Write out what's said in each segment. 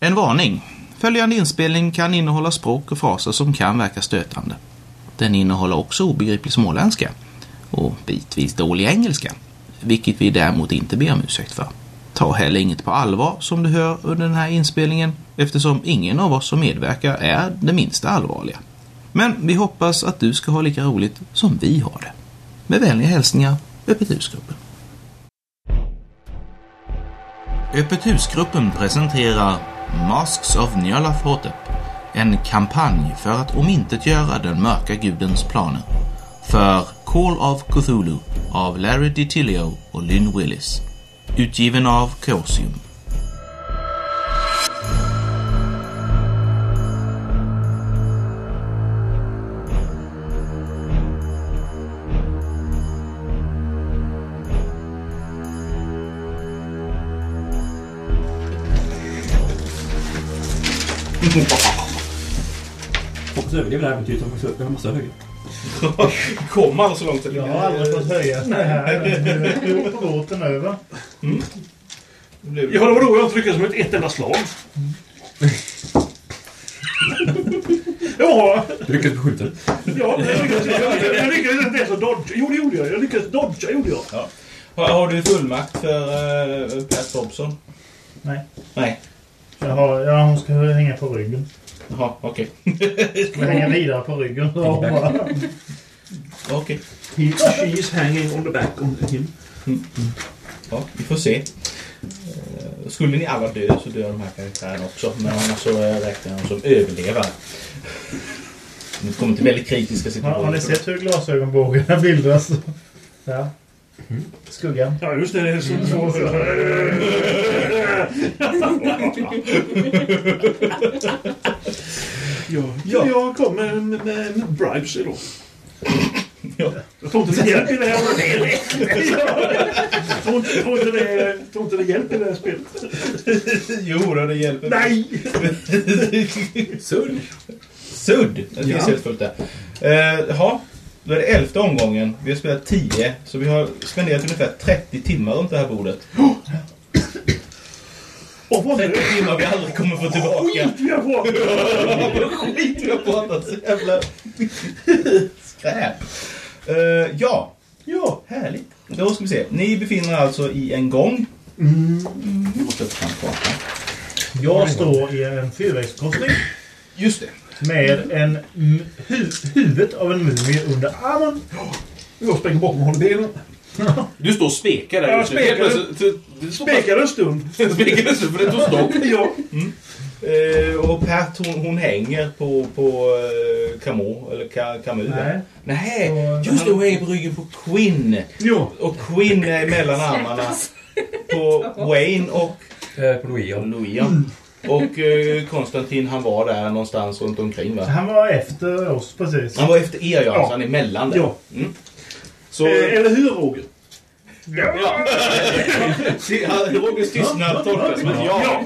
En varning. Följande inspelning kan innehålla språk och fraser som kan verka stötande. Den innehåller också obegriplig småländska och bitvis dålig engelska, vilket vi däremot inte ber om ursäkt för. Ta heller inget på allvar som du hör under den här inspelningen eftersom ingen av oss som medverkar är det minsta allvarliga. Men vi hoppas att du ska ha lika roligt som vi har det. Med vänliga hälsningar, Öppet husgruppen. Öppet husgruppen presenterar Masks of Njalafhotep, en kampanj för att omintetgöra den mörka gudens planer. För Call of Cthulhu av Larry DiTilio och Lynn Willis. Utgiven av Chaosium. Hoppas överlever det här äventyret. Jag måste upp. Jag måste höja. Kommer han så långt? Jag har aldrig fått höja det här. Nu är båten över. Blev... Mm. Ja, det var då jag inte lyckades med ett enda slag. Mm. ja, Du lyckades bli skjuten. ja, jag lyckades, jag, jag lyckades inte ens att dodga. Jo, det gjorde jag. Jag lyckades dodga, gjorde jag. Har, har du fullmakt för uh, Pat Robson? Nej. Nej. Jag har, ja, hon ska hänga på ryggen. Jaha, okej. Ska vi hänga vidare på ryggen? Så hon bara, Okej. He, she is hanging on the back of him. Ja, vi får se. Eh, Skulle ni alla dö så dör de här karaktärerna också. Men annars så eh, räknar jag dem som överlevare. Ni kommer till väldigt kritiska har, har situationer. ni sett hur glasögonbågarna bildas? Ja. Skuggan. Ja, just det. det är så, så. ja, ja. Jag kommer med, med, med bribes idag. Ja. Jag tror inte det hjälper i det här. Jag tror inte- jag tror inte det- jag tror inte det hjälper i det här spelet. Jo, då, det hjälper. Nej! Sudd. Sudd. Det finns helt fullt där. Eh, Jaha, då är det elfte omgången. Vi har spelat tio. Så vi har spenderat ungefär 30 timmar runt det här bordet. Och vad 30 nu? timmar vi aldrig kommer få tillbaka. Vi har fått... Skit vi har pratat så jävla skräp. Eh, ja. ja, härligt. Då ska vi se. Ni befinner er alltså i en gång. Mm. Jag måste upp fram kartan. Mm. Jag står i en fyrvägskorsning Just det. med en m- hu, huvudet av en mumie under armen. Jag springer bakom och håller benen. Du står och spekar där Ja, just nu. spekar. Helt plötsligt- Du, du står bara- Spekar en stund. spekar just nu för det tog stopp. Ja. Eh, och Pat hon, hon hänger på, på uh, Camo, eller Ka, Camus. Nej. Nej, Och- just det. Hon hänger på ryggen på Quinn. Ja. Och Quinn är mellan armarna på Wayne och Eh, på Louis. Louis. ja. Och eh, Konstantin han var där någonstans runt omkring va? Han var efter oss precis. Han var efter er, ja. Ja. Så han är mellan där. Ja. Mm. Så... Eh, Eller hur, Roger? Ja. Se, han- Rogers tystnad tolkas som ett ja.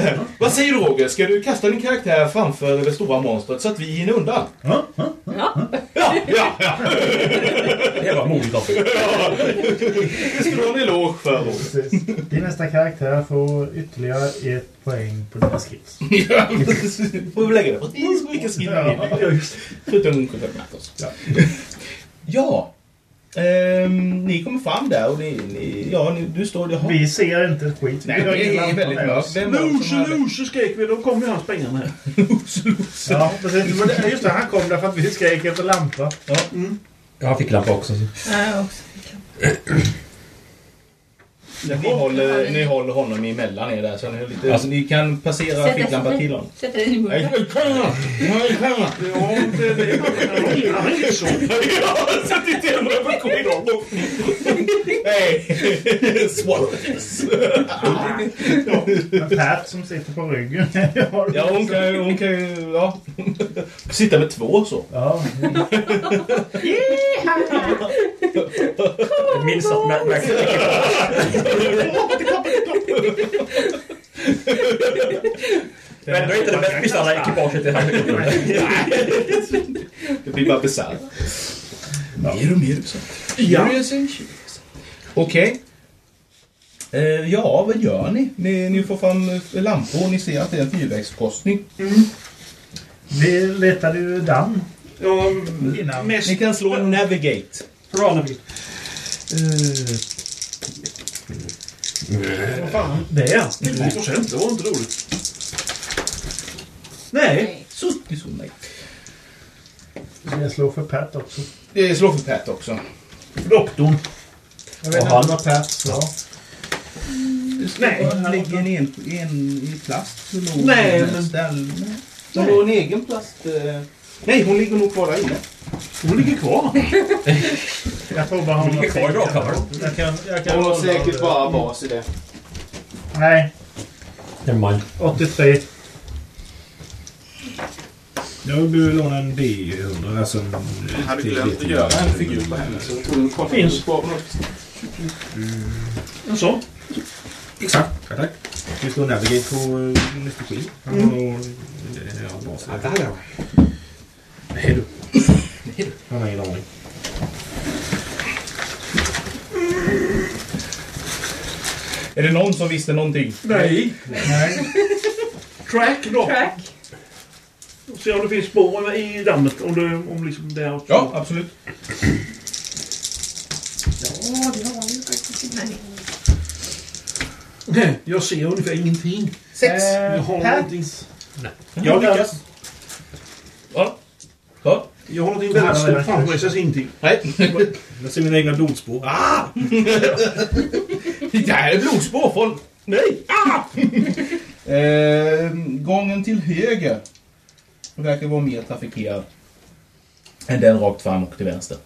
Vad säger du Roger? Ska du kasta din karaktär framför det stora monstret så att vi hinner undan? Ja, ja. Ja, ja, ja. Det var modigt av dig. Det ska du ha en eloge för Roger. Precis. Din nästa karaktär får ytterligare ett poäng på dina skills. Ja, precis. Får vi lägga det precis på vilka skin vi vill. Ja, just Förutom kulturnatt Ja. ja. Ehm, ni kommer fram där och ni... ni ja, ni, du står... Det det. Vi ser inte ett skit. Nej, Vi har ingen det är lampa väldigt med mörkt. oss. Vem var det som Loser, hade... loser skrek vi. Då kom ju han springande här. Ja, precis. Men det- Just det, han kom därför att vi skrek efter lampa. Jag fick lampa också. så- Ah, Ja, också. Ni håller, ni håller honom emellan er där så ni, är lite, Alltså- ni kan passera ficklampan till honom. Sätt dig i munnen. Ja, det, det, han han är inte så. Sätt inte henne över korridoren! Nej! Swallow this! Men Pat som sitter på ryggen. jag har- Ja, hon kan ju... Hon kan ju ja. Sitta med två så. Ja, Minns att Mac- Mac Men det är inte det mest bisarra ekipaget i det här. Det blir bara bisarrt. Mer och mer bisarrt. Ja. Curious and curious. Okej. Eh, ja, vad gör ni? Ni, ni får fram eh, lampor, ni ser att det är en fyrvägskorsning. Vi letade ju damm. Ja, Innan. mest Ni kan slå Navigate. Ranavik. Eh. Det ja. Det procent, det var inte roligt. Nej. Så, ni slår nej. Jag slår för Pat också. Eh, slå för Pat också. Doktorn. Jag vet inte vad Pat slår. Nej. Han ligger en, en, en i plast. så låg Nej, hon men- ställ- Hon har en egen plast. eh. Nej, hon ligger nog kvar där inne. Hon ligger kvar. Jag tror bara hon ligger kvar i dragkammaren. Jag kan, jag kan Hon har hålla säkert det. bara bas i det. Nej, Nevermind. 83. Jag behöver låna en D100, alltså en... Jag hade glömt att göra en figur på henne. Så jag tror hon kommer Finns. kvar på något. En sån. Exakt. Ja, tack. Det står Navigate på eh, Mr. Queen. Han har nog... eh, Ja, bas. Nej du. Han har ingen aning. Är det någon som visste någonting? Nej. Nej. Track då. Track. Och Se om det finns spår i dammet. Om det, om liksom det är... Ja, absolut. Ja, det har ju faktiskt inte. Nej, jag ser ungefär ingenting. Sex. Eh, Jag har någonting. Jag lyckas. Ja. Ja. Jag har någonting väldigt stort framför mig, så jag ser ingenting. Nej. Jag ser mina egna blodspår. Ah! Det här är blodspår folk. Nej. Ah! eh, gången till höger verkar vara mer trafikerad än den rakt fram och till vänster.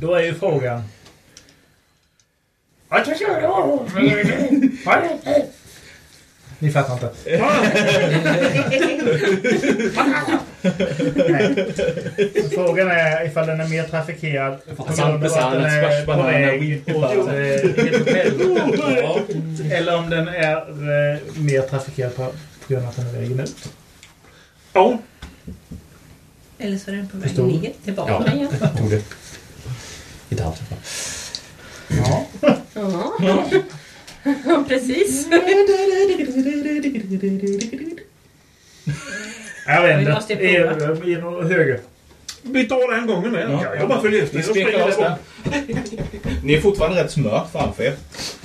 Då är ju frågan. Ni fattar inte. Nej. Frågan är ifall den är mer trafikerad på grund av att den är på väg åt eh, ett hotell. Eller om den är eh, mer trafikerad på, på grund av att den är vägen ut. Ja. Eller så är den på väg Förstår. ner tillbaka Ja. igen. Jag tog det. Inte alls. Ja. Ja. Ja, precis. Jag Vi vet måste inte. ju I, prova. i, höger. Vi tar den gången med. Ja. Jag bara följer efter. Ni Jag springer springer nästan. där Ni är fortfarande rätt smört framför er. bort.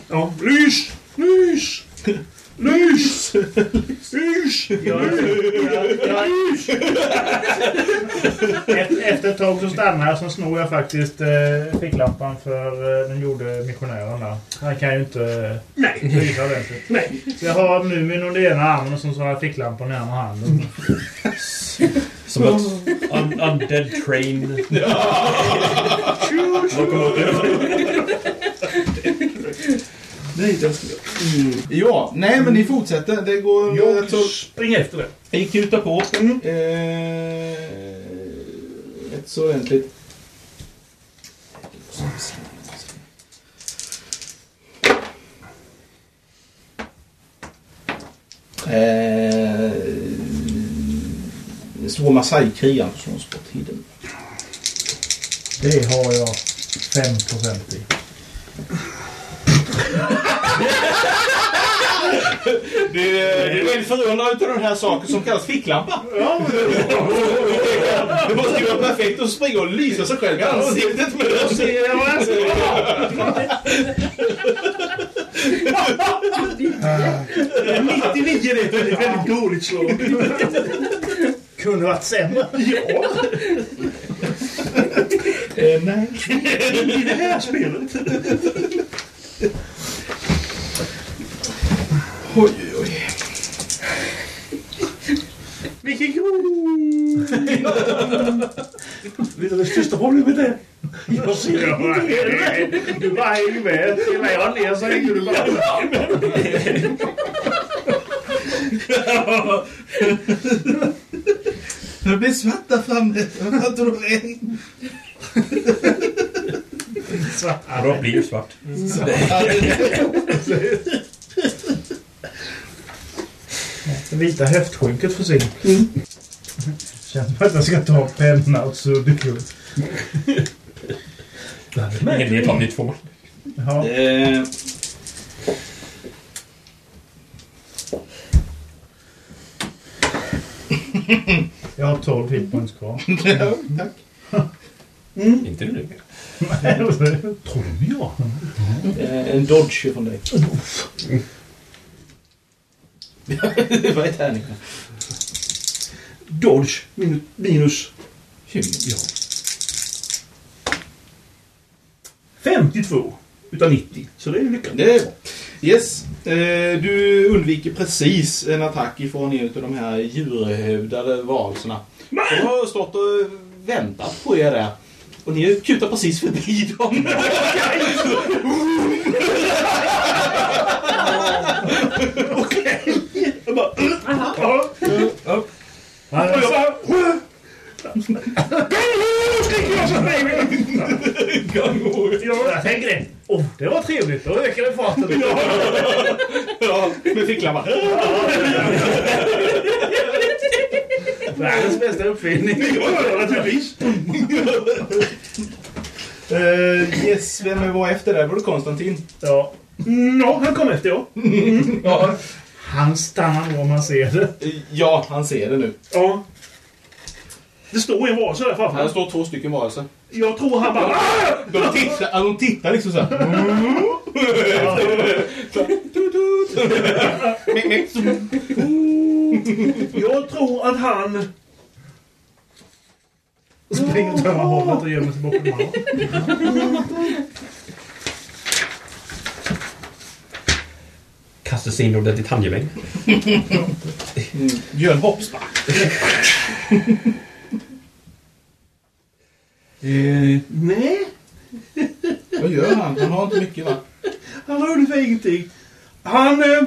Ja. Lys! Lys! Lys! Lys! Jag, jag, jag, Efter, efter ett tag så stannar jag, så snor jag faktiskt eh, ficklampan för eh, den gjorde missionären där. Han kan ju inte eh, Nej. lysa ordentligt. Nej. Så jag har Mumin under ena armen och sen så har jag ficklampan i andra handen. Som ett un- undead train. Nej, det skulle jag. Mm. Ja, nej men ni fortsätter. Det går... Jag rätt så- springer efter det. Ni kutar på. Mm. Eh, rätt så ordentligt. Eh, slå Masai-krigan på slåssporttiden. Det har jag 5% i. Du, du är väldigt förundrad utav den här saken som kallas ficklampa. det måste ju vara perfekt att springa och lysa sig själv i ansiktet med den. Det är ett väldigt dåligt slag. Kunde varit sämre. Eh, nej. I det här spelet. Oj, oj, oj. Vilken grov! Vet du vad det största problemet är? Jag ser inte Du bara hänger med. Trillar jag ner så hänger du bara med. Det blir svart där framme. Jag tror det är- Bra blir svart. Det vita höftskynket försvinner. Mm. Känns som att jag ska ta penna och suddgummi. Ingen del av ni två. Ja. Eh, Jag har 12 hit points kvar. Inte du det? Eh, En dodge från dig. Vad är tärningen? Dodge minus... minus 20. 52 utav 90. Så det är ju lyckat. Det är bra. Yes. Eh, du undviker precis en attack ifrån en av de här djurhövdade varelserna. De har stått och väntat på er där. Och ni kutar precis förbi dem. Jag tänker det. Åh, det var trevligt. Då ökade farten. Ja, med ficklampa. Världens bästa uppfinning. Eh, yes, vem var efter där? Var det Konstantin? Ja. Ja, han kom efter ja. Han stannar nog om han ser det. Eh, Ja, han ser det nu. Ja. Det står en varelse där Här framför. står två stycken alltså. varelser. Jag tror han bara... De tittar, ja, de tittar liksom så här. Jag tror att han... Springer åt andra hållet och gömmer sig bakom de andra. Kastar sig in under ditt handgemäng. Gör en hoppspark. Eh, nej, Vad gör han? Han har inte mycket va? han har ungefär ingenting. Han... Eh,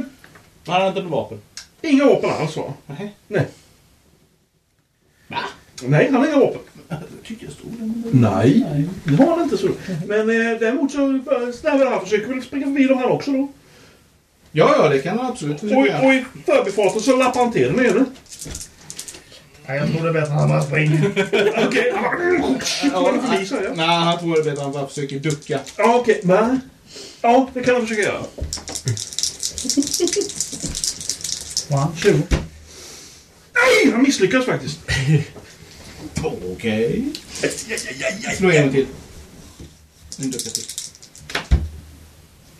Han har inte något vapen. inga vapen alls va? Nej. Nej. Nej, han har inga vapen. Tycker jag stod den. Nej. Det har han inte. så. Men eh, däremot så... eh, så där, Han försöker väl springa förbi dem han också då. Ja, ja, det kan han absolut försöka Och, i- göra. och i förbifarten så lappar han till den ene. Nej, jag tror det är bättre att han bara springer. Okej, han bara... Shit, Ja, vad han förbi säger jag. Nej, han tror det är bättre. Han bara försöker ducka. Ja, okej. Men... Ja, det kan han försöka göra. One, two. Nej, han misslyckas faktiskt. Okej. Slå en till. En ducka till.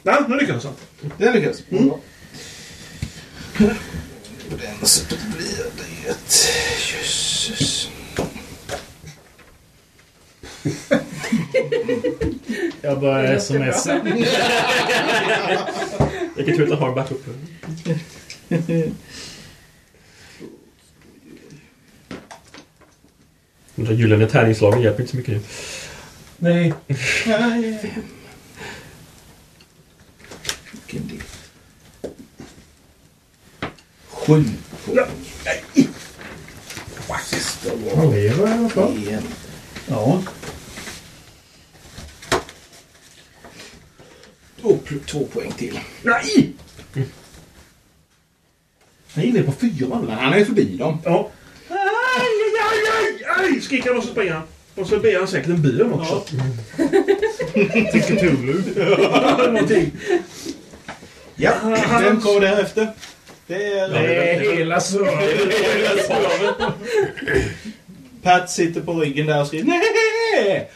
Nej, nu lyckades han. Den lyckas. Mm. Den så blir det... Jösses. Jag börjar smsa. Vilken tur att jag har en backup. De där gyllene tärningslagen hjälper inte så mycket nu. Nej. Sju poäng. Han lever i alla fall. Igen. Mm. Ja. Och pl- två poäng till. Nej! Han är inne på fyran. Men han är förbi dem. Ja. Aj, aj, aj, aj, aj! Skriker han och så springer han. Och så ber han säkert en bön också. Ja, vem kommer därefter? Det Det är... är Eh, hela svärdet. Pat sitter på ryggen där och skriver nej.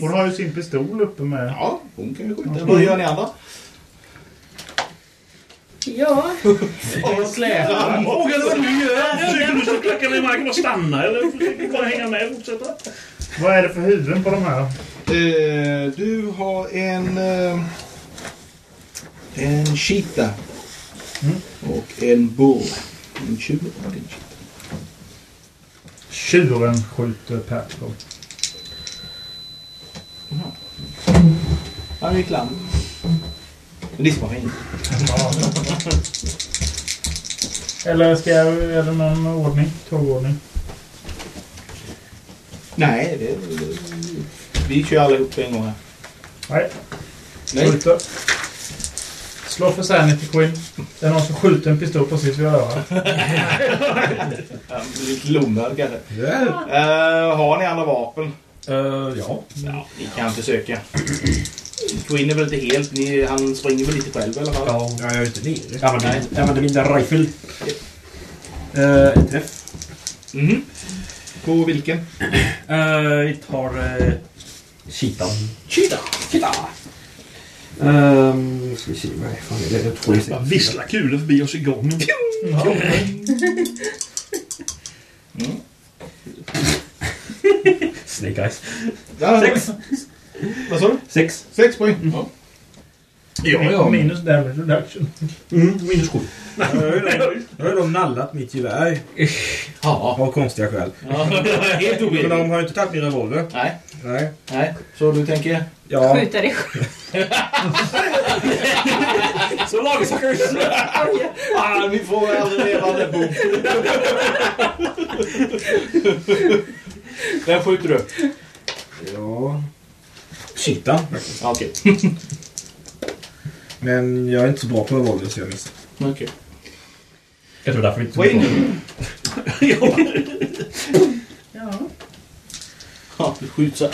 Hon har ju sin pistol uppe med. Ja, hon kan ju skjuta. Vad gör ni andra? Ja, Frågan är vad du gör. Försöker du slå klackarna i marken och stanna eller försöker du bara hänga med och fortsätta? Vad är det för huvuden på de här? Eh, du har en... Eh, en cheetah. Mm. Och en bull. En tjur och en cheetah. Tjuren skjuter Pat på. Han är klam. Men det spelar ingen Eller ska jag... Är det någon ordning? Tågordning? Nej, det, vi kör allihop på en gång här. Nej. Nej. Skjuter. Slå för Sanity Queen. Det är någon som skjuter en pistol precis vid örat. Ja, Lite lomhörd kanske. Eh, har ni andra vapen? ja. Ja, ni kan försöka. Quinn är väl inte helt... Ni, han springer väl lite själv i alla fall? Ja, jag är inte nere. Jag använder min rifle. Eh, en träff. Mm. På vilken? Eh, vi tar uh, Cheetah. Cheetah! Um, ska vi se, vad fan är det? Jag tror det Bara vissla kulor förbi oss i gången. Mm. Snake Eyes. Där. Sex. Vad sa du? Sex. Sex poäng. Ja, ja. Minus damage reduction. Minus sju. Nu har ju de nallat mitt gevär. Ja. Av konstiga skäl. Helt Men orimligt. de har ju inte tagit min revolver. Nej, Nej. nej. Så du tänker? Ja. Skjuta dig själv. Så lagsuckers! Ah, vi får aldrig levande bok. Vem skjuter du? Ja. Cheetah. Ah, Okej. Men jag är inte så bra på revolver så jag missar. Okej. Jag tror därför vi inte Poäng. Ja. Ja, du skjuts här.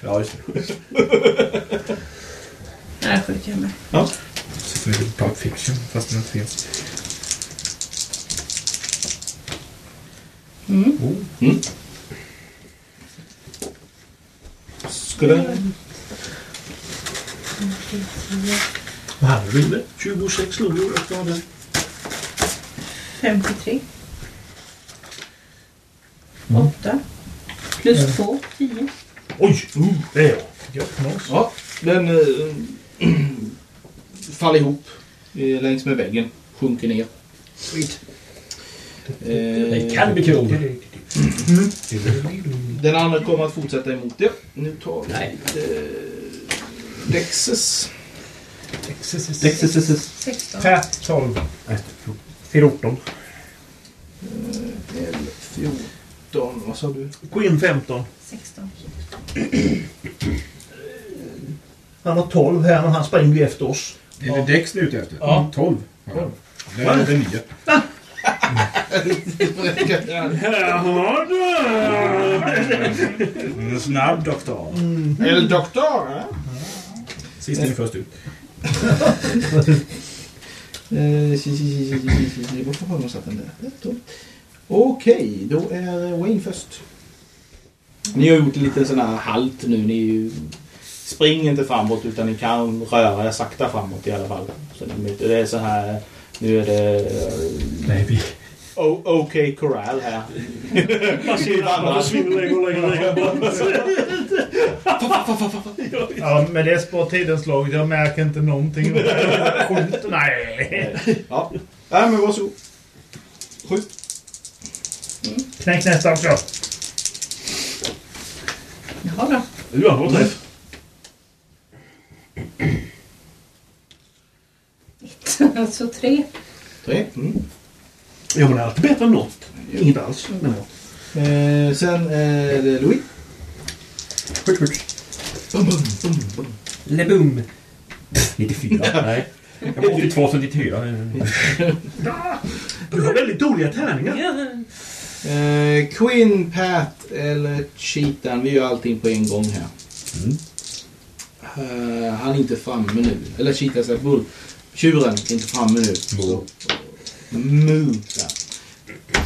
Ja, just det. Nej, jag skjuter jag med. Sitter lite på Pulp Fiction fast den inte finns. Skulle... Vad hade du med? 26 lungor. Jag tar den. 53. 8. Plus 2. 10. Oj! Uh, det är jag. Ja, den eh, faller ihop eh, längs med väggen. Sjunker ner. Eh, Skit. Det kan bli kul. Den andra kommer att fortsätta emot det. Nu tar vi Nej. Dexes. Sex, sex, sex, sex. 16. 12. 14. 14. Vad sa du? Queen 15. 16. Han har 12 här, men han springer ju efter oss. Är det Dex du är ute efter? Ja. 12. Ja. Det är den nya. Jaha En Mm, snabb doktor. Eller doktor? eh? Sist in först ut. Eh, si, si, si, si, si, si, si. Varför har de satt den där? Ett, två. Okej, då är Wayne först. Ni har gjort en liten sån här halt nu. Ni är ju... springer inte framåt utan ni kan röra er sakta framåt i alla fall. Så ni- det är så här... Nu är det... eh, Baby. O- Okej Corral här. Typ då! Han svinner längre och längre och längre bort. Ja, men det är spår tidens lag. Jag märker inte någonting. Skjut. Nej. Ja. Nej, men varsågod. Skjut. Knäck nästa också. Jaha då. Du har fått träff. Alltså 3. Tre. Mm. Ja, men det är alltid bättre än något. Inget alls, men ja. Eh, sen är det Louis. Leboom. 94. Nej. Jag var 82 till 94. Du har väldigt dåliga tärningar. Eh, Queen, Pat eller Cheetah. Vi gör allting på en gång här. Eh, han är inte framme nu. Eller Cheetah säger Bull. Tjuren är inte framme nu. Så- Moo. där.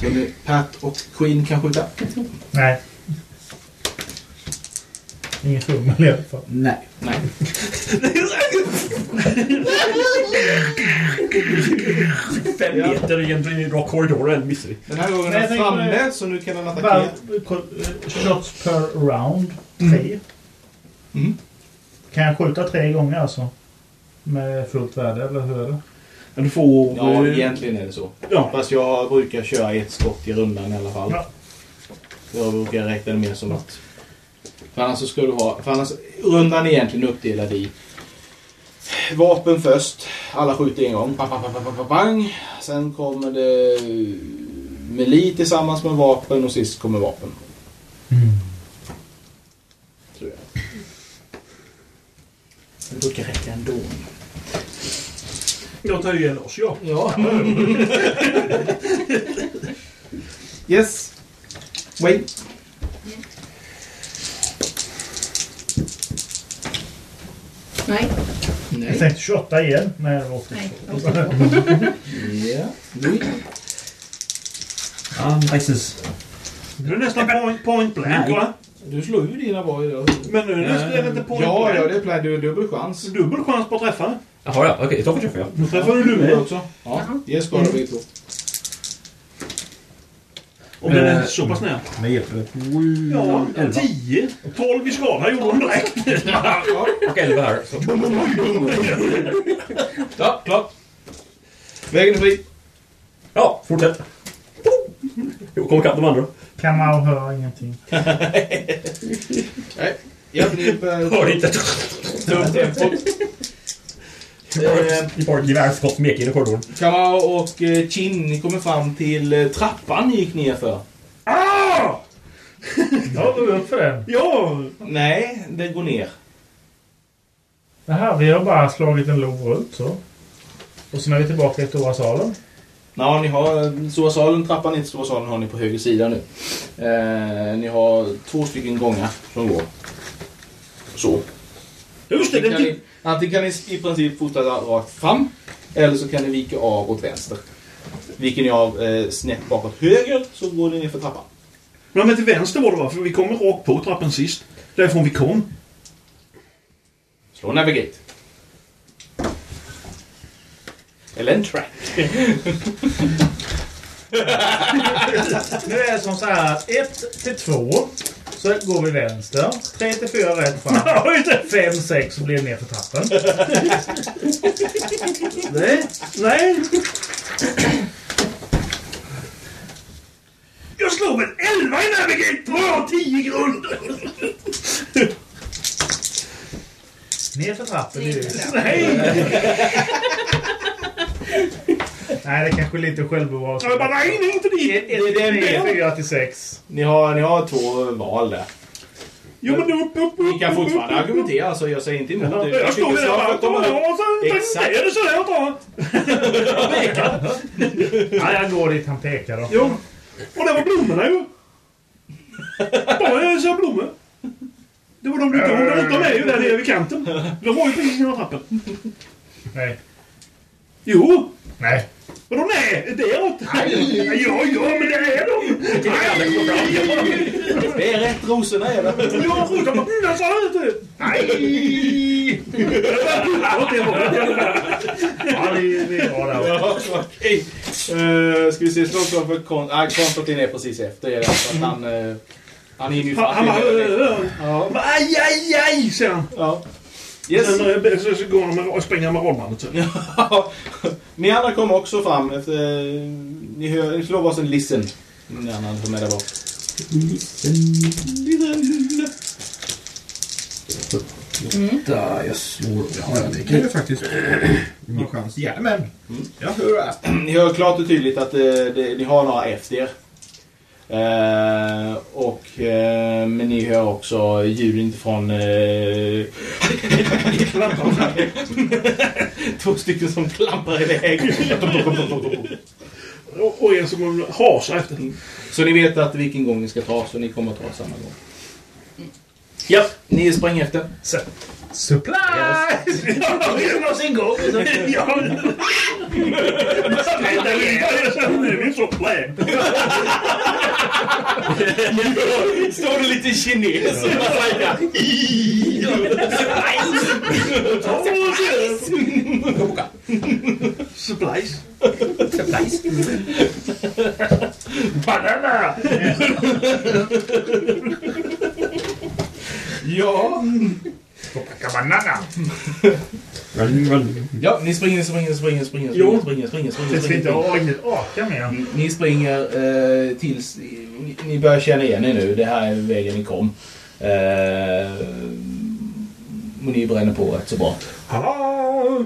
Så nu, Pat och Queen kan skjuta. Nej. Ingen fummel i alla fall. Nej. Nej. Fem meter egentligen i en rak korridor, den missar vi. Den här gången Nej, är jag han tänkte- framme så nu kan han attackera. Bara, eh, Shots per round. Tre. Mm. Kan jag skjuta tre gånger alltså? Med fullt värde eller hur är det? Men du får... Ja, eh, egentligen är det så. Ja. Fast jag brukar köra ett skott i rundan i alla fall. Ja. Jag brukar räkna det mer som att... För annars så ska du ha... För annars, rundan är egentligen uppdelad i vapen först. Alla skjuter en gång. Bang, bang, bang, bang, bang, bang. Sen kommer det melee tillsammans med vapen och sist kommer vapen. Tror jag. Det brukar räcka ändå. Jag tar ju igen oss, ja. Ja. yes. Wait. Nej. Jag Nej. tänkte 28 igen. Nej, det var Nej. Ja. Han Precis. Du är nästan point, point blank, va? Du slår ju dina var idag. Men nu är det Eh, nästan- är det inte point Ja, ja, blank. det är plan. Du har dubbel chans. Dubbel chans på att träffa. Jaha, ja. Okej, då får jag träffa. Nu träffar du du Du med. också. Mm. Ja, ge skada bägge två. Om den är så pass nära. Med hjälp av ett... Ja, 10. 12 i skada gjorde hon direkt. Och 11 här. Så. Ja, klart. Vägen är fri. Ja, fortsätt. Jo, kom ikapp de andra. Kamau hör ingenting. Ja, ni börjar Hörde inte. Eh. ta upp tempot. Vi får ett gevärsskott som ekar in i korridoren. Kamau och eh, Chin, ni kommer fram till eh, trappan ni gick ner för. Ja, går vi upp för den. Ah! Ja! Nej, den går ner. Det här, vi har bara slagit en lov runt så. Och sen är vi tillbaka i stora salen. Ja, ni har eh, stora salen, trappan in till stora salen har ni på höger sida nu. Eh, ni har två stycken gångar som går. Så. Just det, Antingen den typ- kan, till... ni, antingen kan ni i princip fortsätta rakt fram eller så kan ni vika av åt vänster. Viker ni av eh, snett bakåt höger så går ni ner för trappan. Nej, men till vänster var det va? För vi kommer rakt på trappan sist. Därifrån vi kom. Slå navigate. Eller en track. Nu är det som så här att 1 till 2 så går vi vänster. 3 till 4 rätt fram. 5, 6 så blir det ner för trappen. Nej. Nej. Jag slog väl 11 i Navigate! Bra! 10 grund! Ner för trappen är det. Nej! Nej, det kanske är lite självbevarelse. Jag bara, nej, nej, inte dit! 1 till det är 3, det. 4 till 6. Ni har, ni har två val där. Jo, men upp, upp, upp! Ni kan fortfarande argumentera så jag säger inte emot det. Jag står tycker där snarare bara, att de har- ja, så Exakt. är det så här då. Ja, jag går dit han pekar då. Jo. Och det var blommorna ju. Bara jag ser blommor. Det var de utom. De utom är ju där nere vid kanten. De var ju precis innan trappen. Nej. Jo! Nej. Vadå nej? Däråt? Ja, ja, men där är de! Det är rätt, rosorna är det. Ja, skjuta på den sa jag inte! Nej! Åt det hållet. Ja, vi, vi drar där. Okej. Eh, ska vi se, slå slag för Kon- ah, Konstantin är precis efter er. Så att han, eh, han hinner ju Han han bara... fatt i det. "Ö, ö, ö." Ja. Bara, Aj, aj, aj! säger han. ja. Yes. Sen eh, så- så går han med, springer han med rollbandet. sen. ni andra kommer också fram. Efter, ni hör, ni slår varsin listen. Ni andra får med där bak. Där, jag slår. Ja, Ja, Mm. det kan ju faktiskt... Min chans. Jajamän. Jag hör det. Ni hör klart och tydligt att eh, det, ni har några efter er. Eh, och, eh, men ni hör också ljuden från eh, två stycken som klampar iväg. Och, och en som hasar efter. så ni vet att vilken gång ni ska ta, så ni kommer att ta samma gång. Ja, ni springer efter. Supply! Ja, det är någonsin gång. Ja, men- Vänta lite, jag känner mig så blä. Står det lite kines? Supplies. Ja. Banana! ja, ni springer, springer, springer, springer, springer, springer, springer, springer, Tills vi inte springer. har riktigt orkar mer. Ni springer eh, tills ni- ni börjar känna igen er nu. Det här är vägen ni kom. Eh, och ni bränner på rätt så bra. Hallå!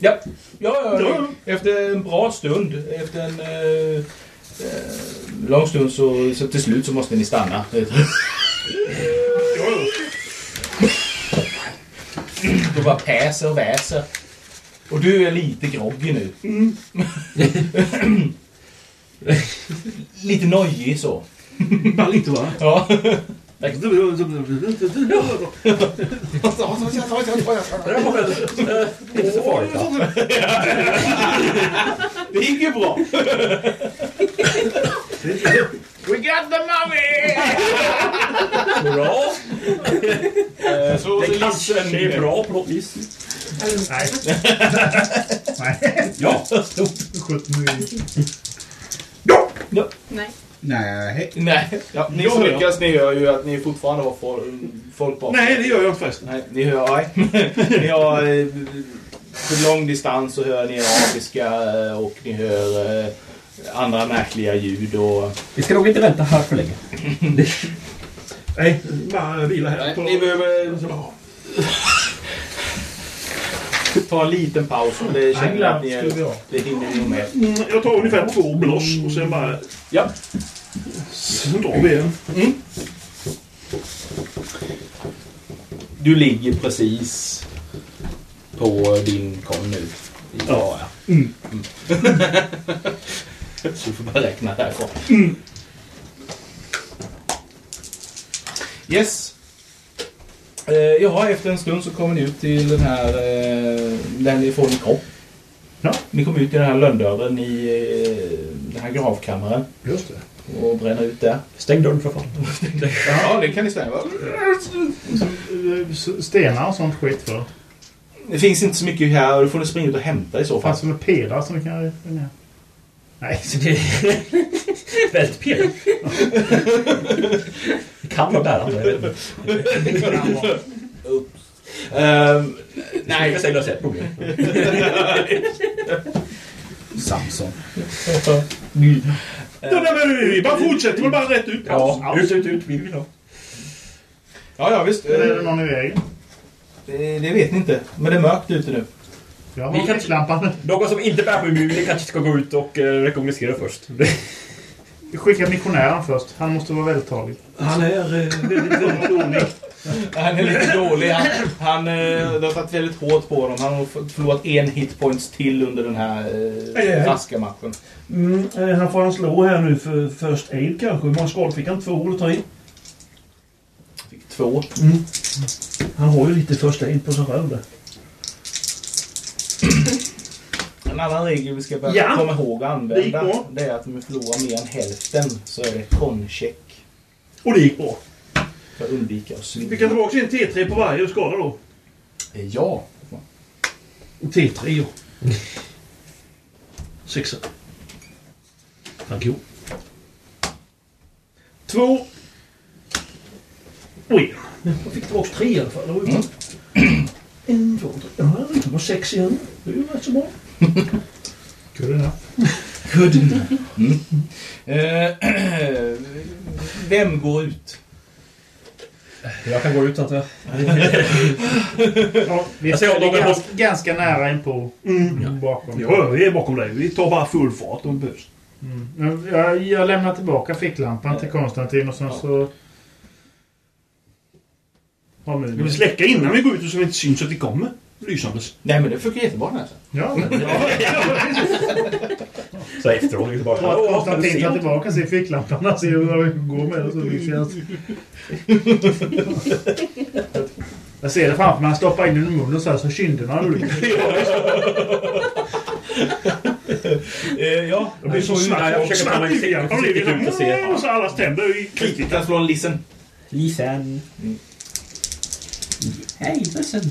Ja, ja, ja, efter en bra stund, efter en eh, eh, lång stund så, så till slut så måste ni stanna. Du bara päser och väser. Och du är lite groggy nu. Mm. lite nojig så. Bara lite va? Ja. Det var väldigt... eh, Inte så farligt. va? Det gick ju bra. We got the money! Bra! Eh, Så Det så kanske listen- är bra på något vis. Nej. Ja! Nej. Nej. Nej, ja, ni som lyckas, ni hör ju att ni fortfarande har folk, folk bakom. Nej, det gör jag inte förresten. Nej, ni hör, nej. ni har eh, på lång distans så hör ni arabiska eh, och ni hör eh, andra märkliga ljud och... Vi ska nog inte vänta här för länge. Nej, bara vila här. Nej, ni behöver ta en liten paus om det känner att ni är, det hinner ni nog med. Mm, Jag tar ungefär två blås och sen bara... Ja. Sen drar vi igen. Du ligger precis på din kom nu. Ja, Mm. ja. Så du får bara räkna härifrån. Yes. Eh, ja, efter en stund så kommer ni ut till den här, eh, där ni får en kropp. Ja. Ni kommer ut i den här lönndörren i eh, den här gravkammaren Just det. och bränner ut där. Stäng dörren för fan. Ja, det kan ni stänga. va? Stenar och sånt skit för. Det finns inte så mycket här och då får ni springa ut och hämta i så fall. Fanns det några pelare som vi kan ringa? Nej, så det Väldigt pirrigt. Det kan vara bärande. Jag vet inte. kan vara. Ehm, Nej, nej, jag säger lösa ett problem. Samson. Ja, nej, men vi bara fortsätter väl bara rätt ut. Eh, Alltså, Ja, ut, ut, ut. Vi vill ha. Ja, ja visst. Eller är Eh, det någon i vägen? Det, det vet ni inte. Men det är mörkt ute nu. Jag Vi har kan- ficklampan. Någon som inte bär på immun kanske ska gå ut och eh, rekognosera först. Skicka missionären först. Han måste vara vältalig. Han är eh, väldigt, väldigt dålig. Han är lite dålig. Han, han eh, det har tagit väldigt hårt på honom. Han har fått- förlorat en hitpoints till under den här Aj, aj, eh, aj. raska-matchen. Mm, eh, han får han slå här nu för first aid kanske. Hur många skador fick han? Två eller tre? Fick två. Han har ju lite first aid på sig själv där. En annan regel vi ska börja Ja. komma ihåg att Det gick använda bra. det är att om vi förlorar mer än hälften så är det koncheck Och det gick bra. för att undvika att Vi kan svimma. tillbaka en T3 på varje skada då. Eh, Ja. T3 ja. Sexa. Tack jo. Två. Och en. Jag fick tillbaka tre i alla fall. Det var ju bra. En, två, tre. Ja, det var sex igen. Det är ju rätt så bra. Good enough. Good. Eh, Vem går ut? Jag kan gå ut antar jag. Ja, vi Jag säger är att de är ganska, ganska nära inpå bakom. Mm. Ja, vi är bakom dig. Vi tar bara full fart om det behövs. Men Jag, jag lämnar tillbaka ficklampan till Konstantin och sen så... Har Ska vi munnen. släcka innan vi går ut så vi inte syns att vi kommer? Lysandes. Nej men det funkar jättebra den här. Ja, men- Så efteråt är vi tillbaka. Och att Åh, vad Konstantin tar sent. tillbaka sin ficklampan och ser hur det går med det. Så det känns... Jag ser det framför mig. Han stoppar in den i munnen så här så kinderna ryker. Eh, ja. Det blir så Nej, snabbt. jag försöker komma lite grann försiktigt ut och se. Och så allas tänder i Vi kan slå en listen. Lisen. Hej Lisen.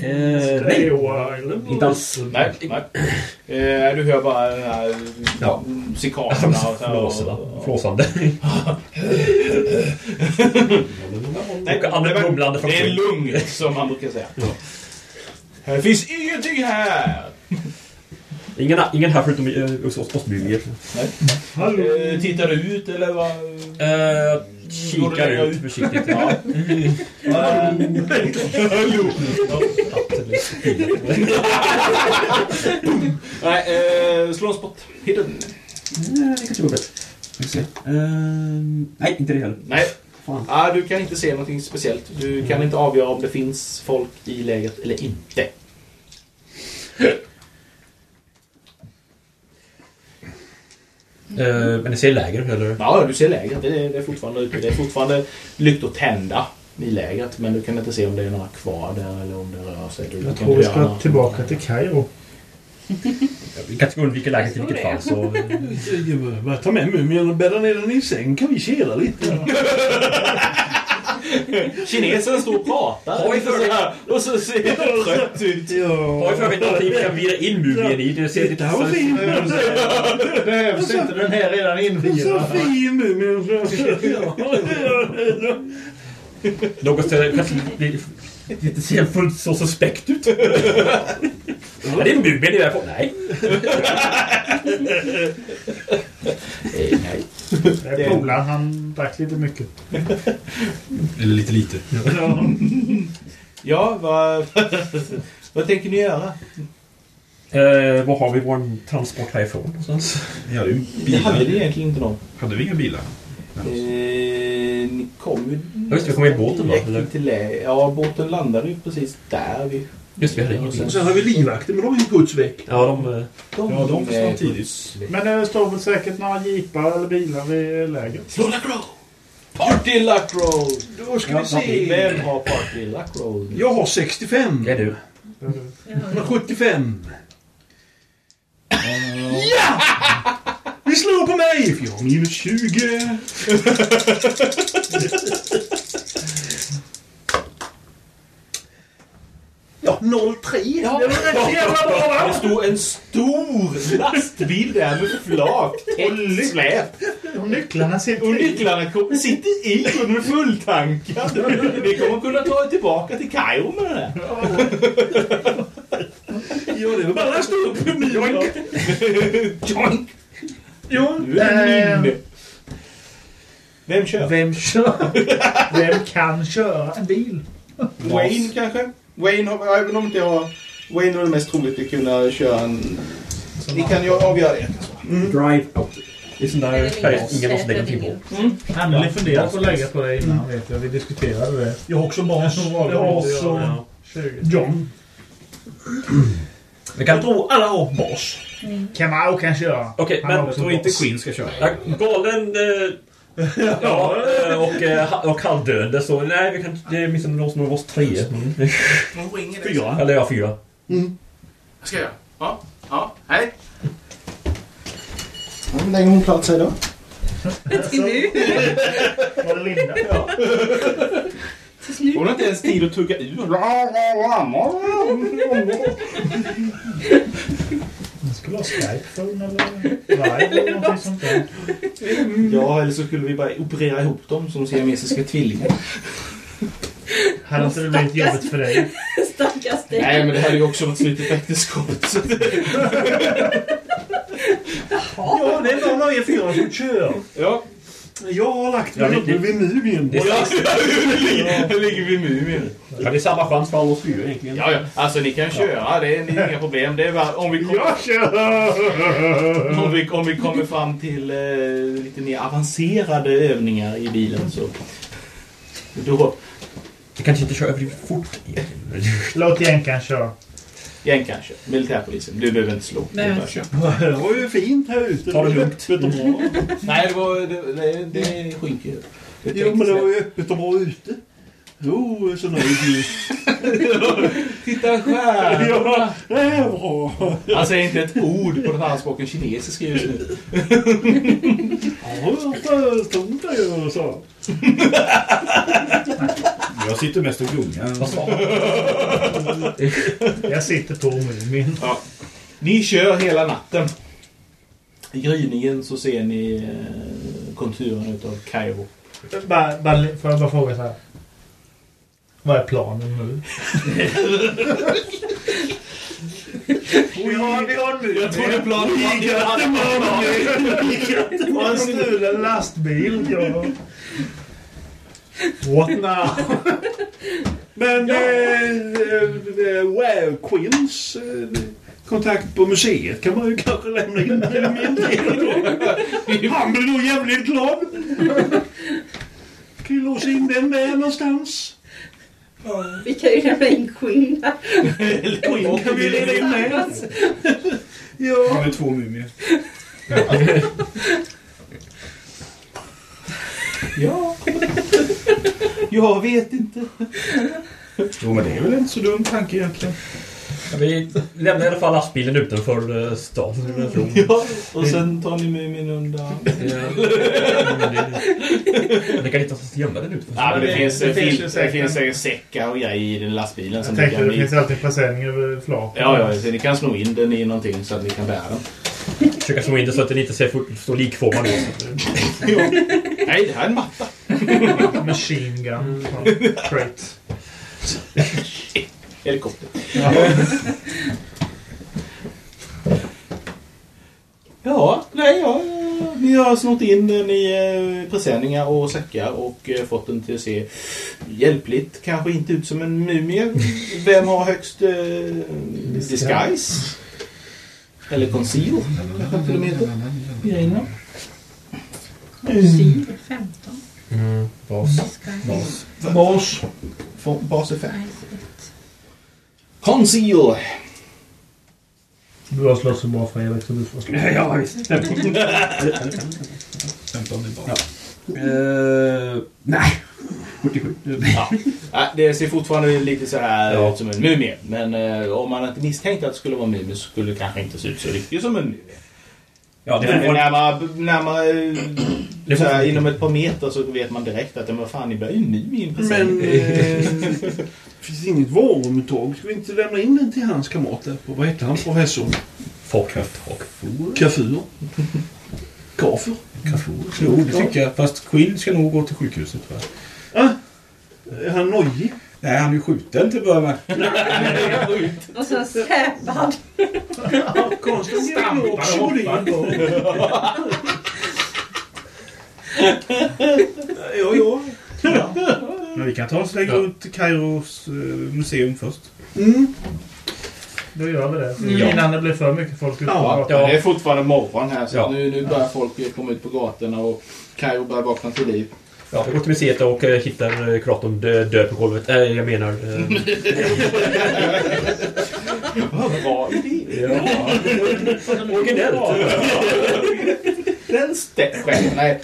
Det är ju, eh, Inte alls. Nej, nej. Eh, du hör bara den här ja. Ja. cikaderna och så här. Flåsande. Flåsande. Nej, Och andra det var- mumlande från Det är skyn. lugnt som man brukar säga. Det finns ingenting här! Ingen, ingen här förutom eh, hos oss oss mumier. Eh, tittar du ut eller vad? Eh, Går du kikar längre ut ut? försiktigt. Ja. Nej, eh, slå en spot. Hidden. Nej, det kanske går bättre. Ska vi se. Eh, Ehm, nej, inte det heller. Nej. Fan. Ah, du kan inte se någonting speciellt. Du kan inte avgöra om det finns folk i lägret eller inte. Eh, men ni ser lägret eller? Ja, du ser lägret. Det är, det är fortfarande ute. Det är fortfarande lyktor tända i lägret. Men du kan inte se om det är några kvar där eller om det rör sig. Du Jag kan tror inte vi göra ska några- tillbaka till Kairo. Vi kan inte undvika lägret i vilket fall. Så... Ta med mumien och bädda ner den i säng kan vi kela lite. Kinesen står och pratar. Oj, för- så här, och så ser det trött ut. Har ju för övrigt någonting vi typ kan vira in mumien i. Det ser Det här var fint. Behövs inte den här redan Så invirad? fin mumien. Något ställe kanske blir- det inte ser fullt så suspekt ut. Ja, det är en mumie det är på. Nej. Eh, nej. Det är Polaren, han drack lite mycket. Eller lite lite. Ja, vad, vad tänker ni göra? Eh, var har vi vår transport härifrån någonstans? Ja, det är ju Vi hade bilar. det egentligen inte någon. Hade vi inga bilar? Eh, ni kom ju... Ja, just det, vi kom i båten, va? direkt Eller? till lä- Ja, båten landade ju precis där. Vi... Just det, vi hade ingen Och bil. Sen har vi livvakter, men de är ju på väck. Ja, de... eh, Ja, de försvann tidigt. Men det står väl säkert några jeepar eller bilar vid lägret. Slå Luck Roll! Party Luck Roll! Då ska vi se. Vem har Party Luck Roll? Jag har 65. Det är du. Han har 75. Ja! Vi slår på mig! För jag har minus 20. Ja, 03. Ja. Det var rätt jävla bra va? Det stod en stor lastbil där med flak, tält, släp. Och nycklarna sitter Och i. nycklarna kom, sitter i och den är fulltankad. Vi kommer kunna ta er tillbaka till Kairo med den här. Ja, det var bara lasta upp. Joink. Joink. Ja. Nu är den Ehm. inne. Vem kör? Vem kör? Vem kan köra en bil? Wayne kanske? Wayne har, även om inte jag... Wayne har det mest troligt att kunna köra en... Ni kan ju avgöra det. Drive out. Det är sån där färg som ingen av oss lägger någonting på. Anneli funderade på att lägga på dig innan vet jag. Mm. Vi diskuterade det. Jag har också Mars. valde Jag har inte att göra också det. 20. John. Vi kan tro alla har bas. Kamau kan köra. Okej, Han har men också tror bas. Queen ska köra. Ja, galen... Eh, ja, eh, och, eh, ha- och halvdöende. Så nej, vi kan, det är åtminstone någon som av oss tre. Mm. Fyra. Eller ja, fyra. ska jag göra. Ja, ja, hej. Hur länge har hon klarat sig då? Till nu. Var det Linda? Tills nu. Hon har inte ens tid att tugga ur. Det skulle vara Skype-phone eller live eller någonting sånt där. Ja, eller så skulle vi bara operera ihop dem som siamesiska tvillingar. Hade inte det blivit jobbigt för dig? Stackars dig. Nej, men det hade ju också varit slutet på äktenskapet. så det- Ja, det är någon av er fyra som kör. Ja. Jag har lagt Ja, mig det- uppe vid mumien. Det är, Ja, nu ligger vi mumien. ja, det är samma chans för alla oss fyra egentligen. Ja, ja. Alltså ni kan köra, det är, det är inga problem. Det är bara, om, vi kommer, Jag kör! om, vi, om vi kommer fram till eh, lite mer avancerade övningar i bilen så... Då Vi kanske inte kör överdrivet fort egentligen. Låt jänkan köra. igen kanske. Militärpolisen. Du behöver inte slå. Nej. Du bara kör. Det var ju fint här ute. Ta det lugnt. Öppet och bra. Nej, det, var, det, det, det sjunker ju. Jo, men det var ju öppet och bra ute. Jo, jag är så nöjd nu. Titta skär! Ja, det är bra. Han säger inte ett ord på den här språken kinesiska just nu. Ja, stod där ju och sa. Jag sitter mest och gungar. Jag sitter tom i min. Ni kör hela natten. I gryningen så ser ni eh, konturen utav Kairo. Bara, bara, får jag bara fråga så här? Vad är planen nu? vi, har, vi har en mur. Jag trodde planen var en stulen lastbil. Ja. What now? Men ja. eh, eh, Wow Queens eh, kontakt på museet kan man ju kanske lämna in min del. Han blir nog jävligt glad. Kan ju låsa in den där någonstans. Vi kan ju lämna in Queen där. Queen kan vi leda in med. Han Ja, är två mumier. Jag vet inte. Jo, men det är väl inte så dum tanke egentligen. Vi lämnar i alla fall lastbilen utanför eh, stan. Mm. Ja, och sen tar ni med min under. Det kan inte ens gömma den utanför. Ja, men det finns, det finns finns, ju det säkert- finns säkert säckar och grejer i den lastbilen. Som Jag ni tänkte kan, det finns alltid presenning över flak. ja, ja, så ni kan sno in den i någonting så att ni kan bära den. Försöka slå in det så att den inte ser full- så likformad ut. Nej, det här är en matta. Machine gun. Crate. Helikopter. Ja, nej, ja. Vi har snott in den i eh, presenningar och säckar och eh, fått den till att se hjälpligt, kanske inte ut som en mumie. Vem har högst eh, disguise? Eller conceal, kanske till och med heter. Grejerna. Syr 15. Mm. Bas. Bas. Bas. Få- Baseffekt. Nice. ett. Conceal. Du har slått så bra Fredrik så du får slå. Ja, visst. 15 är bra. Eh, nej. 47. Ja. Ja, det ser fortfarande lite så här ut som en mumie. Men eh, om man inte misstänkte att det skulle vara en mumie så skulle det kanske inte se ut så riktigt som en mumie. Ja, det det är är fortfarande- när man, när man eh, så här, inom ett par meter så vet man direkt att men vad fan, ni börjar ju en mumie in på sig. Men... Eh, finns det inget varumtag? Ska vi inte lämna in den till hans kamrat där på... Vad heter han? Professorn? Kafur? Kafur? Jo, det tycker jag. Fast Quinn ska nog gå till sjukhuset. Va? Ah, är han nojig? Nej, han är skjuten till att börja med. Och sen säpad. Konstigt är det också på det. Ja, ja. Men vi kan ta en släng runt Kairos eh, museum först. Mm. Då gör vi det. Mm. Ja. Innan det blir för mycket folk ute på Ja, gatan. det är fortfarande morgon här så Ja. nu, nu börjar folk ju komma ut på gatorna och Kairo börjar vakna till liv. Ja, jag går till museet och eh, hittar eh, kuratorn dö- död på golvet. Eh, jag menar... Eh, Vad bra idé! ja. Originellt! Den stämmer. Nej.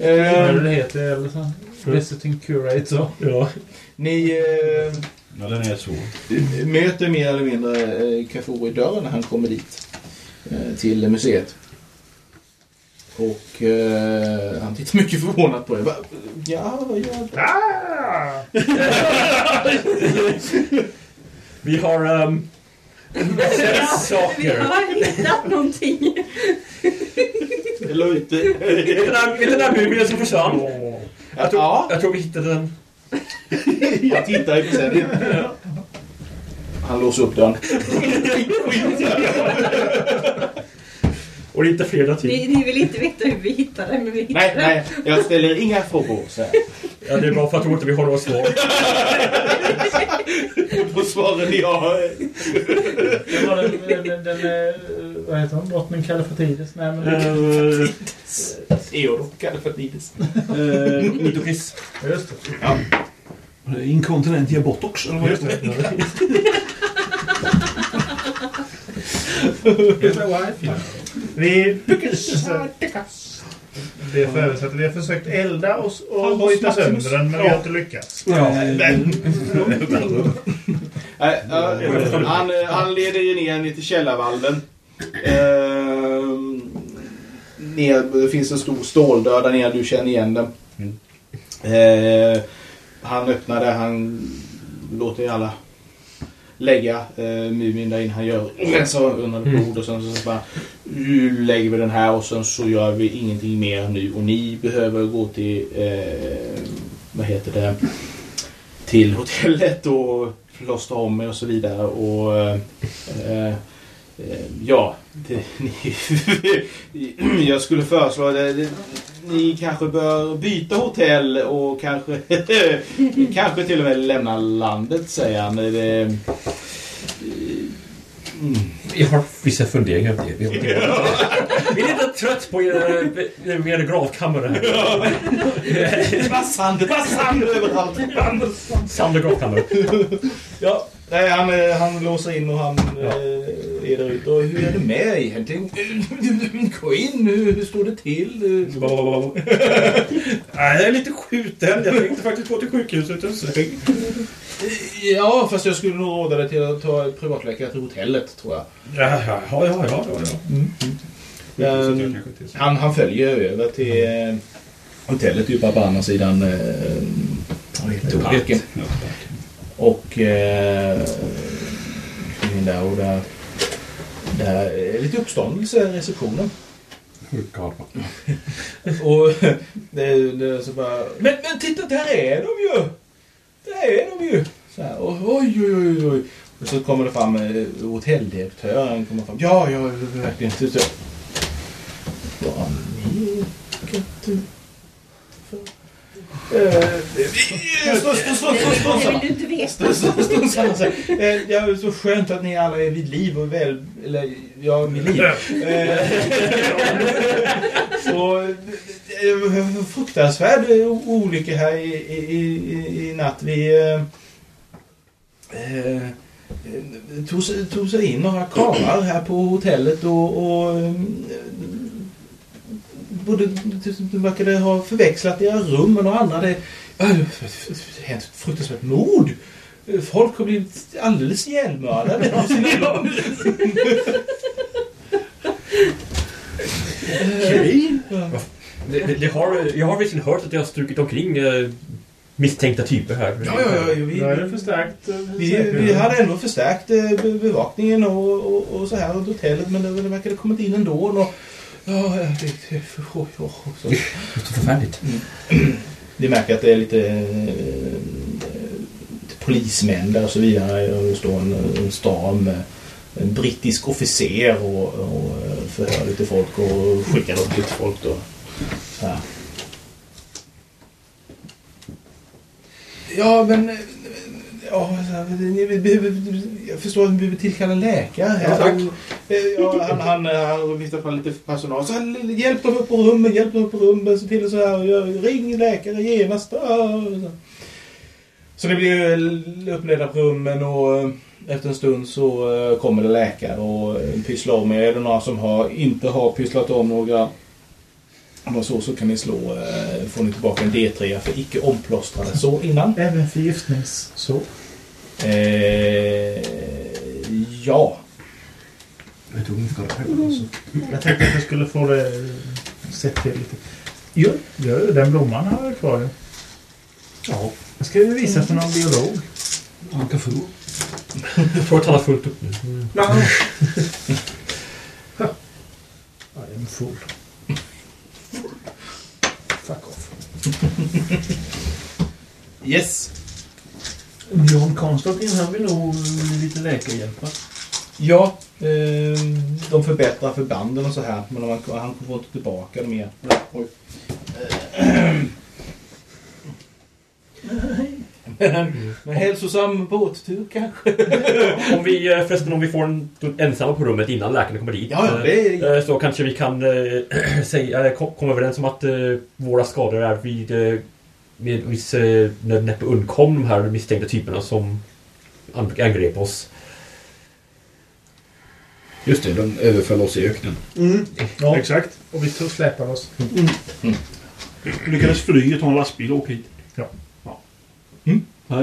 Vad är Eh, det det heter eller så? Visiting curator. Ja. ni... Eh, Ja, den är svår. möter mer eller mindre eh, Kafour i dörren när han kommer dit. eh, Till museet. Och eh, han tittar mycket förvånat på er. Va? Ja, vad gör du? Vi har... Um, sex Vi saker. har hittat någonting. Eller inte? Är det den här- är det den här mumien som försvann? Jag tror... Ja, Jag tror vi hittade den. jag tittar i presenningen. Han låser upp dörren. Och det är inte fler där till. Ni, ni vill inte veta hur vi hittade den, men vi hittade Nej, nej, jag ställer inga frågor. Så här. Ja, det är bra för jag tror inte vi har några svar. På svaren jag... eh, Det var den, den, den, den eh, vad heter hon? Drottning Kalifatides? Nej men... eh, Eodor kallade för Nidis. Mitokris. Just det. Inkontinent ger botox, eller vad heter det? Vi... Det får översätta. Vi har försökt elda oss och bryta sönder den men vi har inte lyckats. Eh, Nej, eh, han, eh, han leder ju ner ner till källarvallen. Ehm, ner, det finns en stor ståldörr där nere, du känner igen den. Eh, han öppnar det, han låter ju alla lägga eh, mumin där inne. Han gör rensar undan blod och sen så bara "Nu lägger vi den här och sen så gör vi ingenting mer nu. Och ni behöver gå till, eh, vad heter det, till hotellet och plåstra om er och så vidare. Och eh, eh, eh, ja, det, ni, jag skulle föreslå det, det, ni kanske bör byta hotell och kanske, kanske till och med lämna landet, säger han. Det, mm. Jag har vissa funderingar om det. Vi är lite trött på eh, er, er, er gravkammare här. Vassand, vassand överallt! Sander gravkammare. Ja, nej, han, eh, han låser in och han eh, är där ute. Och hur är det med egentligen? Min queen, hur hur står det till? Nej, jag är lite skjuten. Jag tänkte faktiskt gå till sjukhuset en sväng. Ja, fast jag skulle nog råda dig till att ta privatläkare till hotellet, tror jag. Ja, ja, ja. ja, ja, ja. Mm. Sjukhuset, Ehm, han, han följer över till eh, hotellet ju bara på andra sidan eh, vad heter det? parken. Och eh, kom in där och där, där är lite uppståndelse i receptionen. och det, det, så bara, men, men titta, där är de ju! Där är de ju! Så här, och, oj, oj, oj, oj. Och så kommer det fram eh, hotelldirektören. Kommer fram, ja, ja, verkligen. Så, så, Ja, ni åker till- Det vill du inte veta. Struntsarna säger, eh, ja, det är så skönt att ni alla är vid liv och väl... Eller, ja, vid liv. Eh, så, eh, fruktansvärd eh, olycka här i, i, i, i natt. Vi eh, eh, tog, sig- tog sig in några karlar här på hotellet och, och eh, både, de verkade ha förväxlat era rum med några andra. Det, ja, det har hänt ett fruktansvärt mord. Folk har blivit alldeles ihjälmördade av sina barn. Kevin? Det- det- det har- Jag har visserligen hört att jag har strukit omkring eh, misstänkta typer här. Ja, ja, ja. Vi, Då är det förstärkt. eh, vi, säkerhet. vi hade ändå förstärkt eh, be- bevakningen och, och, och så här runt hotellet men det, det verkade ha kommit in ändå. Och, ja, det, det, det, oj, oj, oj, så. Förfärligt. Mm. Vi märker att det är lite eh, eh, polismän där och så vidare. Och Det står en, en stam eh, en brittisk officer och, och eh, förhör lite folk och skickar upp lite folk då. Så här. Ja, men... eh, Ja, så här, ni behöver, jag förstår att ni behöver tillkalla en läkare. här. Ja, tack. Eh, Ja, han, han, han viftar fram lite personal. Så här, hjälp dem upp på rummen, hjälp dem upp på rummen. Se till så här, gör- ring läkare genast. Ah, Så Så det blir ju uppledda på rummen och eh, efter en stund så eh, kommer det läkare och eh, pysslar om er. Är det några som har, inte har pysslat om några och så, så kan ni slå, eh, får ni tillbaka en D3 för icke omplåstrade så innan. Även förgiftnings. Så. Eh, ja. Jag tog inte kolla Jag tänkte att jag skulle få det eh, sett till lite. Jo, jo, den blomman har jag kvar. ju. Ja. Den ska ju visas för någon biolog. Han kan få. Jag tror att han har fullt upp nu. I am fool. Fuck off. Yes. Björn Konstantin, han vill nog eh, lite läkarhjälp va? Ja, eh, de förbättrar förbanden och så här. Men han, han kommer inte tillbaka dem igen. Oj. Men, men hälsosam båttur kanske? Om vi, eh, förresten, om vi får en ensamma på rummet innan läkaren kommer dit. Ja, ja, det eh, Så kanske vi kan eh, säga, eh, kom- komma överens om att eh, våra skador är vid... eh, Med viss eh, när- näppe undkom de här misstänkta typerna som an- angrep oss. Just det, de överföll oss i öknen. Mm. Ja. Exakt. Och vi tog släpar oss. Lyckades fly och ta en lastbil och åka hit. Ja. ja. Mm. Det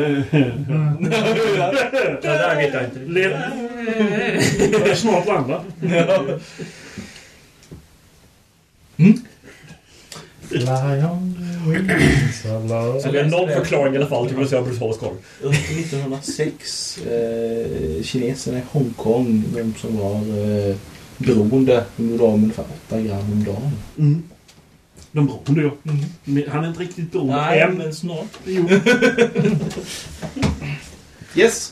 där vet jag inte. Led... Snart landa. Fly on the wings of love. Så vi har någon förklaring i alla fall till varför jag har brutala skador. Under 1906, eh, kineserna i Hongkong, de som var eh, beroende, de gjorde av med ungefär 8 gram om dagen. Mm. De beroende ja. Men Han är inte riktigt beroende Nej, än. men snart. Jo. Yes.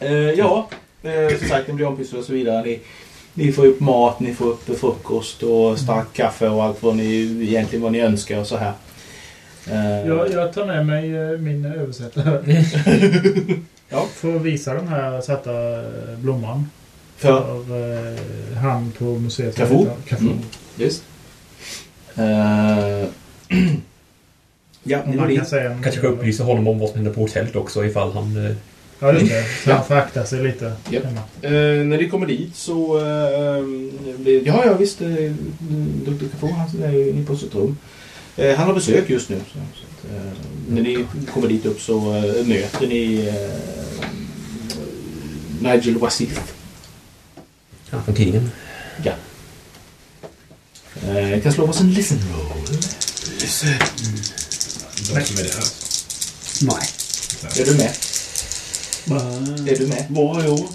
Eh, ja, eh, som sagt, ni blir ompysslade och så vidare. Ni, ni får upp mat, ni får upp frukost och starkt kaffe och allt vad ni egentligen vad ni önskar och så här. Eh, Jag, jag tar med mig eh, min översättare. Ja. För att visa den här satta eh, blomman. För? Av eh, han på museet. Kafu? Kafu. Mm. Just. Eh, ja, ni Om går man dit. kan säga en... Mm. Kanske ska upplysa honom om vad som händer på hotellet också ifall han eh, Ja, just det. Så han fraktar sig lite Japp. hemma. Eh, när ni kommer dit så... Eh, blir, ja, ja, visst. Eh, Dr. Cafoe, han är ju inne på sitt rum. Eh, han har besök just nu. Så, så att, eh, när ni kommer dit upp så eh, möter ni eh, Nigel Wasith. Ja, från tidningen. Ja. Eh, jag kan slå oss en listen roll. Listen. Mm. De som är där. Nej. Är du med? Är du med? Var jag?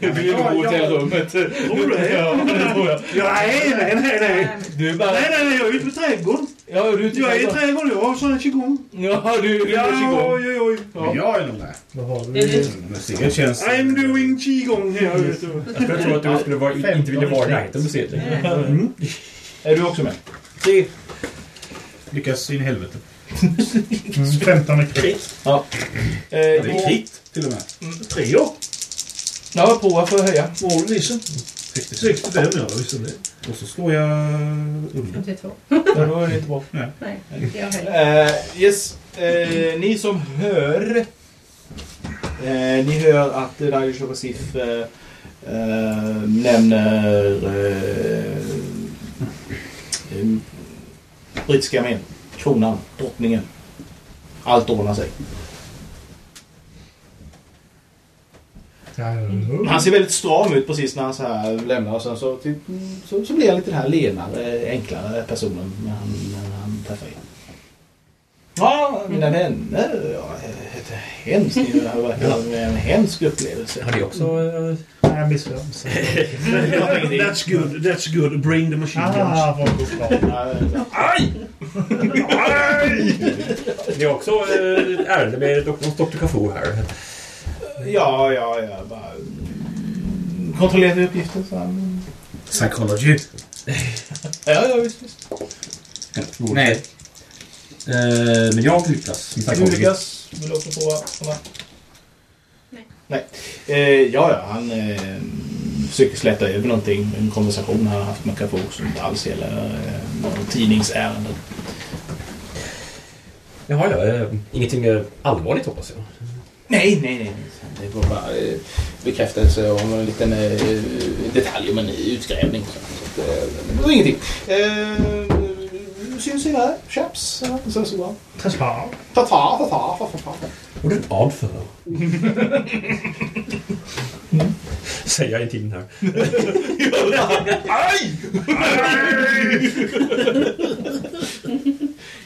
Du vill nog gå till rummet. Tror du det? Ja, det tror jag. Nej, nej, nej, nej. Du är bara... Nej, nej, nej, jag är ute på trädgården. Ja, du är ute på Jag är i trädgården. trädgården, jag har sån här qigong. Ja, du du Ja, är qigong. oj, oj, oj. Jag är nog med. Vad har Är du? Museet känns... I'm doing qigong här ute. Jag tror att du skulle vara, inte ville vara i närheten av museet längre. Mm. Är du också med? Tre. Lyckas in i helvete. 15 är krit. Ja. Eh, Ja, det är krit till och med. Treor. Ja, prova för att höja. Mål nissen. 65 ja, visst är det. Och så slår jag under. 52. Ja, då är det inte bra. Nej. Nej, inte jag heller. Eh, yes. Eh, ni som hör... Eh, ni hör att eh, Dario Shabasif eh, eh, nämner eh, eh, brittiska armén, kronan, drottningen. Allt ordnar sig. Han ser väldigt stram ut precis när han så här lämnar och sen så, typ, så, så blir han lite den här lenare, enklare personen när han, när han träffar er. Ja, mina Mm. vänner. Ja, det är hemskt. Det här verkar vara en hemsk upplevelse. Har ni också... eh, Nej, jag missade. That's good, that's good. Bring the machine Ah, vad bra. Aj! Det är också eh, ett ärende med Dr. Dr. Cafoe här. Ja, ja, ja. Bara... Kontrollerade uppgifter. Så han... Psychology. Ja, ja, visst. visst. Nej. Eh, men jag lyckas. Tack, Du Holger. lyckas. Vill du också prova? Anna? Nej. Eh, ja, ja. Han eh, försöker släta över någonting. En konversation han har haft med Capo som inte alls gäller eh, någon tidningsärenden. Jaha, ja. eh, Ingenting eh, allvarligt hoppas jag. Nej, nej, nej. Det var bara eh, bekräftelse om en liten eh, detalj om en utgrävning. Så att, eh, det var ingenting. Eh, syns senare. Chaps. Ja, Så så bra. Tatar. Ta-ta, ta-ta, ta-ta. Och det är ett ad för. Mm. Säger jag i tiden här. Aj!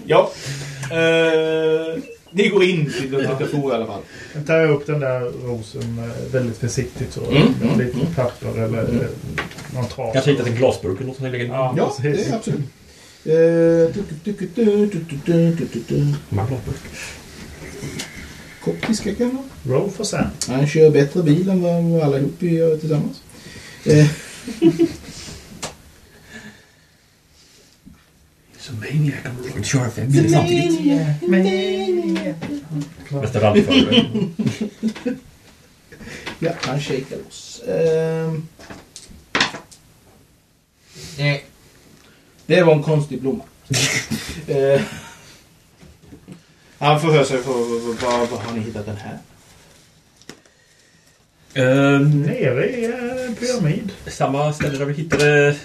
ja. Eh, ni går in till Dr. Cafoe i alla fall. Nu tar jag upp den där rosen eh, väldigt försiktigt. Så. Mm, Med mm, lite mm. papper eller eh, någon trasa. Kanske hittat en glasburk eller något sånt. Ja, Ja, det är absolut. Eh, du- du- du- du- du- du- du- du- du- du. Koptiska kanske? Roll for sand. Han kör bättre bil än vad vad alla ihop vi gör tillsammans. Eh, Så maniac. Kan du köra fem bilar samtidigt? Bästa rallyförare. ja, han shakar loss. Ehm. Nej. Det var en konstig blomma. eh. Han får höra sig för vad har ni hittat den här? Ehm, Nere i eh, en pyramid. samma ställe där vi hittade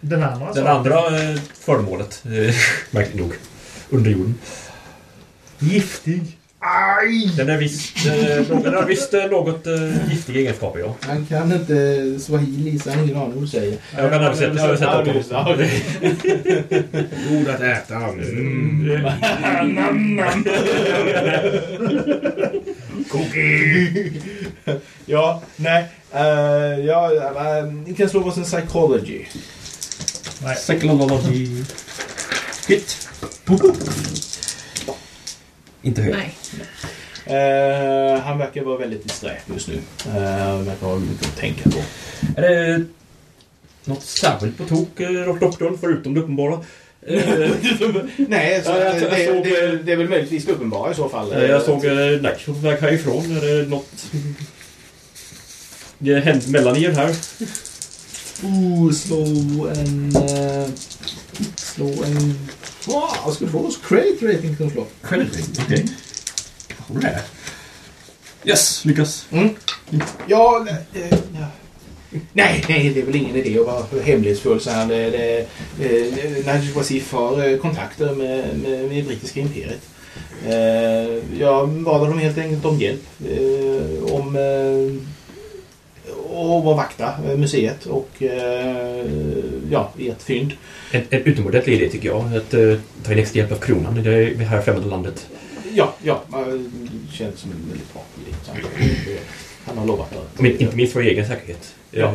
Den andra. det saken. andra eh, föremålet. eh, Märkligt nog. Under jorden. Giftig. Aj! Den är visst, eh, den har visst eh, något eh, giftiga egenskaper, ja. Han kan inte swahili så han har ingen aning om vad du säger. Jag kan översätta. Jag översätter åt honom. Ja, det- God att äta. Mm. ja, nej. eh, ja, eh, ni kan slå oss en psychology. Nej. Psychology. Hit. Inte hög. Nej. Eh, han verkar vara väldigt disträ just nu. Eh, verkar ha mycket att tänka på. Är det något särskilt på tok, eh, Rock doktorn, förutom det uppenbara? Eh, nej, så, Ja, jag- jag det, såg- det, det är väl möjligtvis det uppenbara i så fall. eh, jag såg eh, Nacho på väg härifrån. Är det något... Det har hänt mellan er här. Oh, slå en... eh, slå en... Wow, jag skulle få oss credit rating kan du slå. Credit rating. Okej. Vad har du där? Yes, lyckas. Mm. Ja, eh, ja. Nej, nej, det är väl ingen idé att vara hemlighetsfull. Så här, det, det, eh, Najib Wasif har eh, kontakter med, med, med brittiska imperiet. Eh, jag bad honom helt enkelt om hjälp. Eh, om eh, att vara vakta eh, museet och eh, ja, ert fynd. En, en utomordentlig idé tycker jag. Att eh, ta in extra hjälp av kronan i det här främmande landet. Ja, ja, eh, det känns som en väldigt bra idé. Så han- Han har lovat att... Men, inte minst för vår egen säkerhet. Eh, Ja.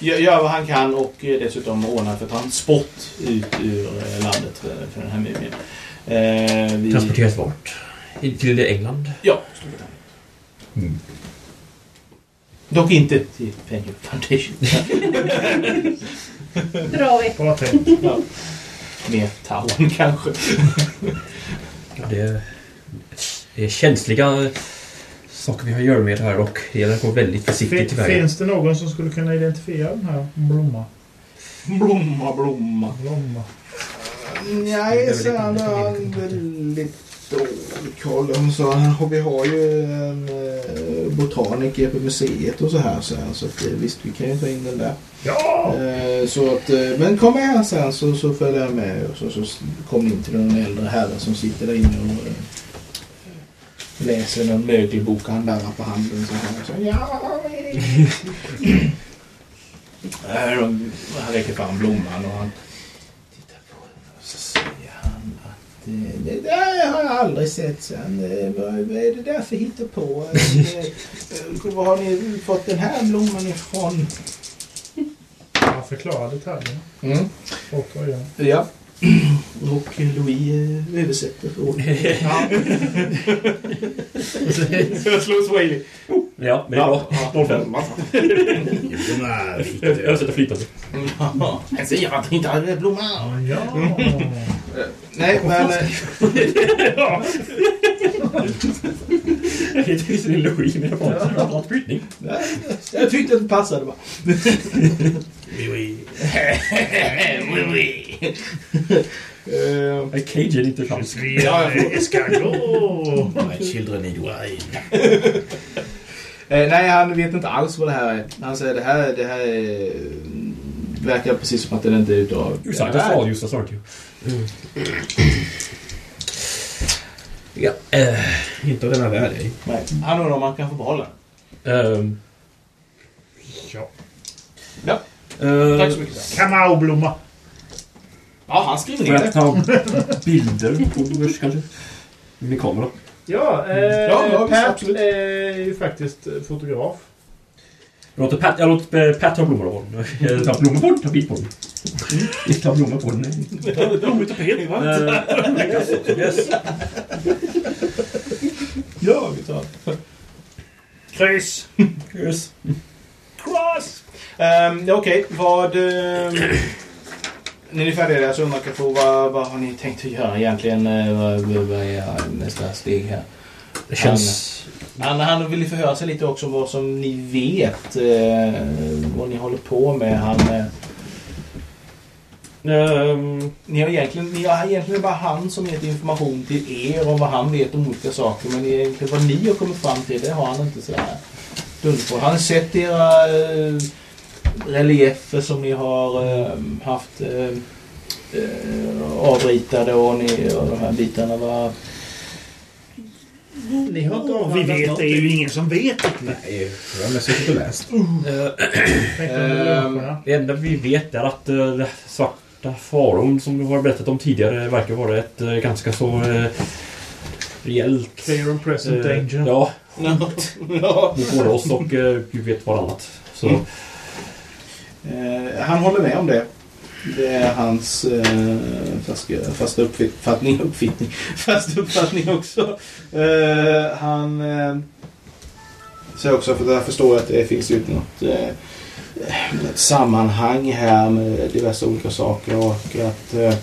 Gö- Gör vad han kan och eh, dessutom ordna för transport ut ur eh, landet för, för den här mumien. Eh, vi- Transporteras vart? I- Till England? Ja, Storbritannien. Dock inte till Penny Foundation. Bra vecka. Bra tänkt. ja. Mer Town kanske. Ja, det, är, det är känsliga saker vi har att göra med här och det gäller att gå väldigt försiktigt Fin, tillväga. finns det någon som skulle kunna identifiera den här blomma? Blomma, blomma. blomma. Nej, så han har väldigt dålig koll. Hon sa han, vi har ju en eh, botaniker på museet och så här. Så, här, så att, eh, visst, vi kan ju ta in den där. Ja! Eh, så att, eh, men kom med här sen så, så följer jag med. Och så, så s- kom ni in till den äldre herren som sitter där inne och eh, läser någon mögelbok. Han darrar på handen så här. Så, Här, de- han räcker fram blomman och han tittar på den och så säger han att eh, det där har jag aldrig sett sen. Eh, Vad vad är det där för hittepå? Eh, eh, Var har ni fått den här blomman ifrån? Han förklarar detaljerna. Mm. Återigen. Ja. Och eh, Louis eh, översätter för honom. Jag slår swahili. Oh, Ja, men det är bra. 05. Jag översätter flytande. Ja, Han säger att han inte har en blomma. Ja. Nej, men... eh, Jag heter visserligen Louis, men jag pratar jag pratar flyttning. Jag tyckte att det passade bara. Eh, A cajun, inte fransk. Ja, jag får- ska gå! My children need wine. Eh, nej, han vet inte alls vad det här är. Han säger det här, det här är, verkar precis som att den inte är utav... You signed us all, you sa you. Ja. Inte av denna värld, ej. Nej. Han undrar om han kan få behålla den. ehm, Ja. Ja. eh, Tack så mycket. Kamaublomma. Ja, han skriver Får ner jag det. ta bilder på Urs kanske? Med min kamera. Ja, eh, Ja, ja, visst, Pat absolut. är ju faktiskt eh, fotograf. Jag låter Pat, jag låter eh, Pat ta blommor av honom. Jag Ta blommor på den, ta bild på den. Inte ta blommor på den, nej. Roligt att peta, va? tar- Yes. Ja, vi tar Kryss! Yes. Cross! Ehm, ja, Okej, vad... ehm, när ni är färdiga där så undrar jag på vad, vad har ni tänkt att göra egentligen? Eh, Vad, vad vad är nästa steg här? Det känns... Han, han vill ju förhöra sig lite också om vad som ni vet. Eh, vad ni håller på med. Han, eh, Ehm, ni, har egentligen, ni har egentligen bara han som gett information till er om vad han vet om olika saker. Men egentligen vad ni har kommit fram till, det har han inte sådär duns på. Han har sett era eh, reliefer som ni har eh, haft eh, eh, avritade och, ni, och de här bitarna. Var, Ni har inte Vi avhandlat vet, det är ju ingen som vet. Nej, jag har mest suttit och Eh, läst. Tänk om det är ehm, människorna. det enda vi vet är att eh, det svarta faron som du har berättat om tidigare verkar vara ett eh, ganska så eh, rejält... Clear and present eh, danger. Ja, mot både oss och eh, gud vet vad annat. Så, Eh, han håller med om det. Det är hans eh, fast, fasta uppfattning, uppfattning, fast uppfattning också. Eh, han eh, säger också, för jag förstår att det finns ut något eh, ett sammanhang här med diverse olika saker och att eh,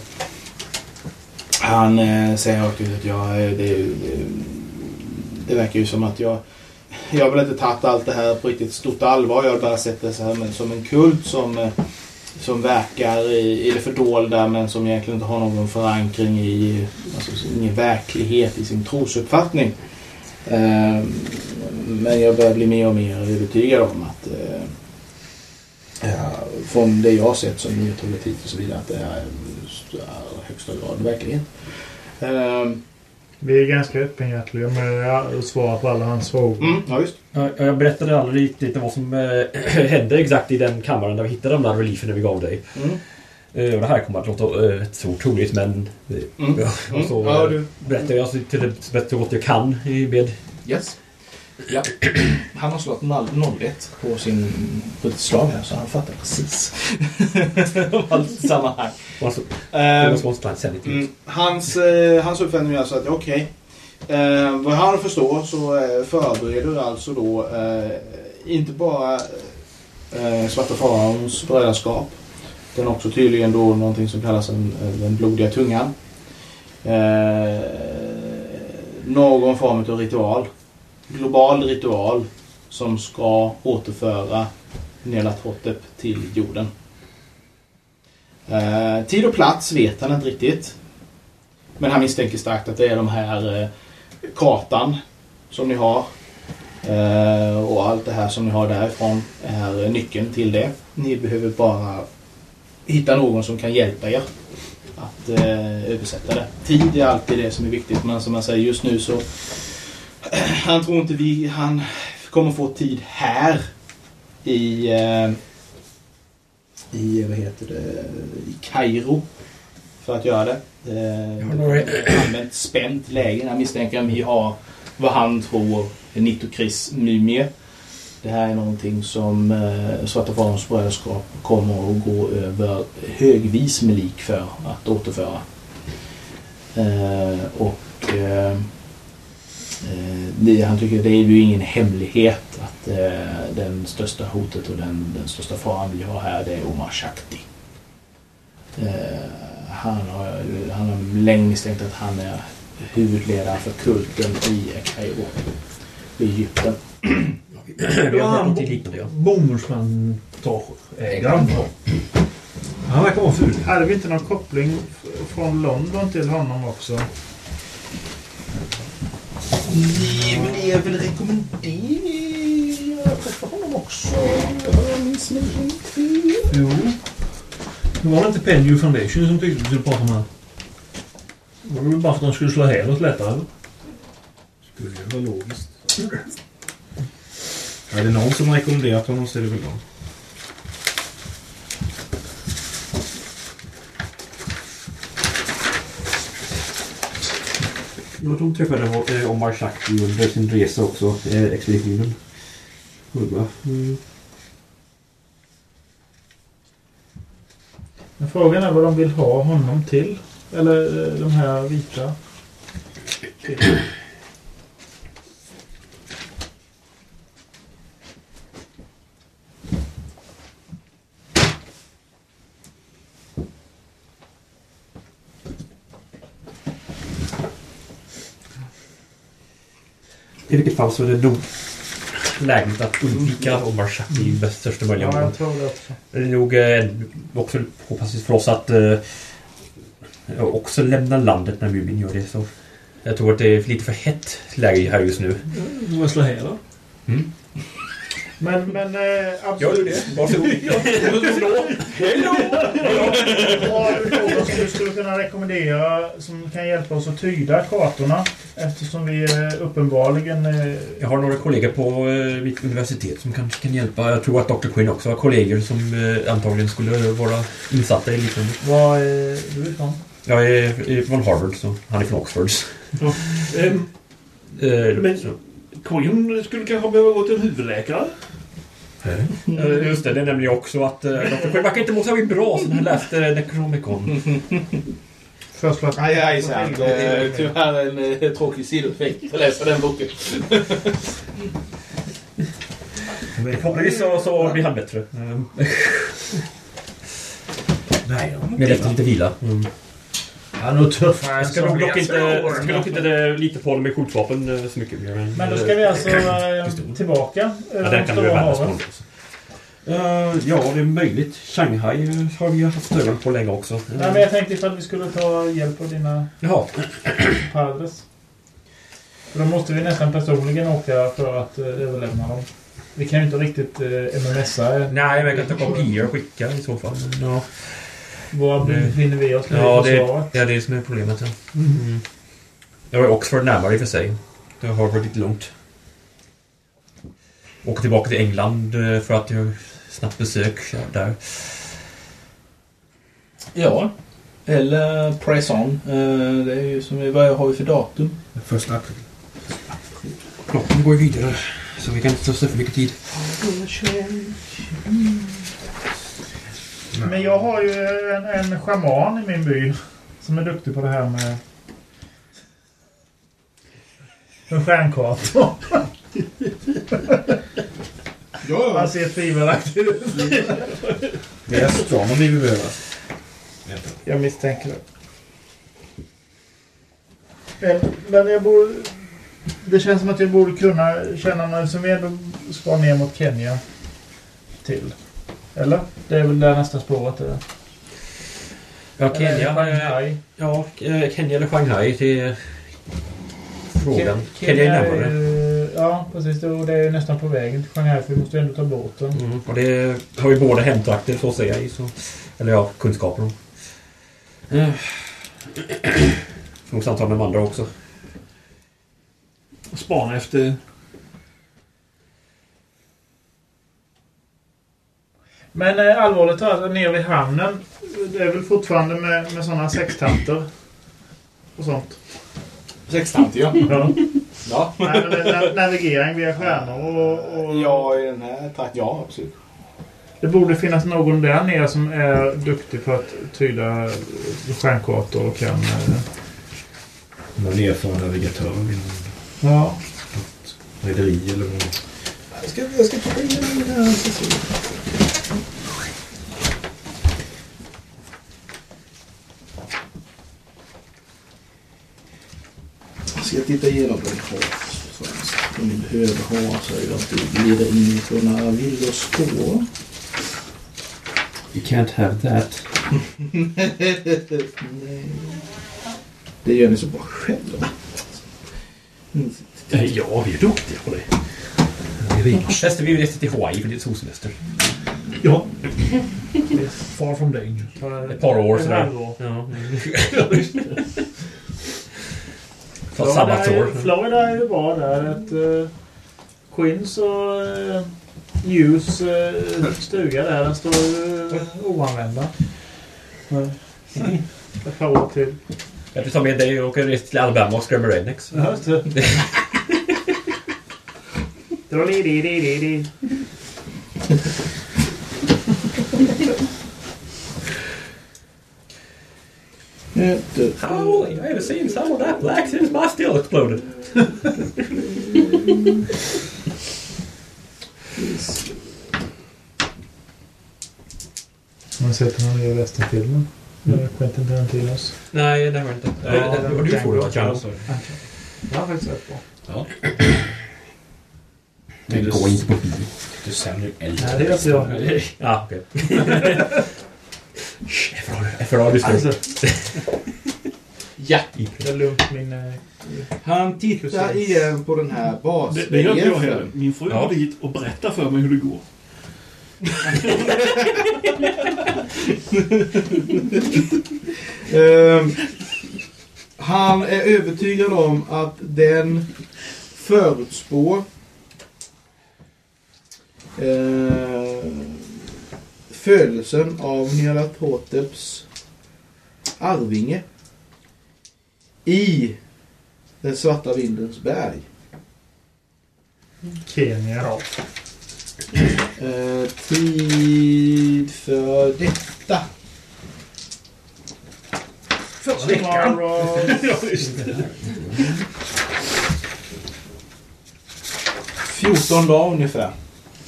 han eh, säger rakt ut att jag, eh, det, det, det verkar ju som att jag jag har väl inte tagit allt det här på riktigt stort allvar. Jag har bara sett det så här men som en kult som, eh, som verkar i, i det fördolda men som egentligen inte har någon förankring i alltså, ingen verklighet i sin trosuppfattning. Ehm, Men jag börjar bli mer och mer övertygad om att eh, ja, från det jag har sett som metropolitik och så vidare att det här är i högsta grad verklighet. Eh, Vi är ganska öppenhjärtiga med att svara på alla hans frågor. Mm, ja, visst. Ja, Jag berättade aldrig riktigt vad som eh, hände exakt i den kammaren där vi hittade de där relieferna vi gav dig. Mm. Eh, Och det här kommer att låta eh, så otroligt men... eh, Mm. Och så Mm. Ja, eh, du- berättar jag så till det så bäst så gott jag kan i med... Yes. Ja. Han har slått noll- 01 på sin på ett slag här så han fattar precis. Allt sammanhang. alltså, Det Ehm, var spontant sen lite. Mm. Hans, eh, hans uppfattning är alltså att okej. Eh, vad han förstår så eh, förbereder du alltså då eh, inte bara eh, Svarta Faraons brödraskap. Utan också tydligen då någonting som kallas den, eh, den blodiga tungan. Eh, någon form av ritual. Global ritual som ska återföra Nelat Hotep till jorden. Eh, tid och plats vet han inte riktigt. Men han misstänker starkt att det är de här eh, kartan som ni har. Eh, och allt det här som ni har därifrån är eh, nyckeln till det. Ni behöver bara hitta någon som kan hjälpa er att eh, översätta det. Tid är alltid det som är viktigt men som jag säger just nu så han tror inte vi, han kommer få tid här i eh, i, vad heter det, i Kairo för att göra det. Eh, allmänt spänt läge. Jag misstänker att vi har vad han tror är Nitokris mumie. Det här är någonting som eh, Svarta Farons brödraskap kommer att gå över högvis med lik för att återföra. Eh, och eh, eh, det, han tycker det är ju ingen hemlighet att eh, den största hotet och den, den största faran vi har här det är Omar Shakti. Eh, han, har, han har länge misstänkt att han är huvudledare för kulten i Kairo i Egypten. Vi har hört någonting liknande ja. Bomullsplantageägaren. Han verkar vara ful. Hade vi inte någon koppling f- från London till honom också? Ni blev väl rekommenderade att träffa honom också? Jag minns mig inte. Jo. Det var väl inte Penju Foundation som tyckte att vi skulle prata om här? Det var väl bara för att de skulle slå ihjäl oss lättare. eller? Skulle ju vara logiskt. Är det någon som har rekommenderat honom så är det väl någon. Ja, de träffade eh, Omar Shakti under sin resa också, eh, expeditionen. Hurra. Mm. Men frågan är vad de vill ha honom till. Eller eh, de här vita. I vilket fall så är det nog lägligt att undvika Omar Shakti i bäst största möjliga Ja, mån. jag tror det också. Det är nog eh, också påpassligt för oss att eh, också lämna landet när Mumin gör det. Så. Jag tror att det är lite för hett läge här just nu. Det var slå ihjäl oss. Men, men eh, absolut. Gör du det? Varsågod. Har du någon som du skulle kunna rekommendera som kan hjälpa oss att tyda kartorna? Eftersom vi eh, uppenbarligen... eh, Jag har några kollegor på eh, mitt universitet som kanske kan hjälpa. Jag tror att Dr. Quinn också har kollegor som eh, antagligen skulle vara insatta i liknande. Var är eh, du ifrån? Jag är är från Harvard, så han är från Oxford. Ehm, Eh, Men- så. Queen skulle kanske behöva gå till en huvudläkare. Eh, Just det, det nämnde jag också att eh, Dr. Quinn verkar inte må särskilt bra sen han läste Necronomicon. Förslå att... Aj, aj, så här. Eh, Tyvärr en eh, tråkig sidoeffekt att läsa den boken. Förhoppningsvis så, så blir han bättre. Eh, Nej, Med efter lite vila. Mm. Han är nog tuffare Jag ska nog dock inte, jag ska dock inte eh, lita på honom med skjutvapen eh, så mycket mer. Men då ska vi alltså eh, tillbaka. eh, Ja, den kan du Stora vända havet. på. Eh, ja, det är möjligt. Shanghai eh, har vi haft ögon på länge också. Nej, men jag tänkte ifall vi skulle ta hjälp av dina Jaha. padres. För då måste vi nästan personligen åka för att eh, överlämna dem. Vi kan ju inte riktigt eh, MMSa. Nej, men jag kan ta kopior och skicka i så fall. Ja. Var Det- befinner vi oss nu Ja, i det, försvaret? ja, det är det som är problemet. Ja. Mm. Jag var i Oxford närmare i och för sig. Det har varit lite långt. Åka tillbaka till England eh, för att jag snabbt besök där. Ja. Eller press on. Eh, Det är ju som vi, vad har vi för datum? Första april. Loppen går ju vidare. Så vi kan inte slösa för mycket tid. Men jag har ju en, en schaman i min by som är duktig på det här med... Med stjärnkartor. Han ser tvivelaktig ut. Det är astronomi vi behöver. Jag misstänker det. Men, men jag borde... Det känns som att jag borde kunna känna mig som vi ändå ska ner mot Kenya. Till. Eller? Det är väl där nästa spåret är. Ja, Eller Kenya. Shanghai. eh, Ja, eh, Kenya eller Shanghai. Det är frågan. Ke- Kenya är närmare. eh, Ja, precis. Och det är ju nästan på vägen till Shanghai för vi måste ju ändå ta båten. Mm, och det har vi båda hemtrakter så att säga. i, Så, eller ja, kunskaper om. Eh, Får nog samtal med de andra också. Spana efter... Men eh, allvarligt talat, nere vid hamnen. Det är väl fortfarande med, med sådana sextanter? Och sånt. Sextant, ja. Ja. Ja. Nej, men, na- navigering via stjärnor och, och... Ja, i den här trakten. Ja, absolut. Det borde finnas någon där nere som är duktig på att tyda stjärnkartor och kan... eh, Någon erfaren navigatör inom Ja. något rederi eller något. Jag ska, jag ska ta in den här så ser vi. Jag ska titta igenom den här. Om vi behöver ha så jag inte glider in i sådana villospår. You can't have that. Nej. Det gör ni så bra själva. Nej, ja, vi är duktiga på det. Nästa vi reser till Hawaii för det är solsemester. Ja. Far from danger. Ett par år Ett sådär. halvår. Ja. Fast Florida är, sabbatsår. ju- Florida är ju bra där. Ett, eh, Queens och eh, Hughes eh, stuga där, den står eh, oanvända. Ett par år till. Jag vill ta med dig och åka till Alabama och skrämma Rednex. Ja, just det. Drolididididi. How I have seen some of that black since my steel exploded. Har ni sett den här nya västernfilmen? Mm. Quentin Tarantinos. Nej, det har jag inte. Ja, det, det, Eh, du får det. Ja, Den har faktiskt rätt bra. Ja. Det går inte på bio. Du sänder ju eld. Nej, det vet jag. Ja, okej. FRA lyssnar. Ja. Det är lugnt min... eh, Han tittar igen på den här basen. Det, det gör inte jag heller. Min fru går dit och berättar för mig hur det går. Ehm, han är övertygad om att den förutspår ehm, födelsen av Nyarlathoteps arvinge i den svarta vindens berg. Kenya. Eh, tid för detta. Förra veckan. Ja, just det. 14 dagar ungefär.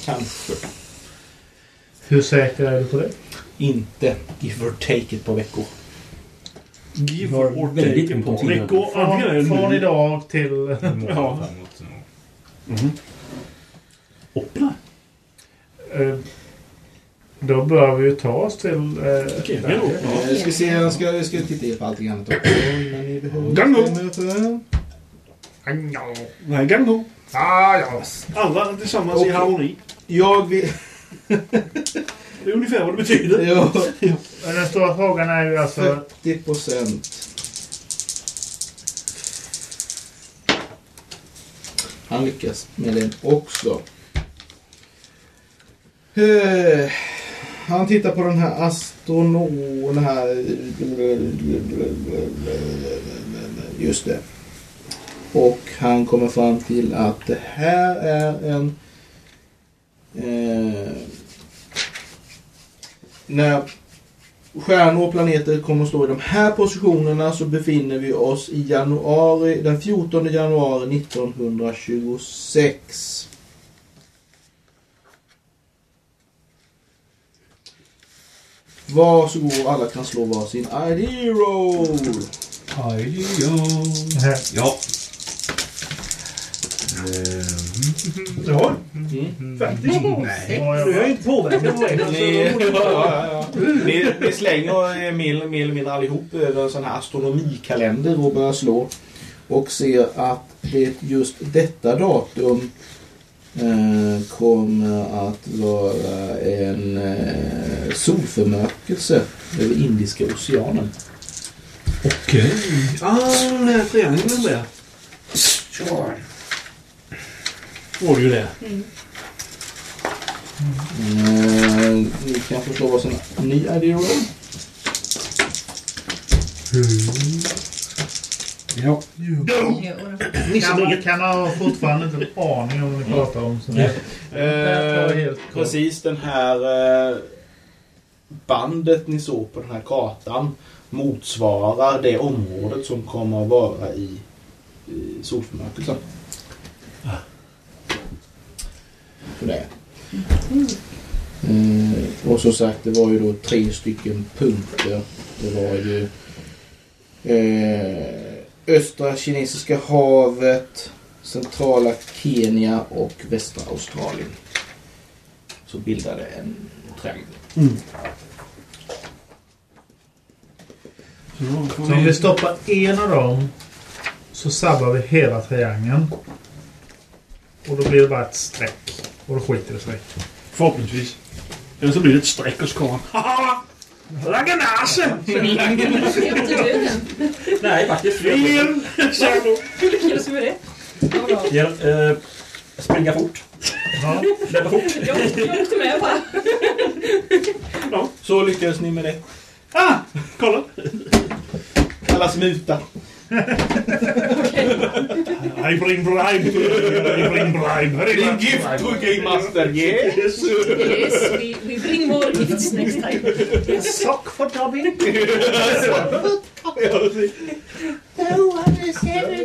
Kanske. Hur säker är du på det? Inte give or take it på veckor. Give har or väldigt take ont om på tid. Mm. veckor. Antingen är det Från, från nu- idag till... Ja. Mhm. Hoppla. Eh, Då bör vi ju ta oss till... eh, Ja, jag ska se, jag ska, jag ska titta på allting annat också. Men ni behöver Gango! inte möta- Ah, Nej, Gagnon. Ah, ja. Alla tillsammans i Okej. harmoni. Jag vill... det är ungefär vad det betyder. Ja. Men Den stora frågan är ju alltså... 40 procent. Han lyckas med den också. Eh, Han tittar på den här astronomen den här... Just det. Och han kommer fram till att det här är en... Eh, när stjärnor och planeter kommer att stå i de här positionerna så befinner vi oss i januari, den 14 januari 1926. Varsågod alla kan slå varsin ID roll. ID roll. Ja. Ehm. Ja. Mm. Faktiskt. Nej. Du har ju inte påverkat mig. alltså, Ni, de borde- ni, ni slänger eh, er mer mer eller mindre allihop över en sån här astronomikalender och börjar slå. Och ser att det just detta datum eh, kommer att vara en eh, solförmörkelse över Indiska oceanen. Okej. Ah, den här triangeln där. Sure. Var det ju det. Eh, ni kan förstå vad som är ny ID roll. Ja. Kan, kan ha fortfarande inte en aning om vad Mm. vi pratar om. Så. Nej. Det var helt klart. precis den här eh, bandet ni såg på den här kartan motsvarar det området som kommer att vara i, i solförmörkelsen. Så det. Eh, och som sagt, det var ju då tre stycken punkter. Det var ju eh, östra kinesiska havet, centrala Kenya och västra Australien. Så bildade en triangel. Så om vi stoppar en av dem så sabbar vi hela triangeln. Och då blir det bara ett streck. Och då skiter det sig. Förhoppningsvis. Eller så blir det ett streck och så kommer han. Haha! Ranganase! Nej, faktiskt. Fel! Hur lyckades du med det? Hjälp, eh, springa fort. Ja. Löpa fort. Jag åkte med va? Så lyckades ni med det. Ah! Kolla! Kallas muta. I bring bribe! I bring bribe! Bring gift to Game Master, yes! Yes, we, we bring more gifts next time. En sock för Robin.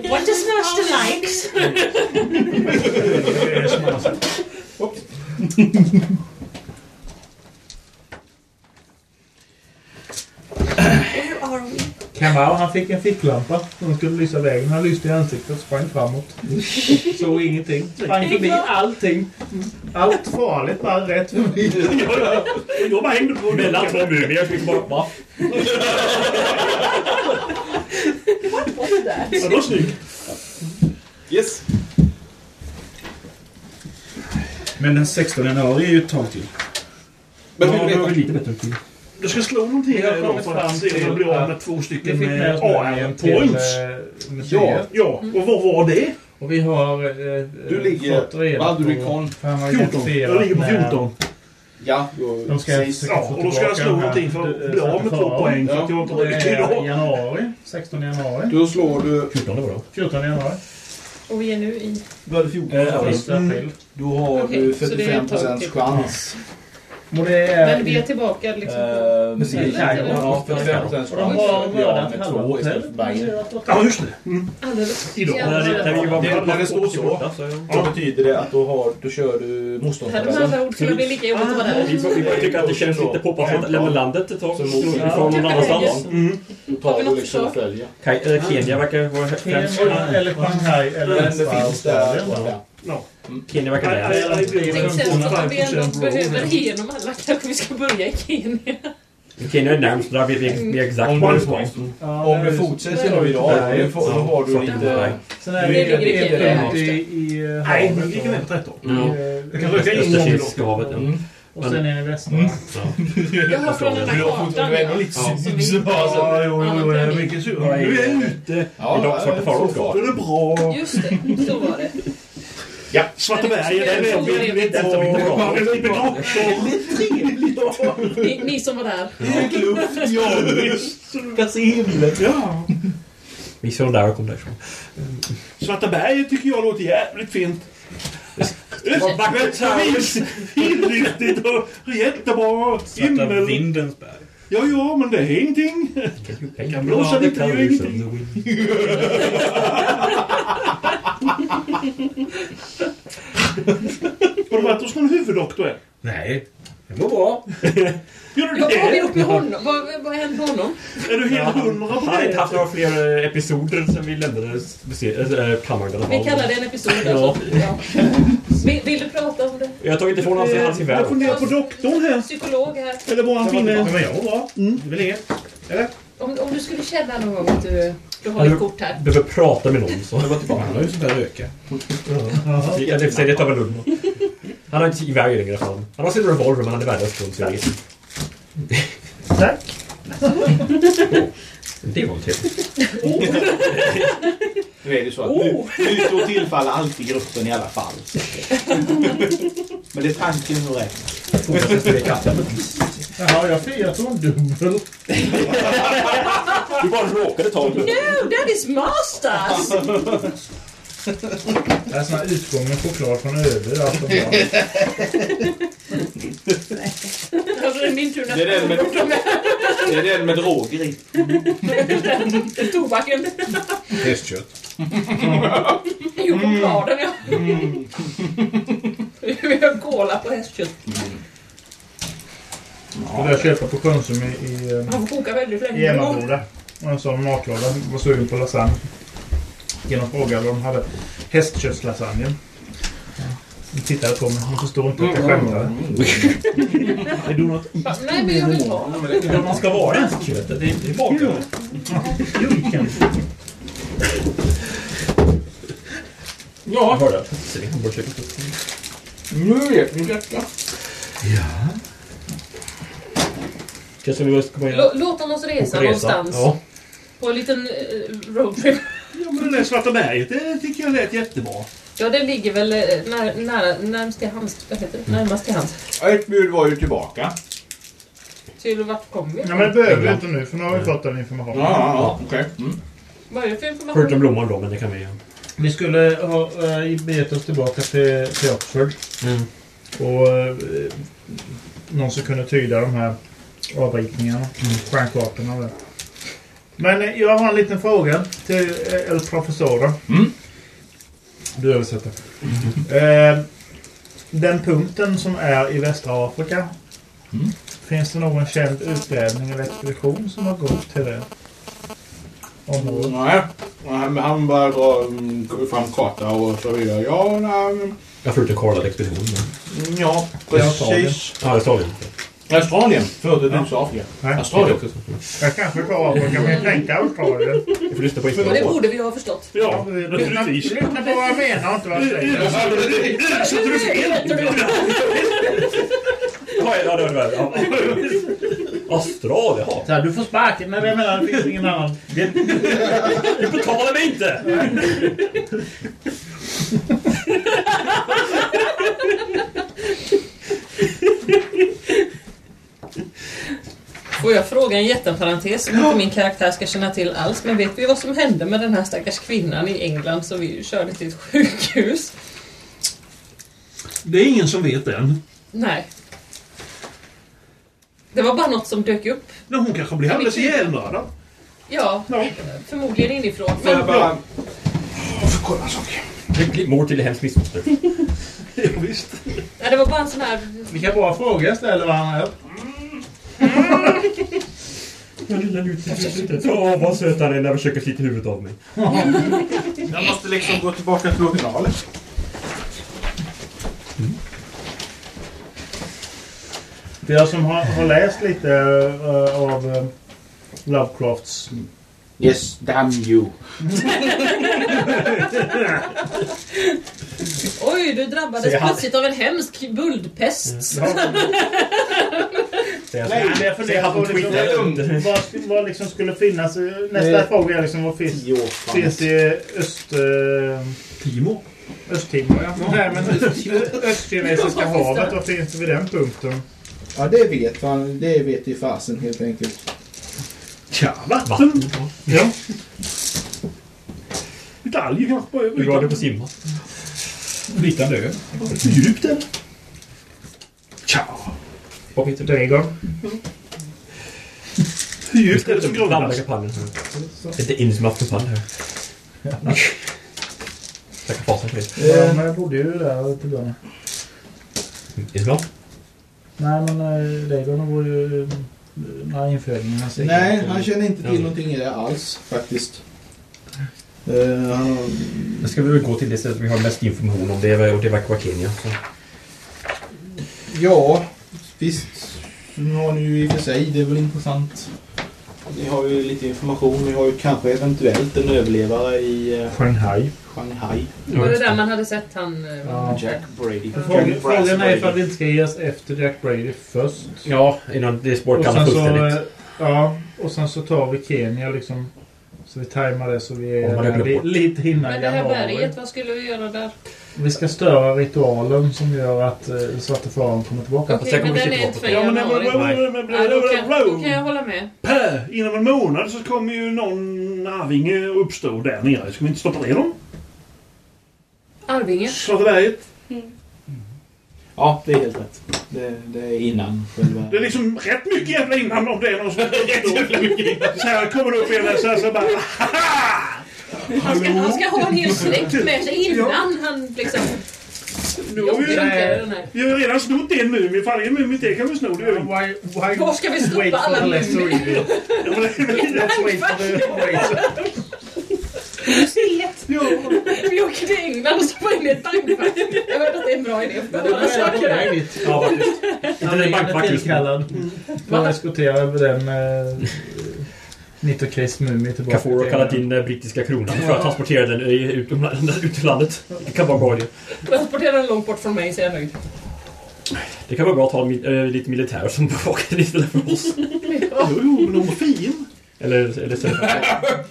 What does master nou likes? Kamau han fick en ficklampa som skulle lysa vägen. Han lyste i ansiktet och sprang framåt. Såg ingenting. Sprang förbi allting. Allt farligt bara rätt förbi. Jag bara hängde på Mellan två mumier. Jag fick bara... Va? Ja, det var snyggt. Yes. Men den 16 januari är ju ett tag till. Men vi Ja, vet- det var väl lite bättre tid. Du ska slå någonting Vi har här idag kommit för att fram se om jag till blir av att med två vi stycken fick med eh, oss AR med till, points. eh, Mm. Ja, museet. ja. Och vad var det? Och vi har eh, Du ligger- fått reda vad hade du i kon? för han har 14. identifierat Jag ligger på när- 14. Ja, De ska försöka Ja, få och då ska jag tillbaka slå den här, någonting för eh, att bli av med två förra poäng året. för att jag inte har Det ryckt är idag. januari. 16 januari. Då slår du... 14 var det. 14 januari. Och vi är nu i... Du hade 14 Sista Mm. april. Eh, Då har Okej, du så det är 45 ett tag till. chans. Och det Men är... vi är tillbaka liksom. Eh, Precis. precis. Ja, 45 chans. Och de har Bli av mördat med halva två istället hotellet. för Bayern. Ja, just det. Mm. Alldeles. Idag. Det- När det står så, då betyder det att då, har, då kör du Hade med motståndarvärlden. andra ord kunnat bli lika jobbigt Ah, att vara Vi där. får- vi får tycka att det känns lite poppar att lämna landet ett tag. Så Så mot- vi får någon annanstans. Du Har vi tar något du liksom och förslag? följer. Kaj- eh, Kenya verkar vara främst. Kenya eller Shanghai Men eller det västra finns där. Australien, va? borta. Kenya verkar Nej, där. nej, nej, det är Det en känns som att vi 5% ändå roll. behöver igenom alla. Kanske vi ska börja i Kenya. Kino är närmst, där vet vi mer exakt Om var du- det står. Ja, Om du fortsätter nu idag, då får- då har du lite... Sen är det du ligger lite- det i, i, i Nej, havet men vi kan och- vänta ett tag. i, Ja. eh, Jag kan röka in Östersjöns- någon idag. Skavet, ja. Mm. Och sen är det västra. Mm. Jag har från den här kartan. Du är ändå lite sur. så bara så- Ja, jo, jo, jag är mycket sur. Nu är jag ute. Ja, Idag ja, Svarte Farao så ska. Det är bra. Just det, så var det. Ja, Svarte berg. Det är väldigt Väldigt trevligt. Ni, ni som var där. Luft, ja visst. Kastar in det. Ja. Vi såg där och kom därifrån. Svarta berget tycker jag låter jävligt fint. Vad vackert här. Östvis, inriktigt och jättebra. Himmel. vindens berg. Ja, ja, men det är ingenting. Jag kan Blåsa lite, det gör ingenting. Har du varit hos någon huvuddoktor än? Nej. Det går bra. Gör du Vad har vi gjort med det? honom? Vad, vad hände med honom? Är du helt hundra Han på har inte det? haft några fler eh, episoder sen vi lämnade bese- eh, kammaren i alla fall. Vi kallar det en episod. Ja. Alltså. Ja. Vill, vill du prata om det? Jag har tagit ifrån honom hans gevär. Jag funderar på doktorn här. Psykolog här. Eller var han finne? Ja, men jag var bra. Mm. Det är väl inget. Eller? Om, om du skulle känna någon gång att du, du har Alltså, ett kort här. Behöver prata med någon. Så. Han har ju sånt där röka. Ja, det det- säg det tar väl lugn. Han har inte gevär längre fram. Han har sin revolver men han är värdelös på den. Tack. Det var trevligt. Nu är det ju så att Oh. nu, nu står tillfaller alltid gruppen i alla fall. Men det är tanken som räknas. Jaha, jag firar som en dubbel. Du bara råkade ta den. No, that is masters! Alltså, Det är sån här utgången choklad från ÖB. Alltså, bra. Alltså det är min tur Det är den med, nästa gång. det är den med droger i. Tobaken. Hästkött. Jo, på bladen ja. Vi har kola på hästkött. Det där köpa på Konsum i, i, eh, Han får koka väldigt i länge. Mm. Emmaboda. Och en sån matlåda. Var sugen på lasagne. Genom frågade om de hade hästköttslasagne. De tittade på mig. De förstod inte att jag skämtade. Är du något Nej, men jag vill ha. Man ska vara hästköttet. Det är bakom. Julken. Ja. Nu vet ni detta. Känns som vi måste komma in. Lå- Låt oss resa Och resa. någonstans. Ja. På en liten eh, roadtrip. Ja, men det där Svarta berget, det tycker jag lät jättebra. Ja, det ligger väl eh, när, nära, närmast till hans. Vad heter det? Närmast till hans. Ett bud var ju tillbaka. Till vart kom vi? Ja, men det behöver vi inte nu för nu har vi fått den informationen. Ja, okej. Mm. Vad är det för information? Förutom blomman då, men det kan vi göra. Vi skulle ha eh, begett oss tillbaka till, till Oxford. Mm. Och eh, någon som kunde tyda de här avritningarna, stjärnkartorna. där. Men eh, jag har en liten fråga till eh, El Professor. Du översätter. Eh, den punkten som är i västra Afrika. Finns det någon känd utgrävning eller expedition som har gått till det området? Nej, han, han bara drar mm, fram karta och så vidare. Ja, nej, men- Jag förutom kollade expeditionen. mm, ja Australien. precis. Ja, Australien. Australien. Förde du sa Afrika? Nej. Australien. Jag kanske tar Afrika, men jag tänkte Australien. Vi får lyssna på Och det information. borde vi ju ha förstått. Ja, Lyssna naturligtvis. lyssna på vad jag menar, inte vad jag säger. Översatte du fel? Ja, ja, det var det. Ja. Australien, ja. Så här, du får sparken. Nej, jag menar, det finns ingen annan. Du betalar mig inte! Får jag fråga en jätteparentes som inte min karaktär ska känna till alls. Men vet vi vad som hände med den här stackars kvinnan i England som vi körde till ett sjukhus? Det är ingen som vet än. Nej. Det var bara något som dök upp. Men hon kanske blir alldeles ihjälmördad. Ja, förmodligen inifrån. Får jag Men bara... Jag får kolla en sak. Mord till hemskt missfoster. Ja, visst. nej, det var bara en sån här... Vilka bra frågor jag ställer varandra. Den lilla lutet. Åh, vad söt han är när jag försöker slita huvudet av mig. Jag måste liksom gå tillbaka till originalet. För jag som har, har läst lite eh, av eh, Lovecrafts... Yes, damn you. Oj, du drabbades Så jag- plötsligt av en hemsk buldpest. Nej, men jag funderar på liksom, vad, vad liksom skulle finnas. eh, Nästa Eh, fråga är liksom vad finns, tio år framåt. finns i öst... Timor? Östtimor, ja. Nej, men Ö- Östkinesiska havet. Vad finns det vid den punkten? Ja, det vet man. Det vet i fasen helt enkelt. Tja, vatten. Ja. Lite alger kanske. Hur bra det är på att simma. Flytande ö. Hur djupt är det? Tja. Vad heter det? Dragon. Eh. Hur djupt är det som grundas? Inte in som aftonpannan här. Tacka fasen för det. Eh, Ja, men jag bodde ju där till början. Islam? Nej, men eh, Dagon var ju... eh, När infödingarna sig. Nej, han känner inte till någonting i det alls faktiskt. Eh, han har... Nu ska vi väl gå till det stället vi har mest information om. Det, är- och det verkar vara Kenya. Så. Ja, visst. Nu har ni ju i och för sig, det är väl intressant. Ni har ju lite information. Ni har ju kanske eventuellt en överlevare i... eh, Shanghai. Shanghai. Det var det där man hade sett han... eh, Ja. Jack Brady. Frågan, frågan är ifall Brady. det inte ska ges efter Jack Brady först. Ja, innan det spåret Och kallas sen så, fullständigt. eh, Ja, och sen så tar vi Kenya liksom. Så vi tajmar det så vi Om är man har där li, glömt bort. lite innan Men det här januari. berget, vad skulle vi göra där? Vi ska störa ritualen som gör att eh, Svarte Faran kommer tillbaka. Okej, men den är inte för Ja, men den- januari. Ja, då, kan, då kan jag hålla med. Per, inom en månad så kommer ju någon arvinge uppstå där nere. Ska vi inte stoppa ner dem? Arvinge. Svarteberget. Ja, det är helt rätt. Det, det är innan själva... Det är liksom rätt mycket jävla innan om det är någon som uppstår. Så här kommer det upp en så här så bara... Han ska, han ska ha en hel släkt med sig innan han liksom... Nu har vi, Jobbig rackare, den här. vi har ju redan snott en mumie. Fan, en mumie till kan vi sno. Det gör inget. Var ska vi stoppa Wait for alla the lesser mumier? evil. Let's wait for the... Museet! Vi åker till England och stoppar in i ett bankfack. Jag vet att det är en bra idé för alla saker. Ja, faktiskt. Han det är är bankvakt just nu. tillkallad för att eskortera över den eh, Nitocris mumie tillbaka Kafour har till kallat England. in eh, brittiska kronan för att transportera den eh, ut ur- ut ur landet. Det kan vara en bra idé. Transportera den långt bort från mig så är jag nöjd. Det kan vara bra att ha mil- eh, lite militärer som bevakar det istället för oss. Jo, jo, men hon var fin. Eller, eller så.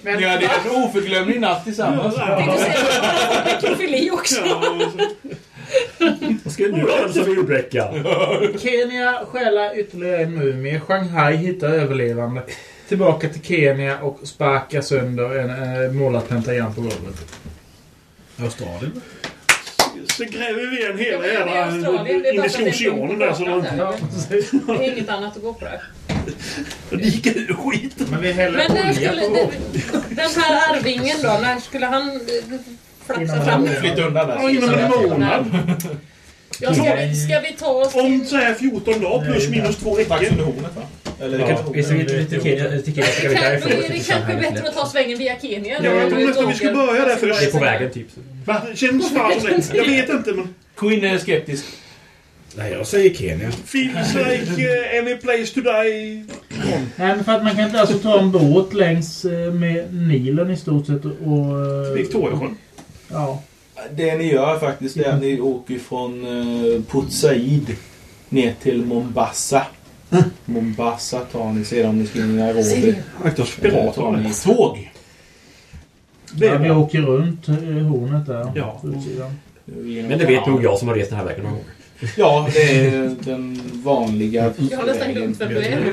Ni hade en oförglömlig natt tillsammans. Mikrofili också. Vad ska jag nu göra? Som murbräcka. Kenya stjäla ytterligare en mumie. Shanghai hittar överlevande. Tillbaka till Kenya och sparka sönder en eh, målad pentagram på golvet. Australien? Så gräver vi en hela Ja, men det är jävla... Australien, det är In i bara att det är en oceanen där. Så punkt de... på kartan där. Det är inget annat att gå på där. Men vi häller Men när olja skulle... på golvet. Den här arvingen då, när skulle han eh, flaxa Innan fram? han- Flytta undan där. Ja, inom en månad. Ja, ska, vi, ska vi ta oss Om till... så här 14 dagar plus minus två Strax veckor. under hornet va? Eller Ja, kanske vi ska hornet. inte till Kenya, till Kenya ska Kan, vi då därifrån. är till det kanske Shanghai. bättre att ta svängen via Kenya. Ja, jag tror nästan vi skulle börja där Det är först. på vägen typ. så. Va? Det känns fan som det. Jag vet inte men... Queen är skeptisk. Nej, jag säger Kenya. Feels like eh, any place to die. Nej, men för att man kan inte alltså ta en båt längs eh, med Nilen i stort sett och... eh, Victoriasjön. Ja. Det ni gör faktiskt är att ni åker från eh, uh, Putsaid ner till Mombasa. Hm? Mombasa tar ni sedan om ni ska in i Nairobi. Akta oss för Eh, tar pirater. ni tåg. Det ja, är vi bra. åker runt eh, hornet där. Ja. på utsidan. Genom Men det vet kanalen. nog jag som har rest den här vägen någon gång. Ja, det är den vanliga Mm. Jag har nästan glömt vem du är.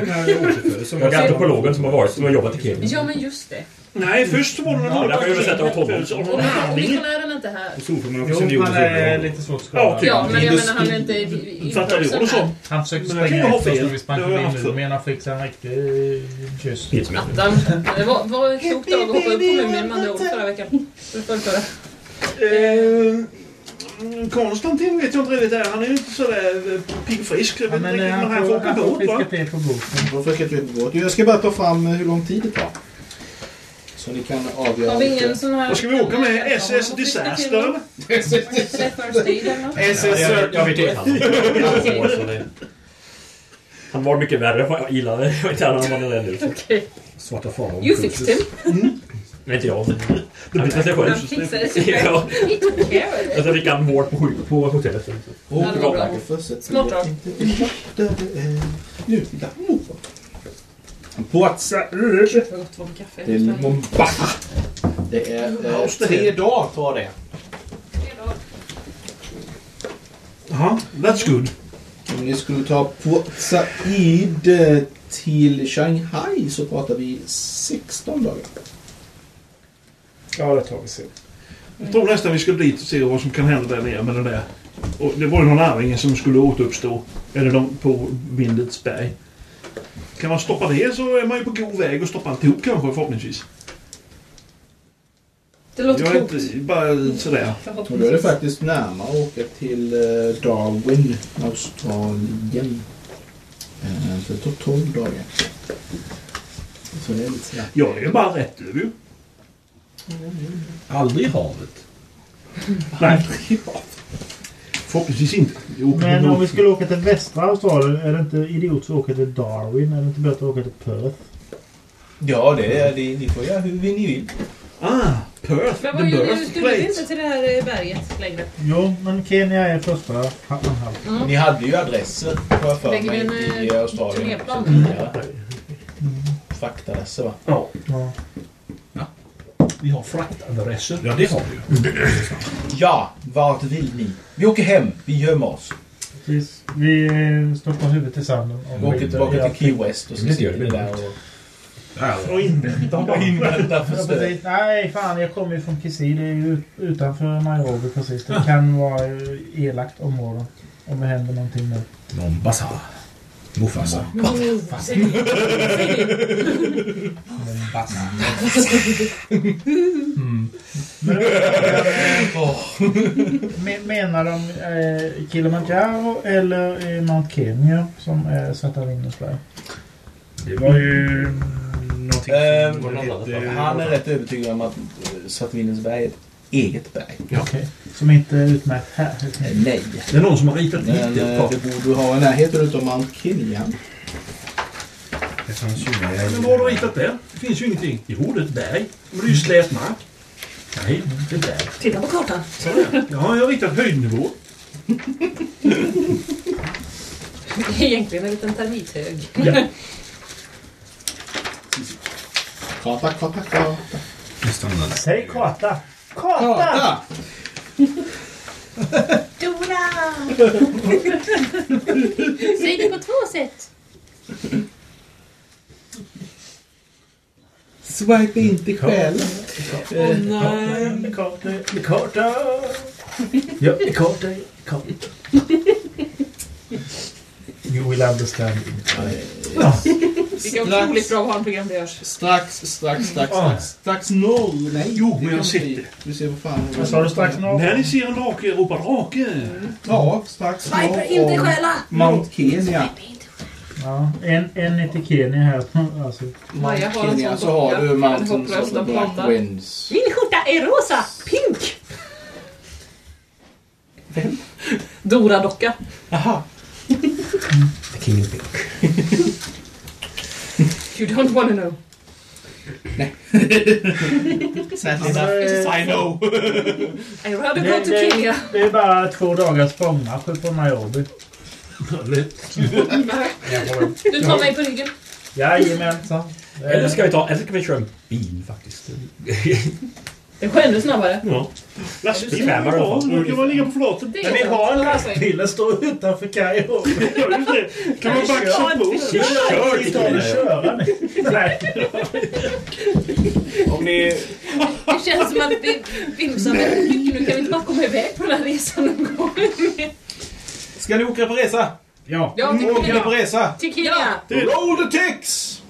Jag är antropologen som har varit som har jobbat i Kenya. Ja, men just det. Nej, först så var det Ja, någon därför översätter jag åt honom. Och och missionären är inte här. Jo, han är lite svårt skadad. Ja, typ. men jag menar han är inte i- eh, i- Fattar du? Och invuxen här. så. Han försökte Men jag spränga kan ju ha efter oss fel. när vi sprang Det har jag förbi haft nu, men han fick sig en riktig eh, kyss. Attan. Det var, var klokt av att hoppa upp på mumien med andra ord förra veckan. För förrförra. Eh, Konstantin vet jag inte riktigt där. Han är ju inte sådär eh, piggfrisk. Jag Ja, vet inte men riktigt eh, när han han får får, åka han får båt va? fiska till på båten. Varför ska jag inte gå? Jag ska bara ta fram eh, hur lång tid det tar. Så ni kan avgöra. Har vi ingen vilka- sån här... Vad ska vi åka med? SS Disaster eller? SS First Aid eller något? SS Jag vet inte. Han var mycket värre än vad jag gillade. Jag vet inte han var den nu. Okej. Svarta faran. You fixed him. Men inte jag. Han fixade sig själv. Han fixade sig själv. Ja. He took care of Och it. sen fick han vård på, sjuk- på hotellet. Ja, det var bra. Smart drag. What's Det var gott att vara med kaffe. Till Mombasa. Det är eh, tre dagar tar det. Jaha, that's good. Om ni skulle ta på Said eh, till Shanghai så pratar vi 16 dagar. Ja, det tar vi sen. Jag tror nästan vi skulle dit och se vad som kan hända där nere med den där. Och det var ju någon arvinge som skulle återuppstå. Eller de på Vindets berg. Kan man stoppa det så är man ju på god väg att stoppa alltihop kanske förhoppningsvis. Det låter jag klokt. är inte bara sådär. Och då är det faktiskt närmare att åka till eh, Darwin, Australien. Eh, För det tar 12 dagar. Så det är lite sådär. Jag är ju bara rätt över ju. Aldrig i havet. Nej. Förhoppningsvis inte. Jo, Men om vi skulle åka till västra Australien, är det inte idiot att åka till Darwin? Är det inte bättre att åka till Perth? Ja, det är det. Ni får göra hur ni vill. Ah, Perth. Men vad gjorde du? Skulle vi inte till det här eh, berget längre? Jo, men Kenya är första anhalt. Mm. Ni hade ju adresser, har jag för Lägger vi mig, en, i eh, Australien. turnéplan? Mm. Fraktadresser, va? Ja. Vi har fraktadresser. Ja, det har vi ju. Ja, vart vill ni? Vi åker hem. Vi gömmer oss. Precis. Vi eh, stoppar huvudet i sanden. Vi åker tillbaka till Key West och så sitter vi där och... Och invänta. Och invänta för Ja, stöd. precis. Nej, fan jag kommer ju från Kisii. Det är ju ut- utanför Nairobi precis. Det kan vara eh, elakt område. Om det händer någonting nu. Mombasa. Mufasa. Mombasa. Mm. Men- eh, Menar de eh, Kilimanjaro eller eh, Mount Kenya som eh, är Satarvinus berg? Det var ju någonting Ehm, som hette... han är rätt övertygad om att eh, Svartvinensberg är ett eget berg. Okej. Som inte är utmärkt här. helt enkelt. Nej. Det är någon som har ritat Men hit ett eh, par. det borde ha i närheten utav Mount Kilian. Det fanns ju med... Men vad har du ritat där? Det finns ju ingenting. Jo, det är ett berg. Men det är ju slät mark. Nej, det är ett berg. Titta på kartan. Sådär. Ja, jag har ritat höjdnivå. Det är egentligen en liten termithög. Ja. Karta, karta, karta. Vi stannar där. Säg karta. Karta! Dora! Säg det på två sätt. Swipe inte Eh, själv. Åh nej. Karta, karta. Ja, karta, karta. You will understand. Vilka otroligt bra barnprogram det görs. Strax, strax, strax, strax. Strax noll. Nej, Jo, men det kan jag sitter. bli. Du ser vad fan... Vad sa du strax noll? När ni ser en drake, ropa drake! Ja, strax Swiper inte om själva. Mount Kenya. Ja, en, en är till Kenya här. Alltså. Maja Mount har en Kenya sån så har docka. du En Mountains hopplös of the docka. Black Winds. Min skjorta är rosa, pink. Dora-docka. Aha. The King is Pink. You don't wanna know. Sadly Alltså, enough, I know. I rather Det, go to Kenya. det, det är bara två dagars språngmarsch på Nairobi. Du tar mig på ryggen. Jajamensan. Det är- Eller ska vi ta... Eller ska vi köra en bil faktiskt? Det går ännu snabbare. Ja. Lastbil. Det är bra. Ja, Nu kan man ligga på flaten. Det Men vi skönt. har en Alltså, lastbil. Den står utanför Kairo. Ja, just det. Kan man baxa på? Kör! Vi tar och köra nu. Nej. Om ni... Det känns som att vi vimsar väldigt mycket nu. Kan vi inte bara komma iväg på den här resan någon gång? Ska ni åka på resa? Ja. Ja, till Åker ni Kenya. på resa? Till Kenya. Roll the ticks!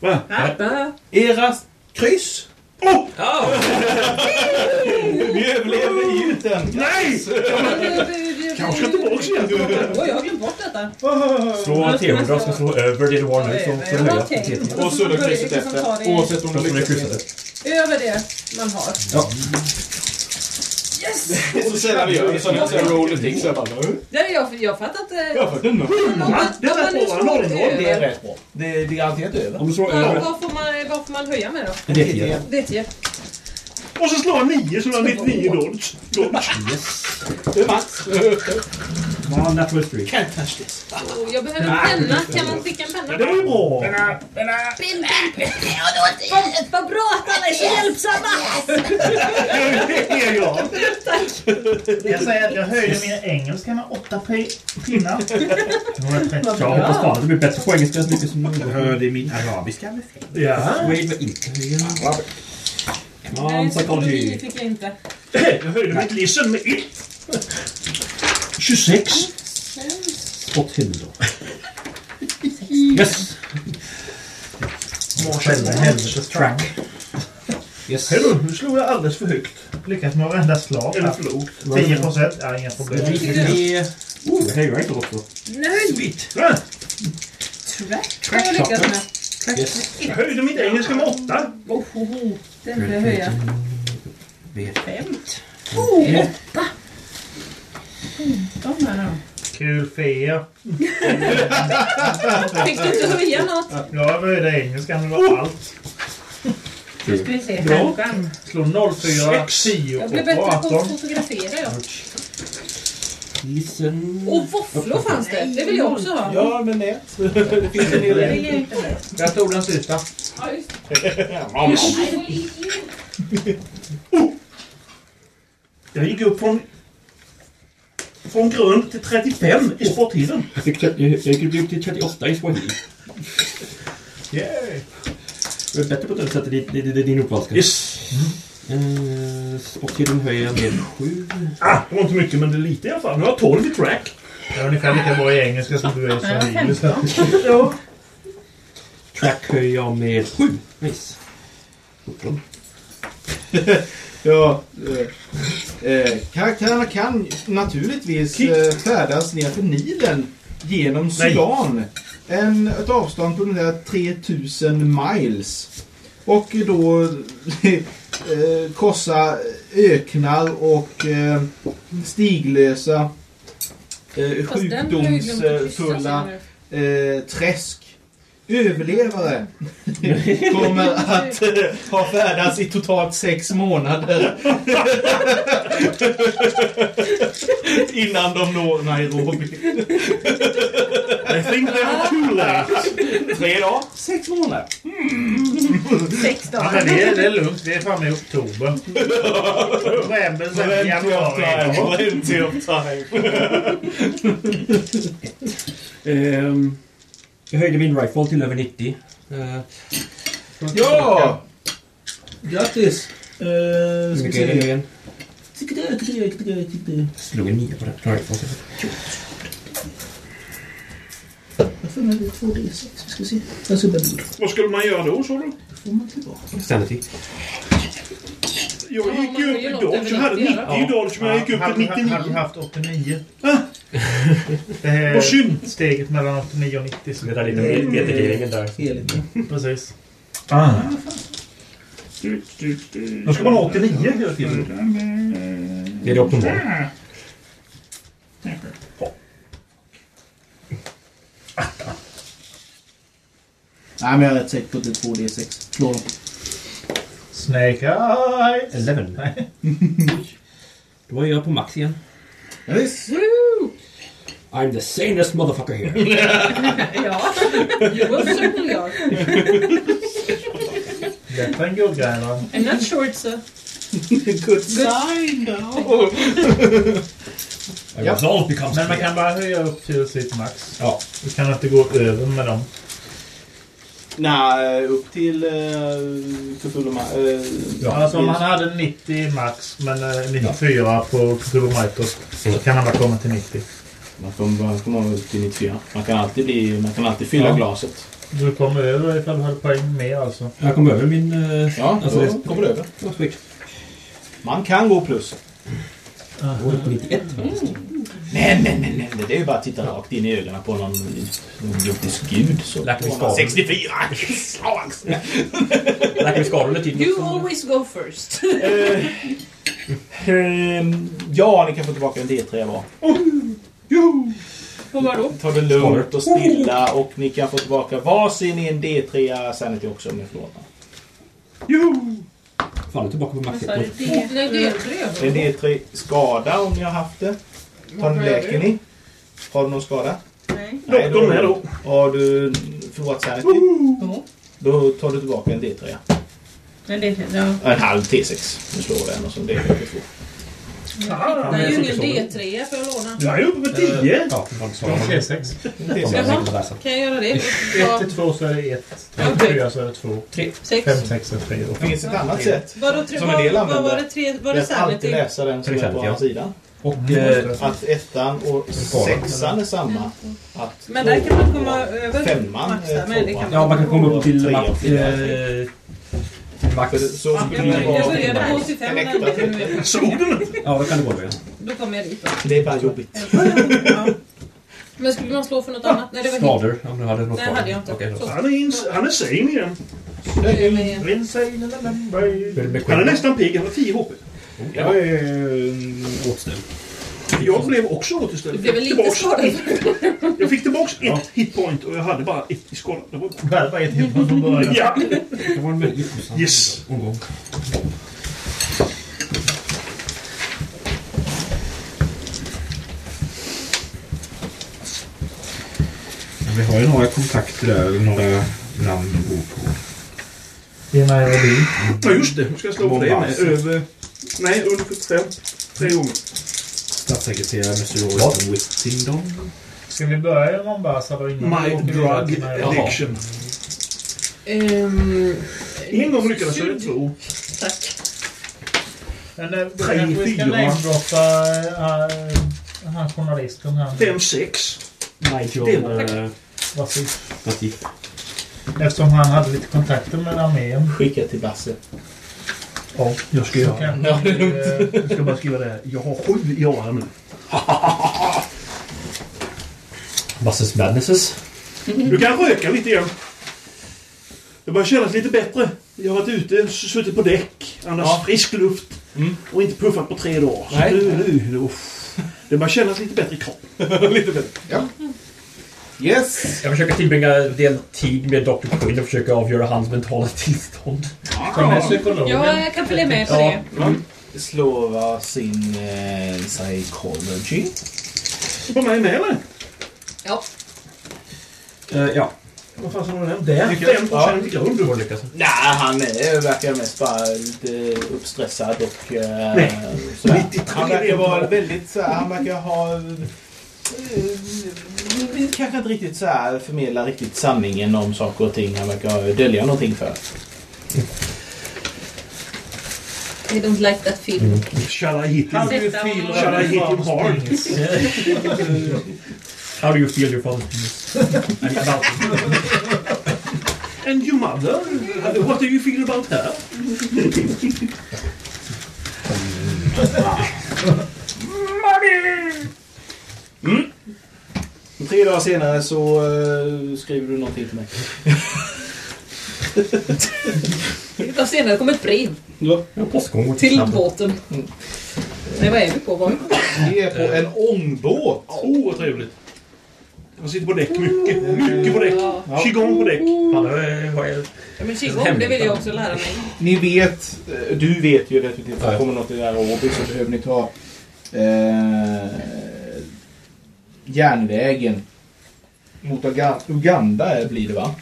Va? Bä. Era kryss. Oh! Ni överlevde gjuten. Nej! Kanske inte tillbaka igen. Oj, jag har glömt bort detta. Slå T100 ska slå över det du har nu. Så, så höja Okej. T10. Och så är det krysset efter. Oavsett om Och du så är det lyckas. kryssade. eller Över det man har. Ja. Yes! inte. Så sällan vi gör det. Så när jag säger roll the ticks så är jag bara... Där är jag, eh, jag fattar inte... Jag har fått en noll. Om man, om man nu slår över. det är rätt bra. Det, det är garanterat över. Om du slår Vad, vad, får man, vad får man höja med då? Det är tio. Det är tio. Och så slår han 9 så han har 99 dodge. dodge. Yes. Det är max. Well, natural three. Can't touch this. Oh, jag behöver Nej, en penna. det är Kan man skicka en penna? Ja, det var ju bra. Penna, penna. Penna, penna. Vad- Vad bra att alla är så hjälpsamma! är jag. Jag säger att jag höjde min engelska med åtta pi- pinnar. Jag hoppas fan att det blir bättre på engelska så mycket som möjligt. Hörde min arabiska med fel. Ja. Wade var inte högre. Nej, psykologi fick jag inte. Jag höjde mitt listen med 1. 26. Spotthinder. Yes! Själva helvetes track. Yes. Hej då, nu slog jag alldeles för högt. Lyckas med varenda slag. Eller för lågt. 10 procent. Ja, inga problem. Oh, det hänger inte också. Nej! Sweet. Track har jag lyckats med. Yes. Jag höjde mitt engelska med 8. Oh, oh, oh. Den vill jag höja. Skämt. Oh, åtta! Femton här då. Kul för er. Fick du inte höja något? Jag höjde engelskan. Det Oh! var allt. Nu ska vi se. Ja. Häromdagen. Slå 04, 10 Jag och blev bättre på att 18. fotografera jag. Listen. Och våfflor fanns det. Det vill jag också ha. Ja, men det. Det finns en hel Det vill del. jag inte ha. Jag tog den sista. Ja, just det. Jag gick upp från, från grön till 35 i sporttiden. Jag fick tre- jag- jag kunde bli upp till 38 i swahili. Yay! Jag är bättre på att översätta din, din, din- din uppvalska. Yes. Uh, Spotthinder höjer jag med 7. Ah, det var inte mycket, men det är lite i alla fall. Nu har jag 12 i track. Jag är ungefär lika bra i engelska som du är i swahili. så. Ja. Track höjer jag med 7. Nice. 14. ja, eh, eh, karaktärerna kan naturligtvis eh, färdas ner för Nilen genom Sudan. En, ett avstånd på ungefär 3000 miles. Och då eh, korsa öknar och eh, stiglösa, eh, Fast den har jag ju glömt att kryssa sjukdomsfulla senare. eh, träsk. Överlevare kommer att eh, ha färdats i totalt sex månader. Innan de når Nairobi. I think they are too late. Tre dagar. Sex månader. Sex Ja, men det, är, det är lugnt. Vi är framme i oktober. November, sen januari. Plenty of time. Ehm, jag höjde min rifle till över 90. Eh, Ja! Grattis! Eh, hur Uh, mycket är det nu igen? Slog en 9 på den riflen. Varför är det 2D6? Vi ska se. Jag ska bara bli. Vad skulle man göra då, sa du? Får man tillbaka? Sanity. Jag gick ju upp i något dodge. Jag hade 90 i dodge, men jag gick upp till Hade du 99. haft 89? Ah. Det här Vad synd. steget mellan 89 och 90. Så Det där lite mm. vetekillingen där. Precis. Ah. Då ska man ha 89 hela tiden. Det är det optimala. Nej, men jag är rätt säker på att det är 2D6. Slå dem. Snake eyes. 11. Nej. Då var jag på max igen. Yes. I'm the sanest motherfucker here. Ja, det var så jag. Bättre än guldgrejerna. I'm not sure it's a... Good sign now. My resolve becomes Men man clear. kan bara höja upp till sitt max. Ja. Du kan inte gå över med dem. Nej, eh, upp till Cthulhu... Uh, Ja, alltså om han hade 90 max, men eh, 94 på Cthulhu Mythos, Mm. så kan han bara komma till 90. Man kommer bara komma upp till 94. Man kan alltid, bli, man kan alltid fylla Ja. glaset. Du kommer över ifall du hade poäng med alltså. Jag kom över min... eh, Ja, alltså, då kommer det över. Ja, snyggt. Man kan gå plus. Jag var på 91. Nej, nej, nej, nej. Det är ju bara att titta rakt in i ögonen på någon någon jordisk gud. Så. Lärt mig skador. 64! Slags! Läkare skadade under tiden. You always go first. Ehm, Ja, ni kan få tillbaka en D3 var. Och vadå? Ta det lugnt och stilla och ni kan få tillbaka varsin i en D3 Sanity också om ni förlorar. Joho! Fan, du är tillbaka på macken. Nej, det är tre. En D3 skada om ni har haft det. Tar ni läker ni? Har du någon skada? Nej. Doktorn är då. Har du förlorat Sanity? Då tar du tillbaka en D3. Men det, ja. En halv T6. Nu slår den och så en D3 två. Jag hittade ju ingen D3 för att låna. Jag är uppe på Eh, 10! Ja, T6. Jaha, kan jag göra det? Ja. 1 till 2 så är det 1. Okej. 4 så är det 2. Tre. 5, Sex. 6 och 3. Det finns ett annat sätt. Vadå, tre, Som en del vad, vad var använder. det tre? Var Det det typ? är att alltid sanity? läsa den som Till är på exempel, ja. hans sida. Och Eh, Att ettan och sexan är samma. Att Men där kan man komma över Femman, max eh, där, men det tvåan. kan Ja, man man kan komma upp till Tre max. och fyra. eh, till Max. så skulle det Jag vara... började på 85 när jag kom med. Ja, då kan det gå över. Då kom jag dit. Det är bara jobbigt. Ja. Men skulle man slå för något annat? Nej, det var hit. Skador, om du hade något Nej, kvar. hade jag inte. Okej, då. Så. Han är, ins- han är sane igen. Han är McQueen. nästan pigg. Han har 10 HP. Oh, Jag är eh, återställd. Jag blev också Det återställd. blev väl lite Tillbaks. skador. Jag fick tillbaka ett hitpoint och jag hade bara ett i skalan. Det var... Du hade bara ett hit från början. Ja! Det var en väldigt Mm. lyckosam Yes! omgång. Men Vi har ju några kontakter där, eller några namn att bo på. Det är Nairobi. Ja, just det. Nu ska jag slå på det med. Mombasa. Över... Nej, under 75. Tre gånger. Statssekreterare Mr. Royston Whittington. Ska vi börja i Mombasa då Mm. innan vi åker My vidare drug till Nairobi? addiction. Ehm, En gång lyckades jag göra syd. två. Tack. Men eh, då Tre, kanske vi ska fyra. namedroppa eh, han journalisten här. Fem, sex. Nigel eh, Varsågod. Latif. Eftersom han hade lite kontakter med armén. Skicka till Basse. Ja, jag ska Så göra det. kanske vi, eh, Jag ska bara skriva det. här. Jag har sju i år här nu. Basses Madnesses. Du kan röka lite igen. Det börjar kännas lite bättre. Jag har varit ute, suttit på däck, andats Ja. frisk luft och inte puffat på tre dagar. Så Nej. nu, nu, nu, uff. Det börjar kännas lite bättre i kroppen. Lite bättre. Yes! Jag försöker tillbringa en del tid med Dr. Quinn och försöka avgöra hans mentala tillstånd. Kom med psykologen. Ja, jag kan följa med på Ja. det. Mm. Slå var sin eh, psychology. Var mig med eller? Ja. Eh, Ja, Vad fan sa du den? Där! Lyckas. Fem procent i grund. Två lyckas. Nej, han är, verkar mest bara lite uppstressad och eh, Nej. sådär. 93 Han verkar är bra. vara väldigt så här, han verkar ha... eh, Kanske inte riktigt så här förmedla riktigt sanningen om saker och ting. Han verkar dölja någonting för. I don't like that film. Shall I hit him? Han- Sätta honom. Shall I hit him hard? How do you feel your father's penis? About it. And your mother? What do you feel about her? Tre dagar senare så eh, skriver du någonting till mig. Det var senare kom ett brev postgång och till båten. Nej, vad är vi på? Var vi på? Vi är på en ångbåt. Åh, vad trevligt. Han sitter på däck mycket. Mycket på däck. Ja. Qigong på däck. Han har- har ju- Ja, men qigong, det vill jag också lära mig. Ni vet, eh, du vet ju definitivt att det kommer något i Nairobi så behöver ni ta eh, järnvägen mot Uga- Uganda eh, blir det va?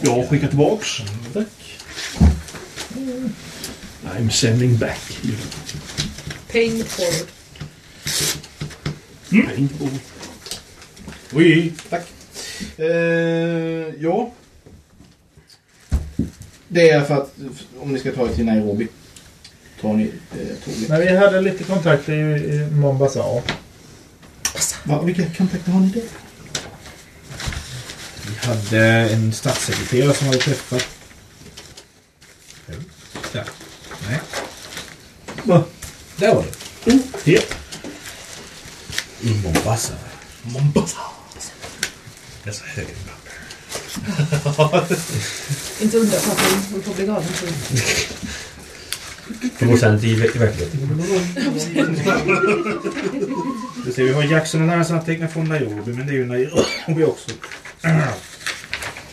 Jag skickar tillbaks. Tack. I'm sending back. Paying forward. Mm. Oui. Tack. Eh, ja. Det är för att om ni ska ta er till Nairobi tar ni eh, tåget. Men vi hade lite kontakter i, i Mombasa. Va, vilka kontakter har ni där? Vi hade en statssekreterare som hade träffat... Där. Nej. Va? Där var det. Ja. I Mombasa. Mombasa. Det är så hög. Inte undra på att man håller på att bli galen. tror jag. Procent i, i verkligheten. Du ser, vi har Jackson och hans anteckningar från Nairobi, men det är ju Nairobi också.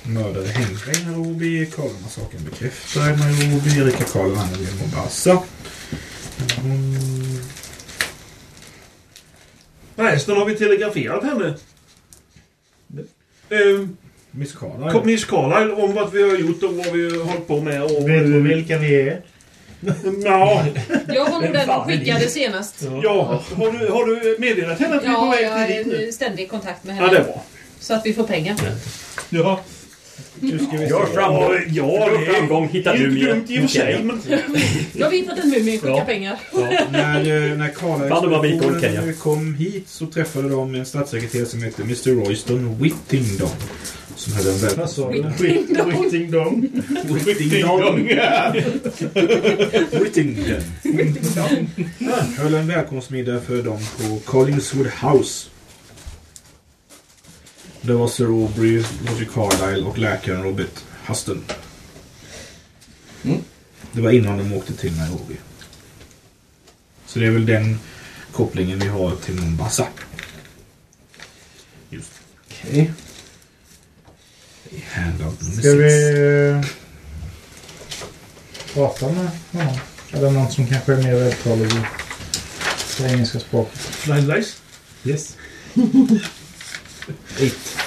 Mördade Henry i Nairobi, Karlamassakern bekräftad i Nairobi, Erika Karl vann i Mombasa. Mm. Förresten har vi telegraferat henne. Ehm, Miss Carlisle. Kom Miss Carlisle om vad vi har gjort och vad vi har hållit på med. Och... Vet du vilka vi är? Ja. Jag var nog Vem den fan hon är skickade det? senast. ja. Har, du, har du meddelat henne att vi är på Ja, väg jag till dit är nu? i ständig kontakt med Ja, det är henne. bra. Så att vi får pengar. Ja. Jag har framgång. Ja, Jag har det är framgång. Hitta inte mumien. dumt i och för sig. Men... Jag har hittat en mumie, skicka Ja. pengar. När, eh, när Bland de här bikorna, Karla-expeditionen Kenya. kom hit så träffade de en statssekreterare som hette Mr. Royston Whittington. Som hade en Vad sa väldigt... du? Whittingdong. Whittington. Whittington. Whittingdong. Höll en välkomstmiddag för dem på Collingswood House. Det var Sir Aubrey, Roger Carlyle och läkaren Robert Huston. Det var innan de åkte till Nairobi. Så det är väl den kopplingen vi har till Mombasa. Just. Okej. Handout nummer Ska sex. vi eh, prata med någon? Eller någon som kanske är mer vältalig i det engelska språket? Nine lives? Yes. Eight.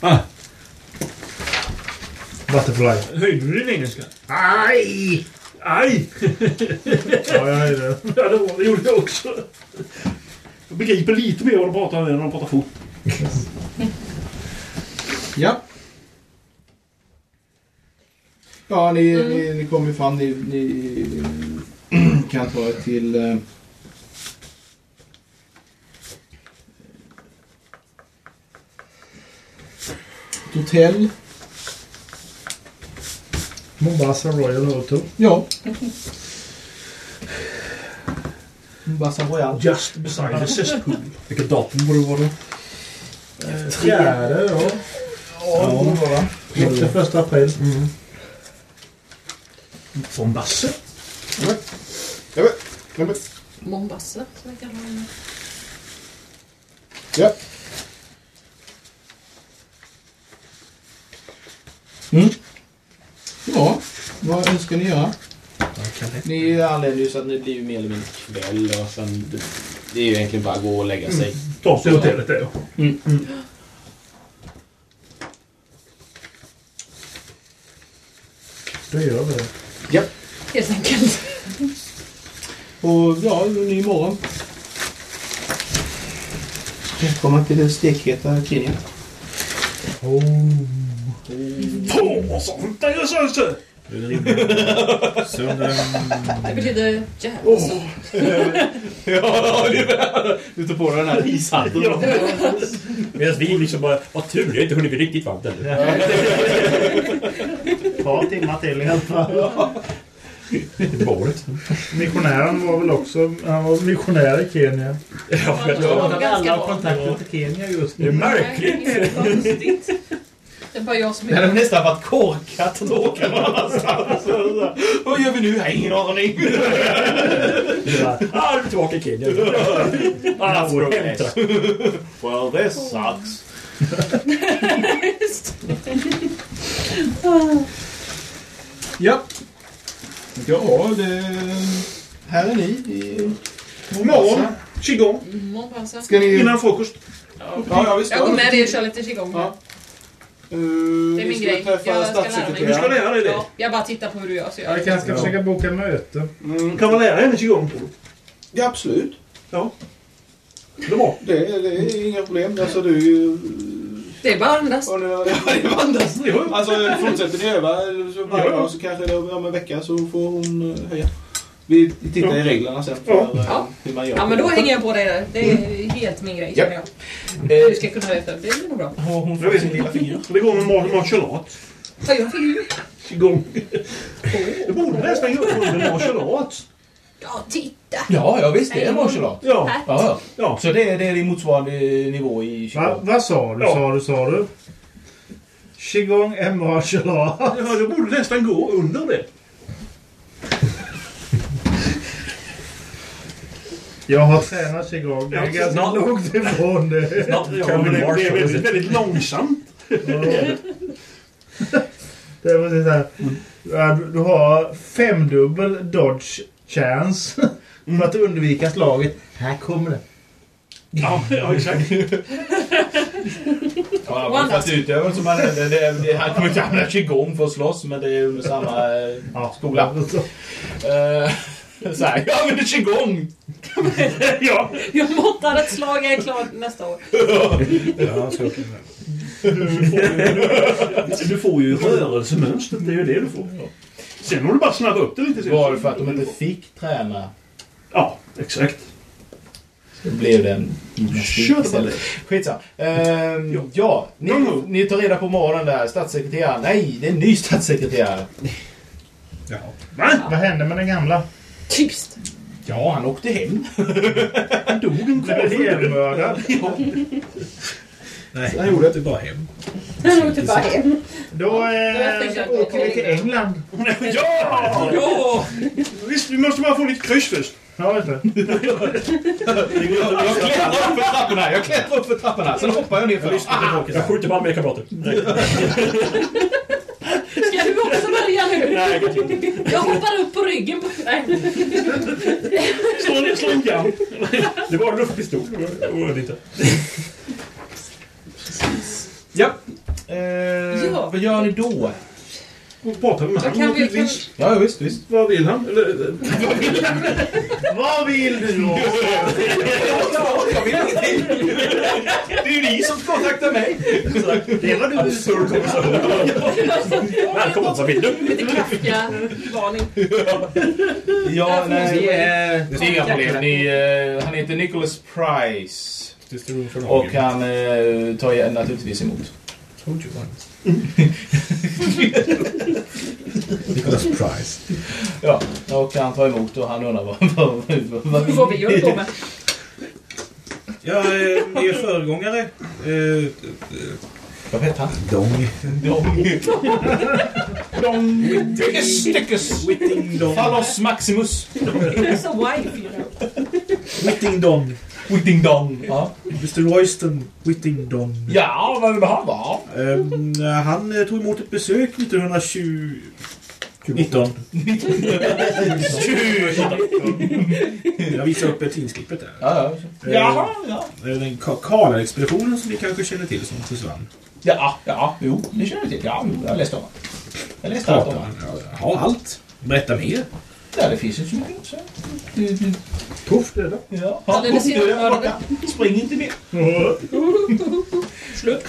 Ah. Butterfly. Höjde du din engelska? Aj! Aj! Ja, jag är det. Ja, det, var, det gjorde jag också. Jag begriper lite mer vad de pratar om när de pratar fort. Ja. Ja, ni, ni, ni kommer ju fram. Ni, ni kan ta er till... eh, Ett hotell. Mombasa Royal Hotel. Ja. Mombasa Royal. Just beside the cesspool. Eh, Vilket datum borde det vara då? Fjärde, ja. Ja, det borde vara. Mm. Efter första april. Från Basse. Mombasa, som jag kallar henne. Ja. Mm. Ja, vad önskar ni göra? Ni anländer ju så att ni blir ju mer eller mindre kväll och sen... Det, det är ju egentligen bara att gå och lägga sig. Mm. Ta till hotellet där ja. Mm. Då gör vi det. Ja. Helt enkelt. Och ja, en ny morgon. Välkomna till det stekheta kriget. Åh, sånt där är Sönse! Det betyder jävla sol. Ja, ungefär. Du tar på dig den här ishatten. Medan vi liksom bara, vad tur, det har inte hunnit bli riktigt varmt ännu. Ett par timmar till i alla fall. Det var året. Missionären var väl också... Han var missionär i Kenya. Ja, jag tror att alla har kontakter till Kenya just nu. Det är märkligt. Det är så konstigt. Det är bara jag som Det hade är... nästan varit korkat att åka någon annanstans. Vad gör vi nu? Jag har ingen aning. Ah, du är tillbaka i Kenya. Ah, Now we're hämta. best. Well, this sucks. Ja. Ja, det... Här är ni i Morgon. Mombasa. Qigong. Mombasa. Ska ni- Innan frukost. Ja, ja, Eh, visst. alltså. Jag går med dig och kör lite qigong. Det är min grej. Jag ska lära mig. Du ska lära dig det. Ja, jag bara tittar på hur du gör så gör Jag kanske ska Ja. försöka boka möte. Kan man lära henne qigong? Ja, absolut. Ja. Det är bra. Det, är- det är inga problem. Alltså, du är ju... Det är bara att andas. Det bandas. Jo. Alltså, fortsätter ni öva så varje dag så kanske det om en vecka så får hon eh, höja. Vi tittar i reglerna sen för Ja. eh, Ja. hur man gör. Ja, men då hänger jag på dig där. Det är helt min grej, Ja. känner jag. Du ska kunna veta. Det blir nog bra. Har hon Jag vet inte. Det går med mar- martialat. Ja, jag fick Qigong. Det borde nästan göra under martialat. Ja, titta! Ja, ja visst. Det är martial art. Ja. Ja, ja. Så det är, det är din motsvarande eh, nivå i Va, 20 vad sa du, sa du, sa du? Qigong är martial art. Ja, det borde nästan gå under det. Jag har tränat igång. Det är Ja, ganska snart- långt ifrån det. Snart kommer det- det är väldigt, väldigt långsamt. Det är precis så här. Ja, Du, du har femdubbel dodge chance för att undvika slaget. Här kommer det. Ja, ja exakt. Ja, men fast utövaren som han hade, det, det, han kommer inte använda qigong för att slåss, men det är under samma eh, skola. Eh, så här, jag använder qigong! ja. Jag måttar ett slag, jag är klar nästa år. Ja, så du, får, du får ju rörelsemönstret, det är ju det du får. Sen har du bara snabbat upp det lite. Var det för att de inte fick träna? Ja, exakt. Det blev det en Kör det bara det. Skitsamma. Ehm, ja, ni, ni tar reda på morgonen där. Statssekreteraren. Nej, det är en ny statssekreterare. Ja. Va? Vad hände med den gamla? Tyst! Ja, han åkte hem. Han dog en Blev ihjälmördad. Nej, han gjorde att du bara hem. Han åkte bara hem. Då eh, åker vi till England. Ja! Ja! Visst, vi måste bara få lite kryss först. Ja, just det. Jag klättrar upp för trapporna. Jag klättrar upp för trapporna. Sen hoppar jag ner för dem. Jag skjuter bara med kamrater. Ska du också börja nu? Nej, kanske jag hoppar upp på ryggen på... Nej. Slå ner slankan. Det var en luftpistol. Oroa dig inte. Ja. Eh, Ja. Vad gör ni då? Pratar vi med honom naturligtvis. Ja, visst, visst. Vad vill han? Eller, Vad vill du då? Jag vill ingenting. Det är ju ni som kontaktar mig. Det var du. Absurd konversation. Välkommen, vad vill du? Lite kraftiga varning. Ja, nej. Det eh, är- Det är inga problem. Ni, eh, han heter Nicholas Price. Och Hagen. han eh, tar jag naturligtvis emot. Told you once. Nicholas Price. Ja, och han tar emot och han undrar vad, vad, vad, Vad vi gör på med. Ja, eh, er föregångare. Eh, Vad hette han? Dong. Dong. Dong. Tyckes, tyckes. Whittingdong. Fallos Maximus. It's a wife, you know. Whittingdong. Whittingdong. Ja. Mr Royston Whittingdong. Ja, vad vill han vara? Ehm, han eh, tog emot ett besök 1920... 19. Jag visar upp tidningsklippet där. Ja, ja. Jaha, ja. Eh, Den Ka- Karlaexpeditionen som ni kanske känner till som försvann. Ja, ja, jo, det känner jag till. Ja, jo, jag läste om det. Jag läste allt om det. Kartan. Ja, ja, allt. Berätta mer. Ja, det finns ju så mycket också. Tufft är det. Ja, Ja, det är det nu är jag senaste. borta. Spring inte mer. Slut.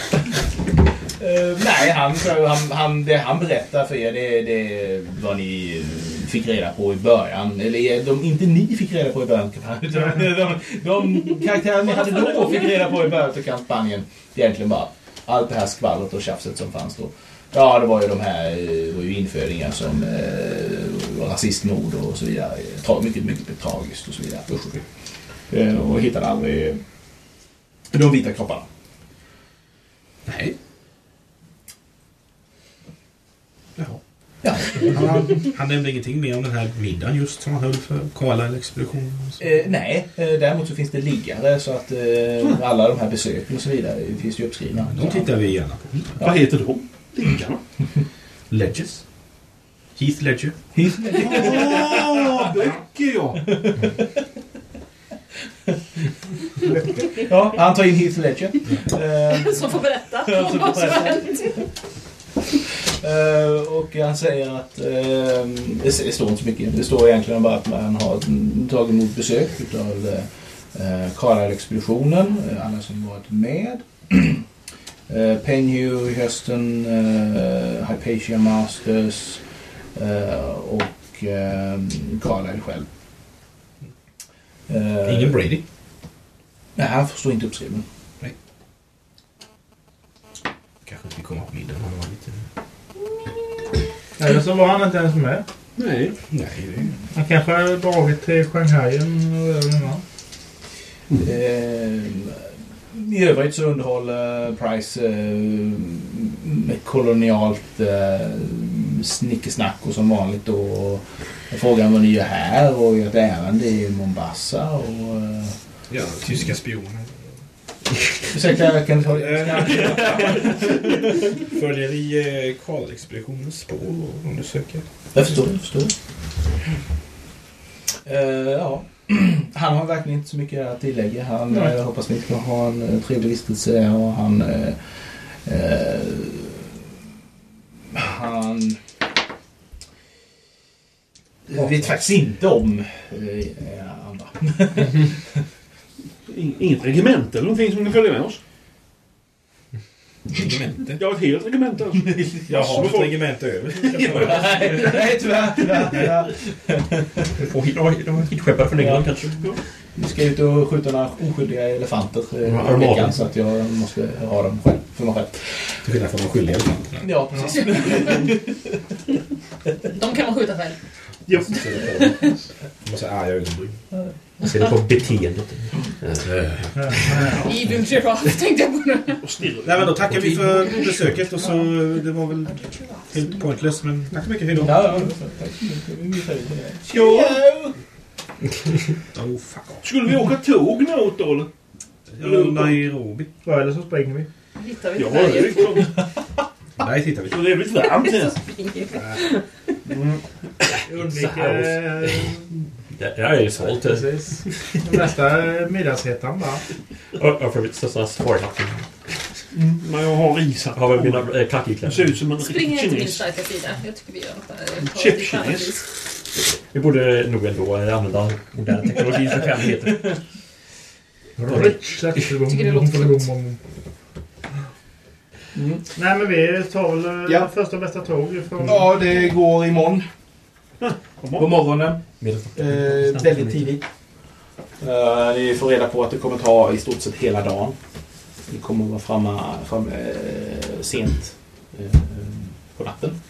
Eh, nej, han, han, han, det han berättar för er det det är vad ni eh, fick reda på i början. Eller eh, de, inte ni fick reda på i början av kampanjen. Utan de, de karaktärer ni hade då fick reda på i början av kampanjen. Det är Egentligen bara allt det här skvallret och tjafset som fanns då. Ja, det var ju de här eh, det var ju införingar som eh, var rasistmord och så vidare. Tra, mycket, mycket tragiskt och så vidare. Usch, usch. Eh, och hittade aldrig eh, de vita kropparna. Nej. Jaha. Ja. Han, han nämnde ingenting mer om den här middagen just som han höll för Karlaexpeditionen. Eh, nej, eh, däremot så finns det liggare så att eh, alla de här besöken och så vidare finns ju uppskrivna. De tittar vi gärna på. Vad heter de? Liggarna? Ledges. Heath Ledger. Heath Ja, böcker ja! Ja, han tar in Heath Ledger. Eh, Som får berätta Ja, om som vad får som har berätta. hänt. Eh, och han säger att eh, det s- det står inte så mycket. Det står egentligen bara att han har mm, tagit emot besök av eh, Karlaexpeditionen, eh, alla som varit med. eh, Penhu, Hösten, eh, Hypatia Masters eh, och eh, Carlisle själv. Eh, Ingen Brady. Nej, han står inte uppskriven. Kanske inte kommer på middagen. Han var lite... Eller så var han inte ens med. Nej. Nej, det Han kanske har dragit till Shanghai och över Eh, I övrigt så underhåller Price eh, m- kolonialt eh, snickesnack och som vanligt då. Och jag frågar vad ni gör här och gör ett ärende i Mombasa och... eh, Ja, tyska spioner. Ursäkta, kan du ta Eh. Följer i eh, Karl-expeditionens spår och undersöker. Jag förstår, jag förstår. Eh, ja. Han har verkligen inte så mycket att tillägga. Han Nej. eh, hoppas vi ska ha en eh, trevlig vistelse och han... eh, eh, han... vet faktiskt inte om eh, andra. In- Inget regemente eller någonting som kan följa med oss? Regemente? Jag har ett helt regemente. alltså. Jag Massor har med ett folk. regemente över. Nej, nej, tyvärr, tyvärr, tyvärr. Du får hit- de har hittskeppare från England kanske. Vi ska ut och skjuta några oskyldiga elefanter eh, Ja, i armaden. veckan så att jag måste ha dem själv, för mig själv. Till skillnad från de skyldiga elefanterna. Ja, precis. De kan man skjuta själv. Ja. De har så här arga ögonbryn. Jag ser det på beteendet. Evil giraffe tänkte jag på nu. Nej men då tackar vi för besöket och så det var väl helt pointless men tack så mycket, hejdå. Ja, Ja. Oh fuck off. Skulle vi åka tåg något då eller? Eller Nairobi. Ja, eller så springer vi. Hittar vi Ja, det färgen? är klart. Nej, tittar vi. liksom- Så det är lite varmt Så här. springer vi. Mm. eh, Undviker- Det det här är ju svalt. Precis. Nästa eh, middagshettan bara. Jag har för övrigt största svårigheten. Men jag har ishatt Jag har väl på mina eh, Det klackikläder. ser ut som en Spring riktig inte till min kines. starka sida. Jag tycker vi gör något annat. Jag tar Chip ett annat kines. vis. Vi borde nog ändå eh, använda modern teknologi för fem meter. Tycker det låter klokt. Nej, men vi tar väl eh, Ja. första bästa tåg från... Ja, det går imorgon. På morgonen. Eh, väldigt tidigt. Eh, ni får reda på att det kommer ta i stort sett hela dagen. Ni kommer att vara framme, framme eh, sent eh, på natten.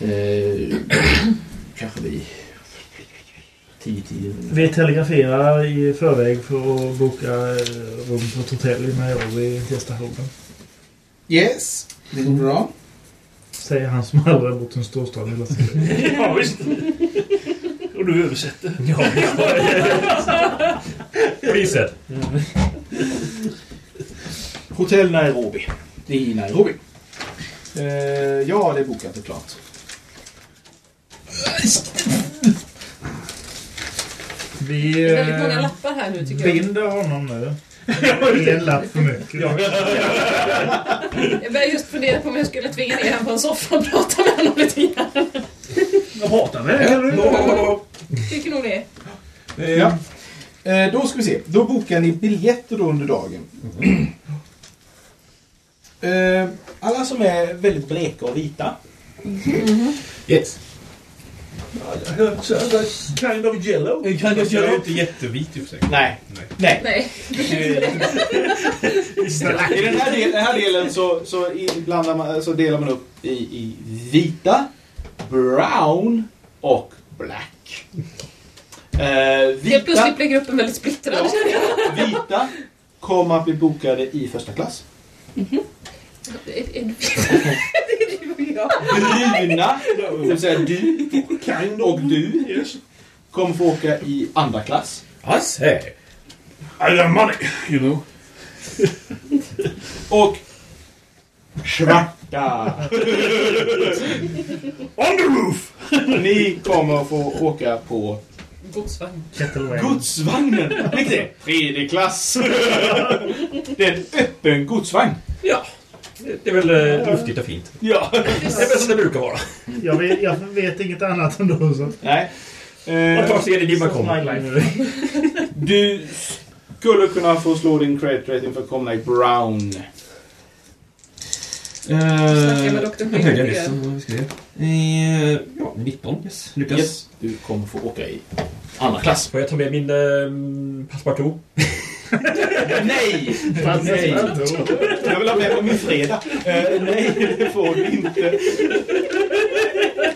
Eh, kanske vi... Tio, tio. Vi telegraferar i förväg för att boka eh, rum på ett hotell i Nairobi till stationen. Yes, det går bra. Säger han som aldrig har bott i en storstad hela sitt liv. Ja, visst. Och du översätter. Priset. Hotell Nairobi. Det är i Nairobi. Eh, ja, det är bokat och klart. Vi Det är väldigt många eh, lappar här nu tycker jag. binder honom nu. Det är en lapp för mycket. Jag började just fundera på om jag skulle tvinga ner honom på en soffa och prata med honom lite grann. Jag hatar det. Tycker nog det. Ja. Eh, då ska vi se. Då bokar ni biljetter då under dagen. Mm. eh, alla som är väldigt bleka och vita. Yes. Kind of yellow. Kind of Jag är yellow. inte jättevit i och för sig. Nej. Nej. Nej. I den här, del, den här delen så, så, i- blandar man, så delar man upp i, i vita, brown och black. Eh, Helt vita, plötsligt blir gruppen väldigt splittrad. vita kommer att bli bokade i första klass. Det är- det är du och jag. Bruna, det vill säga du och du kommer få åka i andra klass. I say. I have money, you know. Och svarta. On the roof! Ni kommer att få åka på Godsvagn. godsvagnen. Vilket är tredje klass. Det är en öppen godsvagn. Ja. Det det är väl eh, luftigt och fint. Ja. Det är väl som det brukar vara. Jag vet, jag vet inget annat ändå. Så. Nej. Man tar Eh, sig i dimman My kommer. life. du skulle kunna få slå din credit rating för att komma i brown. Snacka Eh, med Dr. Jag höjde nyss, Hyde. så vad ska vi göra? Eh, Ja, 19. Yes. Lyckas. Yes. Du kommer få åka i andra klass. Får jag ta med min eh, passepartout? Nej! Nej. Jag vill ha med på min fredag. Eh, nej, det får du inte.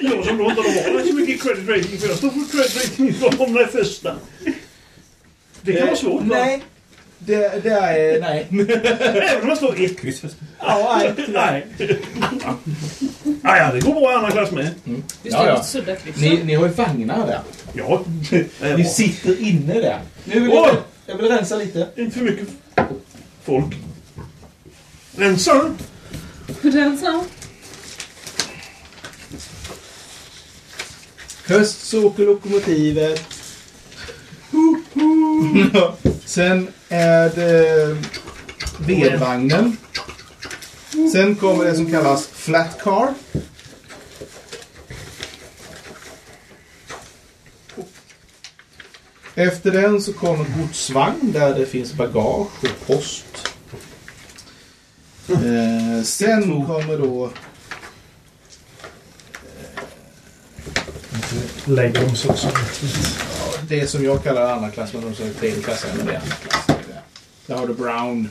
Jag som då inte har så mycket credit rating för jag står för credit rating från den första. Det kan vara svårt va? Nej. Det, det är... Nej. Även om man slår ett. Kryss först. Ja, nej. Nej. Ja, ja, det går bra i andra klass med. Visst är det ett sudda Ni, ni har ju vagnar där. Ja. Ni sitter inne där. Nu vill Åh! jag, jag vill rensa lite. Inte för mycket folk. Rensa! Rensa. Först så åker lokomotivet. Ho, ho. Sen är det vedvagnen. Sen kommer det som kallas flat car. Efter den så kommer godsvagn där det finns bagage och post. Eh, sen kommer då... Lägg om så eh, också. det som jag kallar andra klass, men de som är tredje klass men det är andra klass. Där har du Brown.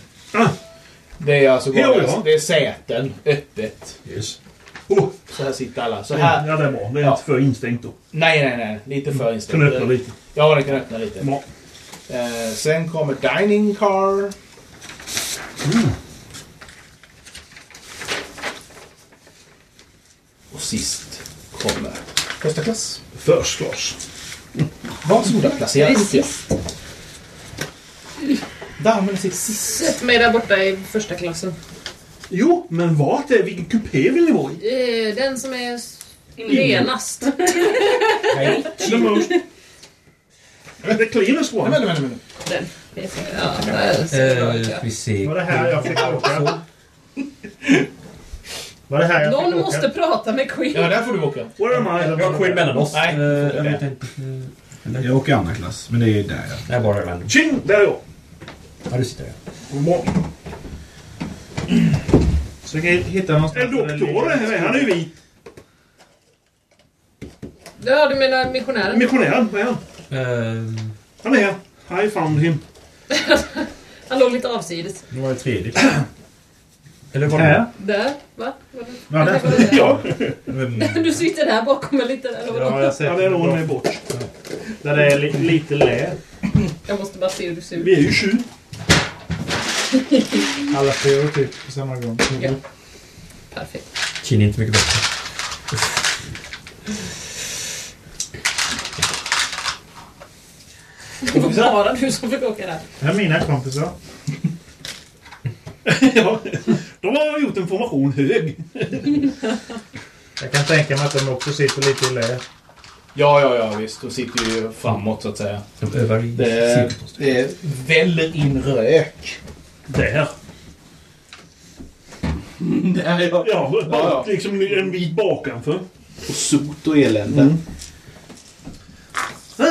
Det är alltså Ja, bara, Ah! ja. det är säten öppet. Yes. Oh, så här sitter alla. Så här. Ja, det är bra. Det är inte för instängt då. Nej, nej, nej. Lite för inställt. Mm. Kan öppna lite. Ja, den kan öppna lite. Eh, sen kommer Dining Car. Mm. Och sist kommer första klass. First class. Varsågoda, placera Det är ut er. Där använder sitt sist. Sätt mig där borta i första klassen. Jo, men vart är Vilken kupé vill ni vara i? Eh, Den som är s- Ingen. renast. The most... The cleanest one. Vänta, vänta, vänta. Den. Ja, där ser det bra ut, ja. Vi ser. Var det här jag fick åka? Var det här jag fick Någon åka? måste prata med Queen. får du åka. Where am Vi har Queen mellan oss. Nej. Eh, jag vet inte. Eller? Jag åker andra klass, men det är där jag... Det är bara Öland. Tjing! Där är jag. Ja, du sitter där. Bra. Försöker hitta någonstans... En doktor är här. Han är ju vit. Ja, du menar missionären? Missionären. Vad är han? Han är här. I found him. Han låg lite avsides. Nu var det tredje. Eller var det... Där, va? Var det- Ja, där. Ja. Du sitter där bakom en liten... Eller vadå? Ja, jag ser. Ja, det är nog hon är bort. Där det är li lite lä. Jag måste bara se hur du ser Vi är ut. ju sju. Alla fyra typ på samma gång. Ja. Perfekt. Kinn är inte mycket bättre. Det var bara du som fick åka där. Det här är mina kompisar. ja. De har gjort en formation hög. Jag kan tänka mig att de också sitter lite i lä. Ja, ja, ja visst. De sitter ju framåt så att säga. De övar i Det, det väller in rök. Där. Där ja. Ja, Ja, ja. liksom en bit bakanför. Och sot och elände. Äh,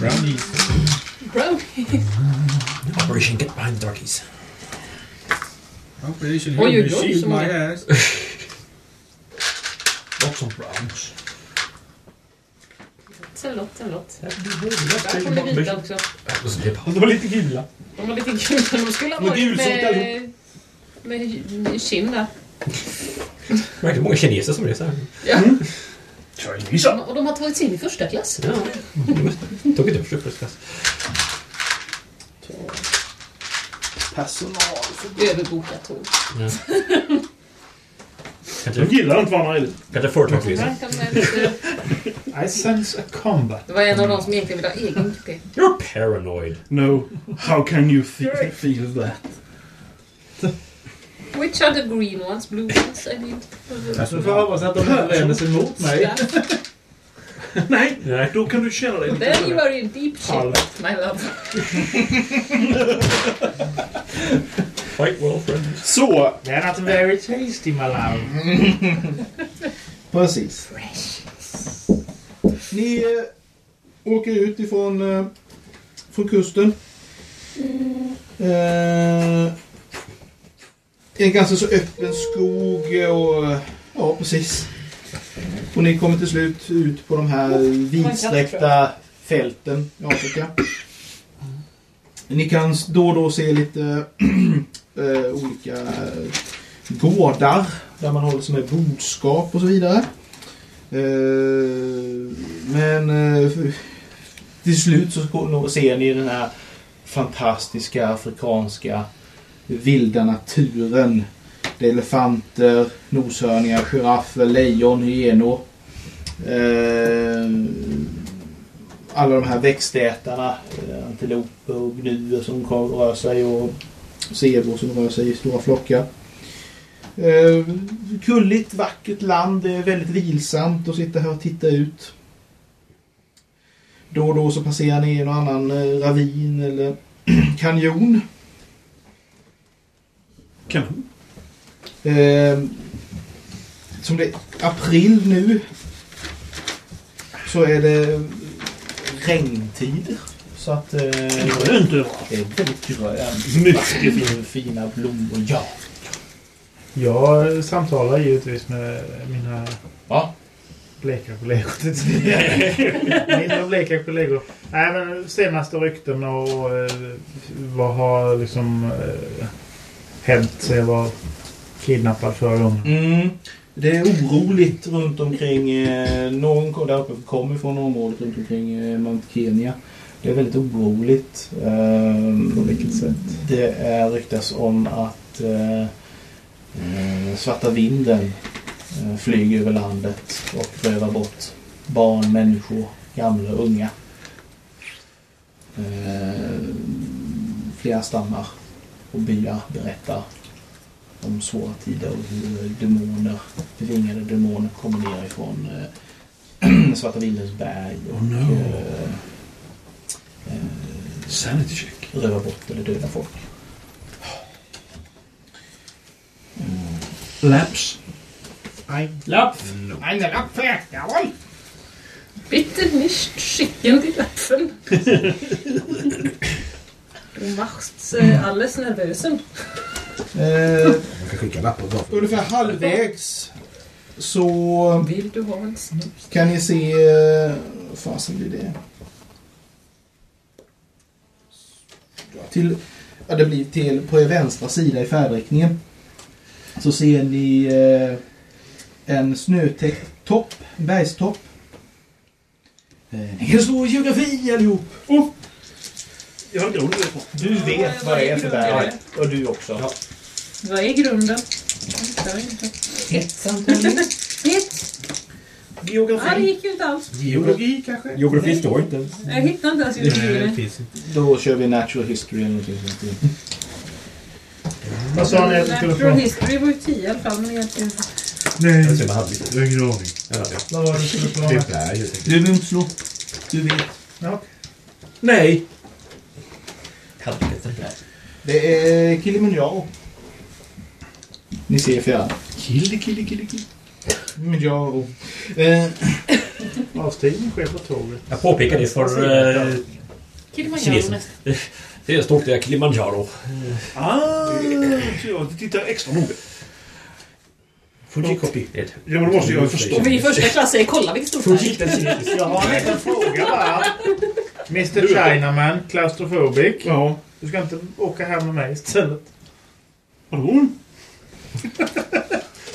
Brownies. Bro. Operation Get Behind the Darkies. Operation Oj, oj, oj, Shield så my många. ass. Också browns. Selott, selott. Där kom det vita också. De var lite gula. De var lite gula. De skulle ha Men varit gulsot med... Med kind där. Verkligen många kineser som reser. Ja. Chinesa. Och de har tagit sig in i första klass. Ja. Tog inte för frukost. Personal. Överbokat tåg. De gillar inte varandra heller. Kanske företagsresa. Här kan man lite- I sense a combat. Det var en av de som egentligen ville ha egen kupé. You're paranoid. No. How can you fe- feel that? Which are the green ones? Blue ones? I mean. Så får jag hoppas att de inte vänder sig mot mig. Nej, Nej. då kan du känna dig lite... Then you are in deep shit, my love. Fight well friends. Så. They're not very tasty, my love. Precis. Ni eh, åker ut ifrån eh, från kusten. Eh, en ganska så öppen skog och eh, ja, precis. Och ni kommer till slut ut på de här vidsträckta fälten i Afrika. Ni kan då och då se lite eh, olika eh, gårdar där man håller som är boskap och så vidare. Eh, men eh, till slut så går- nå- ser ni den här fantastiska afrikanska vilda naturen. Det är elefanter, noshörningar, giraffer, lejon, hyenor. Eh, alla de här växtätarna, eh, antiloper och gnuer som kom- rör sig och zebror som rör sig i stora flockar. Eh, kulligt, vackert land. Det är väldigt vilsamt att sitta här och titta ut. Då och då så passerar ni en och annan eh, ravin eller kanjon. Kanjon? Eh, som det är april nu så är det regntider. Så att... Eh, Grönt överallt. Det är väldigt grönt. Mycket fint. Fina blommor, ja. Jag samtalar givetvis med mina ja. bleka kollegor. mina bleka kollegor. Nej, men senaste rykten och eh, vad har liksom eh, hänt sen jag var kidnappad förra gången. Mm. Det är oroligt runt omkring. eh, Någon kom- där uppe kommer från området runt omkring eh, Mount Kenya. Det är väldigt oroligt. På vilket sätt? Det är, ryktas om att eh, eh, svarta vinden eh, flyger över landet och rövar bort barn, människor, gamla och unga. Eh, flera stammar och byar berättar om svåra tider och hur demoner, bevingade demoner kommer ner ifrån eh, Svarta Vildens berg och Oh no. eh, eh, Sanity check. rövar bort eller dödar folk. Mm. Laps. Ein Lapf! Ein Lapfe! Jawohl! Bitte nicht schicken die Lapfen. Du machst äh, alles nervösen. Eh. Man kan skicka lappar bara för Ungefär halvvägs så Vill du ha en snus? kan ni se... eh, Vad fasen blir det? Ja, Till, ja, det blir till på er vänstra sida i färdriktningen. Så ser ni eh, en snötäckt topp, en bergstopp. Eh, Ni kan slå i geografi allihop! Oh! Jag har grund Du vet vad det är för berg. Och du också. Vad är grunden? Jag hittar inte. Ett Ett. Geografi. Ja, det gick ju inte alls. Geologi kanske? Geografi står inte ens. Jag hittar inte ens geologin. Då kör vi natural history eller någonting sånt. Vad sa ni att du skulle Natural få? history var ju 10 i alla fall, men egentligen... Nej, Jag ser vad han vill. jag har ingen aning. Vad var det du skulle få? Det är ju Du behöver inte slå. Du vet. Ja. Nej. Det är Kilimanjaro. Ni ser fjärran. Kille, kille, kille, kille. Kilimanjaro. Eh. Avstigning sker på tåget. Jag påpekar det för eh, kinesen. Senast åkte jag Kilimanjaro. Ah, så jag tittar extra noga. Fujikopi. Det Ja, men det måste jag ju förstå. Vi i första klass säger kolla vilken stor färg. Jag har en liten fråga bara. Mr Chinaman, klaustrofobic. Ja. Du ska inte åka hem med mig istället. Vadå?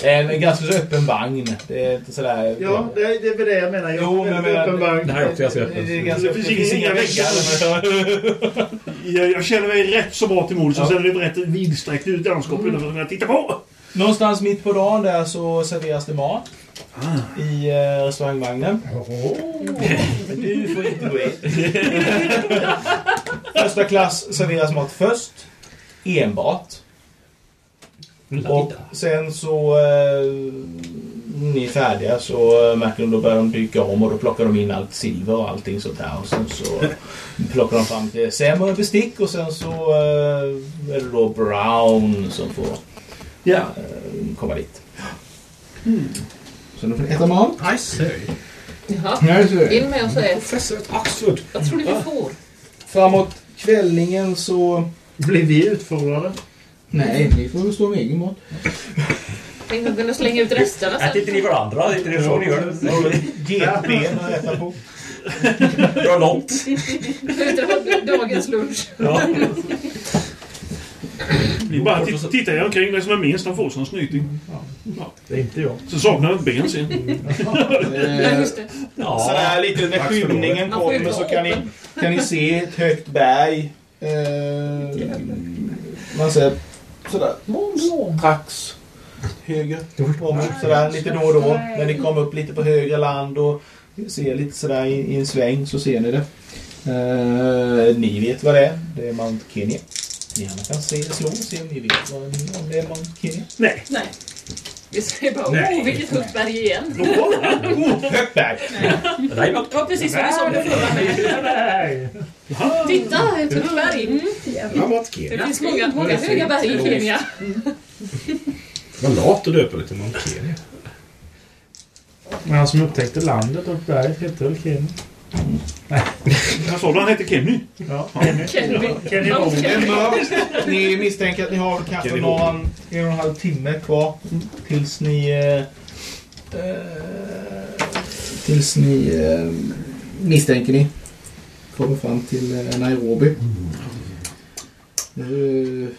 En Eh, ganska så öppen vagn. Det är inte sådär... Ja, det är det, är väl det jag menar. Jag jo, men, öppen vagn. Det här är också ganska öppet. Det Det är ganska... finns inga väggar. jag, jag känner mig rätt så bra till mods och sen är det rätt vidsträckt ut i landskapet mm. för att titta på. Någonstans mitt på dagen där så serveras det mat. I eh, restaurangvagnen. Du får inte gå in. Första klass serveras mat först. Enbart. Och sen så... Eh, ni är färdiga så eh, märker de då börjar de dyka om och då plockar de in allt silver och allting sånt här. Och sen så plockar de fram till sämre bestick och sen så eh, är det då Brown som får Ja. eh, komma dit. Så nu får ni äta mat. I say. Nej, Jaha. så är det. In med oss och ät. Professor at Oxford. Vad tror du vi får? Framåt kvällningen så... Blir vi utförare? Nej, ni får stå med egen mat. Tänk att kunna slänga ut resterna sen. Ät inte ni varandra. Det är inte det så ni gör. Getben att äta på. Dra långt. Sluta ha dagens lunch. Ja. Ni bara titt- tittar jag omkring. Den som är minst han får sig en snyting. Det är inte jag. Så saknar jag ett ben sen. Eh, Ja, just det. Ja. Sådär lite när Tack för skymningen Man får ju kommer så dra kan ni, upp kan ni se ett högt berg. Eh, man ser sådär strax höger om sådär lite då och då. När ni kommer upp lite på högre land och ser lite sådär i, i en sväng så ser ni det. Eh, ni vet vad det är. Det är Mount Kenya. Ni andra kan se, slå och se om ni vet vad ni- om det är Mount Kenya. Nej. Nej. Vi säger bara Nej. åh, vilket högt berg igen. Högt berg. Det var precis som vi sa det förra med. Titta, ett högt berg. Mm. Ja, Mount Det Kenya. finns många, många höga berg i Kenya. Vad lat att döpa det till Mount Kenya. Men han som upptäckte landet och berget hette väl Kenny? Nej. Jag sa du han hette Kenny? Ja, Kenny. Kenny Roberts. Ni misstänker att ni har kanske Kenny någon Roberts. en och en halv timme kvar tills ni... Eh, eh, tills ni eh, misstänker ni kommer fram till eh, Nairobi. Nu,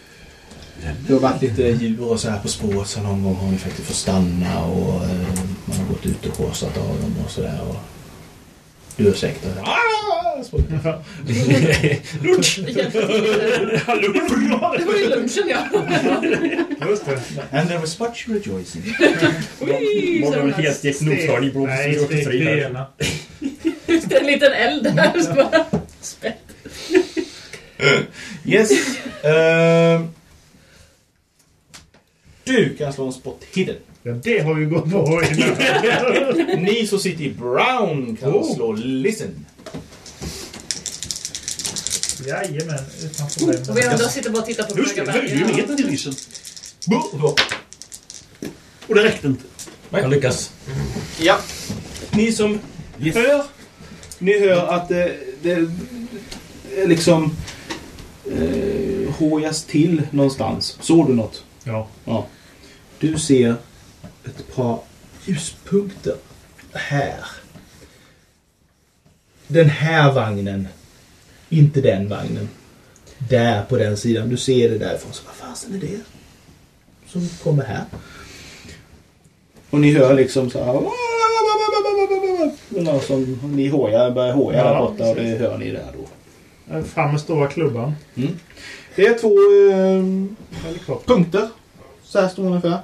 det har varit lite djur och så här på spåret så någon gång har ni faktiskt fått stanna och eh, man har gått ut och korsat av dem och sådär. och Du har säkert Ah! Lunch! Det var ju lunchen ja. Just det. And there was much rejoicing. Ui, så de här- Helt motsvarande blod som Nej, går till stek striden. bena. Just en liten eld där. så bara- Spänt. Yes. Ehm, du kan slå en spot hidden. Ja, det har vi gått på innan. Ni som sitter i brown kan Oh. slå listen. Jajamän, utan problem. Och vi andra sitter bara och tittar på Just det, höga höjde ju berg. meter till isen. Och det räckte inte. Jag lyckas. Ja. Ni som hör, ni hör att det, det liksom eh, hojas till någonstans. Såg du något? Ja. ja. Du ser ett par ljuspunkter här. Den här vagnen. Inte den vagnen. Där på den sidan. Du ser det därifrån. Så vad fasen är det? Som kommer här. Och ni hör liksom så här. Det är någon som ni hojar, börjar hoja där Ja, borta och det precis. hör ni där då. Fram med stora klubban. Det är två eh, punkter. Så här står ungefär.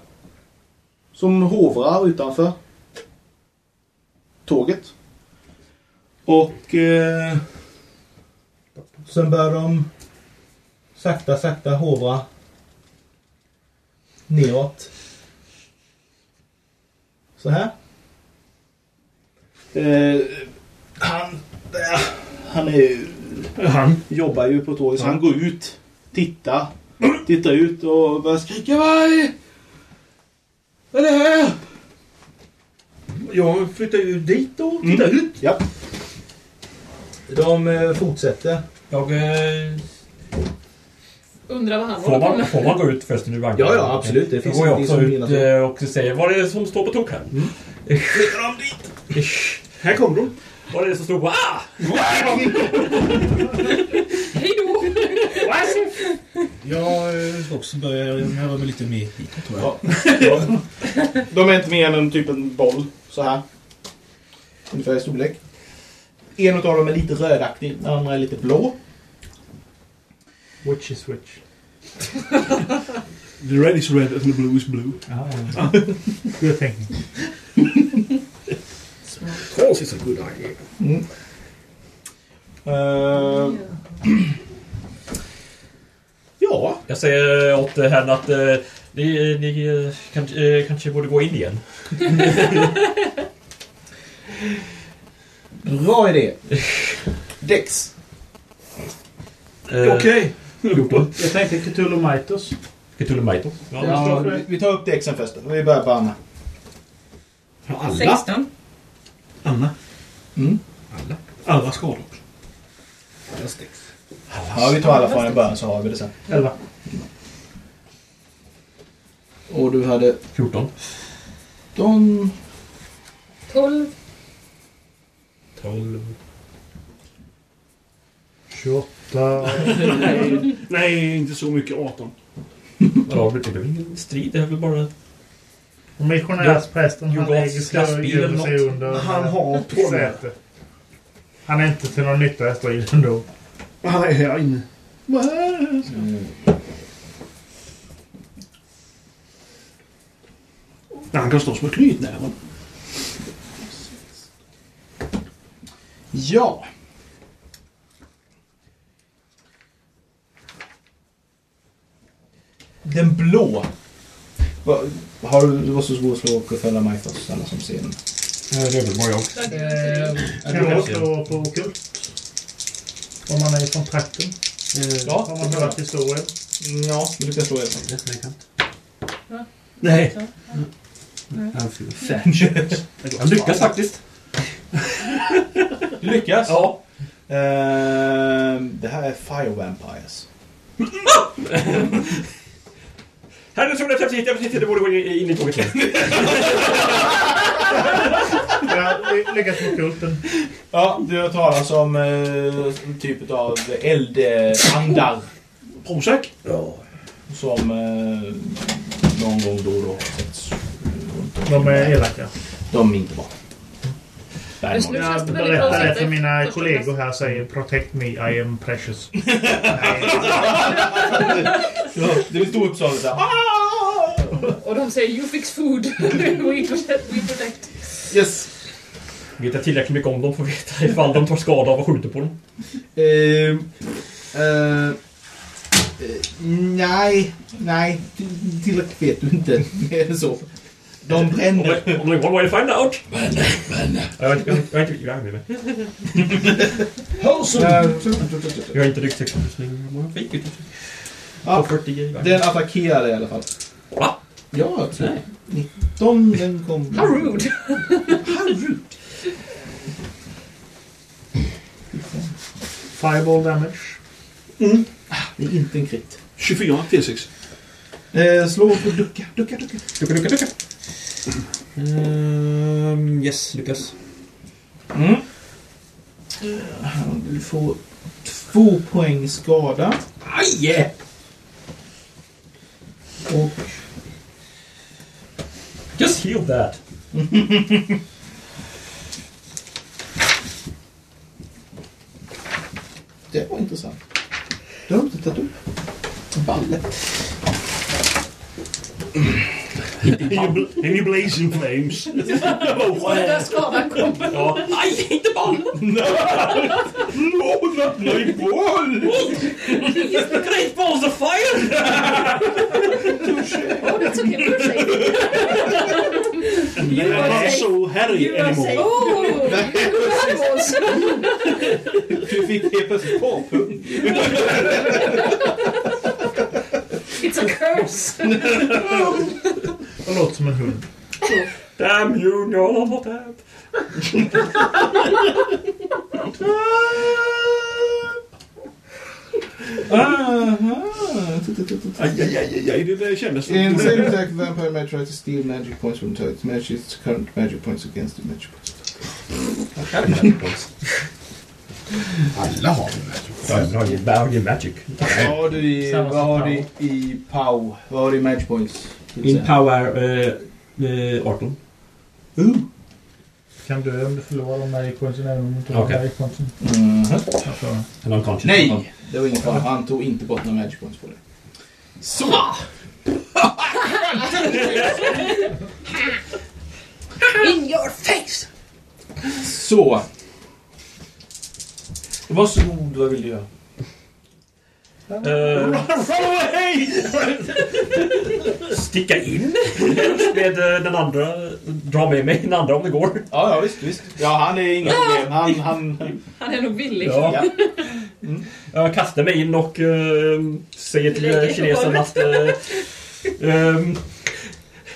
Som hovrar utanför tåget. Och eh, sen börjar de sakta, sakta hovra neråt. Så här. Eh, han, där, han är ju... Han jobbar ju på tåget så han går ut, tittar, tittar ut och börjar skrika Vad är vad är det här? Jag flyttar ju dit och tittar ut. Mm. Ja. De eh, fortsätter. Jag... Eh... Undrar vad han Får håller på man, med. får man gå ut förresten ur vagnen? Ja, ja, absolut. Det Då finns går jag ingenting också som Mm. ut hindrar eh, och säger vad är det som står på tok här? Flyttar de dit? Här kommer de. Vad är det som står på... Ah! Hej då! Jag eh, också börjar närma mig lite mer hitåt tror jag. De är inte mer än en typ en boll så här. Ungefär i storlek. En av dem är lite rödaktig, den andra är lite blå. Which is which. The red is red and the blue is blue. Ah. Good thinking. Trolls is a good idea. Mm. Eh, ja. Jag säger åt eh, henne att eh, ni, ni eh, kan, eh, kanske borde gå in igen. Bra idé. Dex. Eh, Jag tänkte Cthulhu Mitos. Cthulhu Mitos. Ja, vi- vi tar upp dexen först. Vi börjar på Anna. alla? 16. Anna. Mm. Alla. Alla skador. Jag sticks. Ja, vi tar alla från en början så har vi det sen. Elva. Och du hade? 14. De... 12. 12. 28. nej, nej, inte så mycket. 18. Vadå, det är väl ingen strid? Det är väl bara... Missionärsprästen, han Jugots lägger sig och lastbil eller gömmer sig något. under Han har ett säte. Han är inte till någon nytta i striden då. Han är här inne. Han kan slåss med knytnäven. Ja. Den blå. Va, har du, du var så god att slå och fälla mig först, alla som ser den. Det är väl bara jag. Eh, kan jag slå på okult? Om man är från trakten? Eh, Ja, Har det man kan hört historien? Ja, du kan slå ensam. Nej. Jag lyckas faktiskt. Du lyckas? Ja. Ehm, det här är Fire Vampires. Herre trodde att jag precis, jag precis det borde gå in in i tåget. Jag lyckas med okulten. Ja, du har talat om eh, en typ av eldandar. Prozac? Ja. Som eh, någon gång då och då har setts. De är elaka. De är inte bra. Jag berättar det för mina kollegor här säger Protect me, I am precious. Ja, det blir stort sånt där. Och de säger you fix food. we protect. We protect. Yes. Vet jag tillräckligt mycket om dem för att veta ifall de tar skada av att skjuta på dem? Eh, eh, nej, nej. till- Tillräckligt vet du inte. Mer än så. De bränner. Only one way to find out. Eh, Jag har inte- jag har inte- jag har inte- jag har inte- jag har inte ryggsäcksutrustning. Fick ju Ah. Ja, grejer. den attackerar i alla fall. Va? Ja, absolut. 19, den kom... How rude. How rude. Fireball damage. Mm. Det är inte en krit. 24 T6. Eh, slå på ducka, ducka, ducka. Ducka, ducka, ducka. Ehm, yes, lyckas. Mm. Du får två poäng skada. Ah, Aj! Och... Just heal that. Det var intressant. Det har de inte tagit upp. Balle. In your blazing flames. Den där skadan kommer. Ja. Aj, inte bollen! No, not my ball! Just the great balls of fire! Oh, that's okay. You're safe. You are not so hairy anymore. Oh! Fireballs. Du fick helt plötsligt porrpung. It's a curse. Det låter som en hund. Damn you, no, not that. Ah, Aj, aj, aj, aj, det där kändes... In the same attack, vampire may try to steal magic points from targets. Match its current magic points against the magic points. Alla har ju magic. Alla har ju magic. Vad har du i, Samma vad som har du i pow? Vad har du i magic points? Min power eh, eh, 18. Kan dö om du förlorar de magic pointsen även om du inte har Okej. magic pointsen. Alltså, Eller unconscious. Nej! Det var ingen fara. Han tog inte bort några magic points på det. Så! In your face! Så. Varsågod, vad vill du göra? Eh, sticka in med eh, den andra. Dra med mig den andra om det går. Ja, ja visst, visst. Ja, han är inga problem. Han, han... Han är nog villig. Ja. Mm. Jag kastar mig in och eh, säger till Lägger eh, dig på kinesen golvet. att... eh, ehm,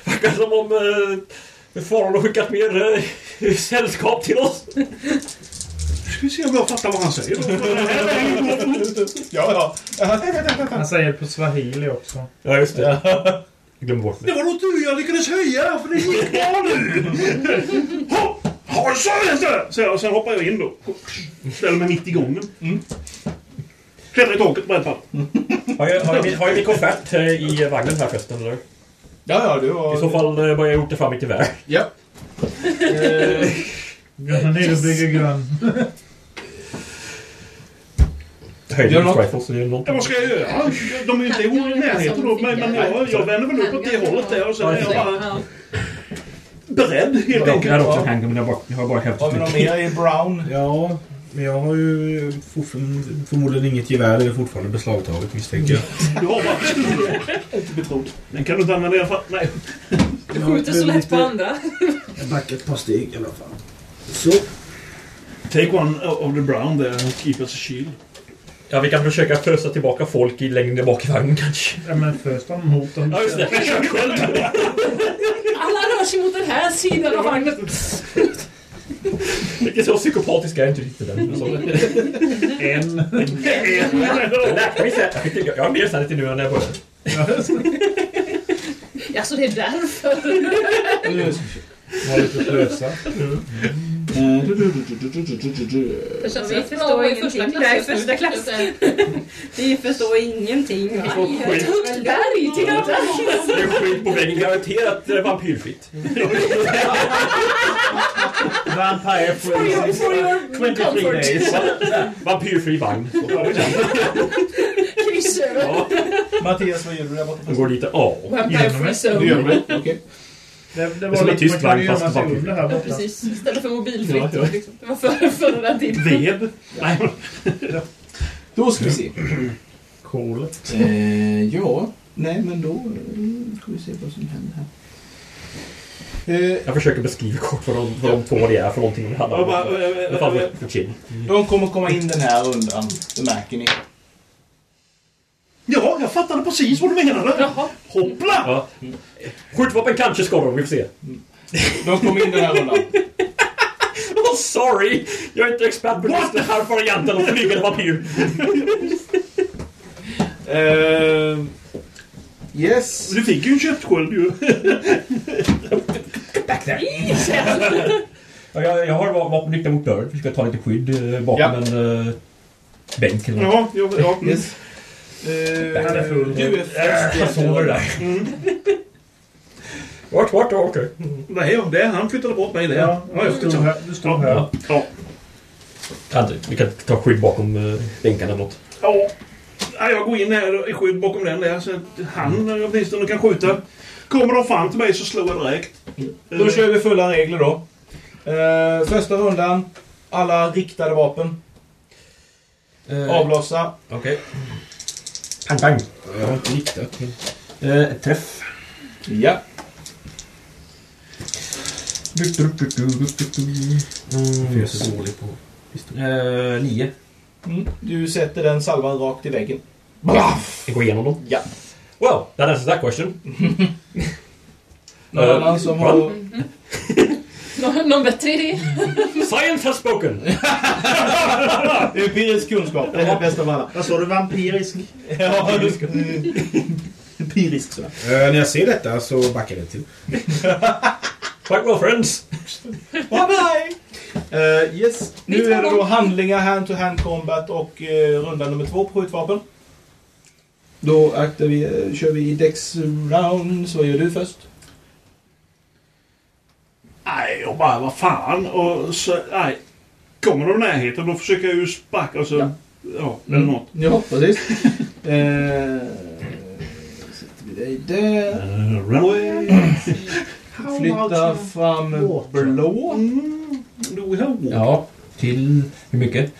Verkar som om uh, faran har skickat mer eh, sällskap till oss. Ska vi se om jag fattar vad han säger. ja, Han säger på swahili också. Ja, just det. Glöm bort Det var nog tur jag lyckades höja, för det gick bra nu! Hopp! Ha så det! Så jag, sen hoppar jag in då. Ställer mig mitt i gången. Mm. Klättrar i taket på ett fall. Har jag, har jag, min- har jag min koffert eh, i vagnen här förresten, eller? Ja, ja, du har... I så fall eh, bara jag gjort det fram mitt gevär. Ja. Gunnar ner och bygger grön. Höjden rifles eller Ja, någonting. vad ska jag göra? De är ju inte i närheten då, men men jag, jag vänder väl upp åt det hållet där och så är jag bara beredd helt Jag enkelt. hade också handgun, men jag har bara- jag har bara hälften. i brown? Ja, men jag har ju fortfar- förmodligen inget gevär. Det är fortfarande beslagtaget misstänker jag. Du har bara pistolen. Inte betrodd. Den kan du inte använda i alla fall. Nej. Du skjuter så lätt på andra. Jag backar ett par steg i alla fall. Så. Take one of the brown there and keep us a shield. Ja, vi kan försöka fösa tillbaka folk i längden bak i vagnen kanske. Ja, men först var mot dem. Ja, just det. Men kör själv Alla rör sig mot den här sidan av vagnen. Vilket så psykopatisk är jag inte riktigt den. Så. En. En. Jag fick- Jag har mer sanity nu än när jag började. Alltså det är därför. Var lite slösa. Eh, Alltså, vi förstår ju första klass Nej, just nu. första klass. Vi förstår ingenting. Vi får skit. Ett högt berg, titta. Det är skit på väggen. Garanterat eh, vampyrfritt. Vampire For your- for your 23 comfort. days. Vampyrfri vagn. Kryss över. Mattias, vad gör du där borta? Den går lite A. Vampire free zone. Du gör det? Okej. Det, det som var en tyst lite, man kan vagn, ju gömma sig fast vampyr. under här Ja, borta. precis. Istället för mobilfritt. Ja, ja. Liksom. Det var före för den tiden. Ved? Nej. Då ska vi se. Kolet. Eh, ja, nej men då eh, ska vi se vad som händer här. Eh, Jag försöker beskriva kort vad de, vad de två det är för någonting. Han Ja, bara, har eh, eh, i alla fall eh, för chin. De kommer komma in den här rundan, det märker ni. Ja, jag fattade precis vad du menade. Jaha. Hoppla! Ja. Skjutvapen kanske skorrar, vi får se. De kommer in den här rundan. Oh, sorry! Jag är inte expert på just den här varianten av flygande vampyr. Eh, yes. Du fick ju en köttsköld ju. Ja, jag, jag har va- vapen riktat mot dörren. Vi ska ta lite skydd eh, bakom Ja. en uh, bänk eller något. Ja, jag... Ja. Mm. Yes. Eh, Han är full. Du är Äh, jag först. sover där. Vart, vart, ja, okej. Nej, ja, det är han flyttade bort mig där. Ja, du jag stod här. Du stod här. Ja. Ja. Kan- Vi kan ta skydd bakom eh, bänkarna eller något. Ja. Ja, Jag går in här i skydd bakom den där så att han Mm. eh, åtminstone kan skjuta. Kommer de fram till mig så slår jag direkt. Då kör vi fulla regler då. Eh, första rundan, alla riktade vapen. Avlossa. Okej. Pang, pang. Jag har inte riktat. men- Eh, träff. Ja. För jag är så dålig på pistol. Eh, nio. Mm. Du sätter den salvan rakt i väggen. Blaff! Vi går igenom dem. Ja. Well, that answers that question. Någon annan som har... Nå- Någon bättre idé? Science has spoken! Empirisk kunskap, det är det bästa av alla. Vad sa du? Vampirisk? Eh, Ja, du ska... Empirisk sådär. Eh, när jag ser detta så backar jag till. Quite well friends. Bye bye! Eh, yes, Mitt nu är det vapen. då handlingar, hand-to-hand combat och eh, runda nummer två på skjutvapen. Då aktar vi, eh, kör vi dex rounds. Vad gör du först? Nej, jag bara vad fan. Och så, nej. Kommer de i närheten då försöker jag ju sparka och så... Ja. Mm. eller något. Ja, precis. eh, sätter vi dig där. Eh, runaway. Flytta fram blå. Mm, do we have walk? Ja, till hur mycket?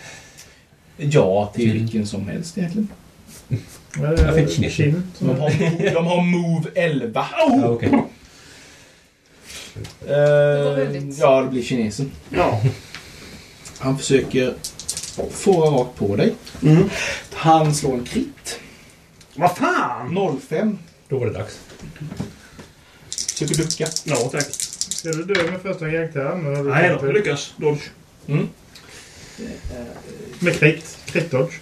Ja, till vilken som helst egentligen. Jag Eh, fick knippen. De har, mo- de har move 11. Ja, okej. var Eh, väldigt- ja, det blir kinesen. Ja. Han försöker fåra rakt på dig. Mm. Han slår en krit. Vad fan! 05. Då var det dags. Försöker ducka. Ja, tack. Ska du dö med första karaktären? Nej då, jag lyckas. Dodge. Med krit. Kritdodge.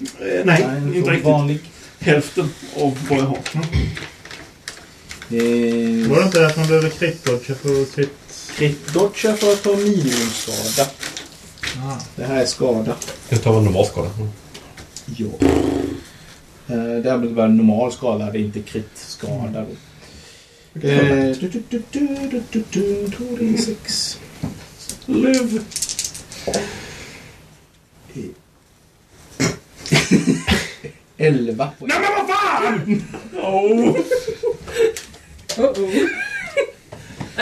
Eh, nej, Nej, inte så riktigt. Vanlig. Hälften av vad jag har. Var det Eh, inte att man behövde kritdodge för att krit... Kritdodga för att ta minimumskada. Ah. Det här är skada. Jag tar en normal skada. Ja. Mm. Eh, Det här blir bara normal skada, det är inte kritskada. då. Eh, du, du, du, du, du, du, du, 2D6. Liv. Eh. Elva poäng. Nej men vad fan! Oh. Uh-oh.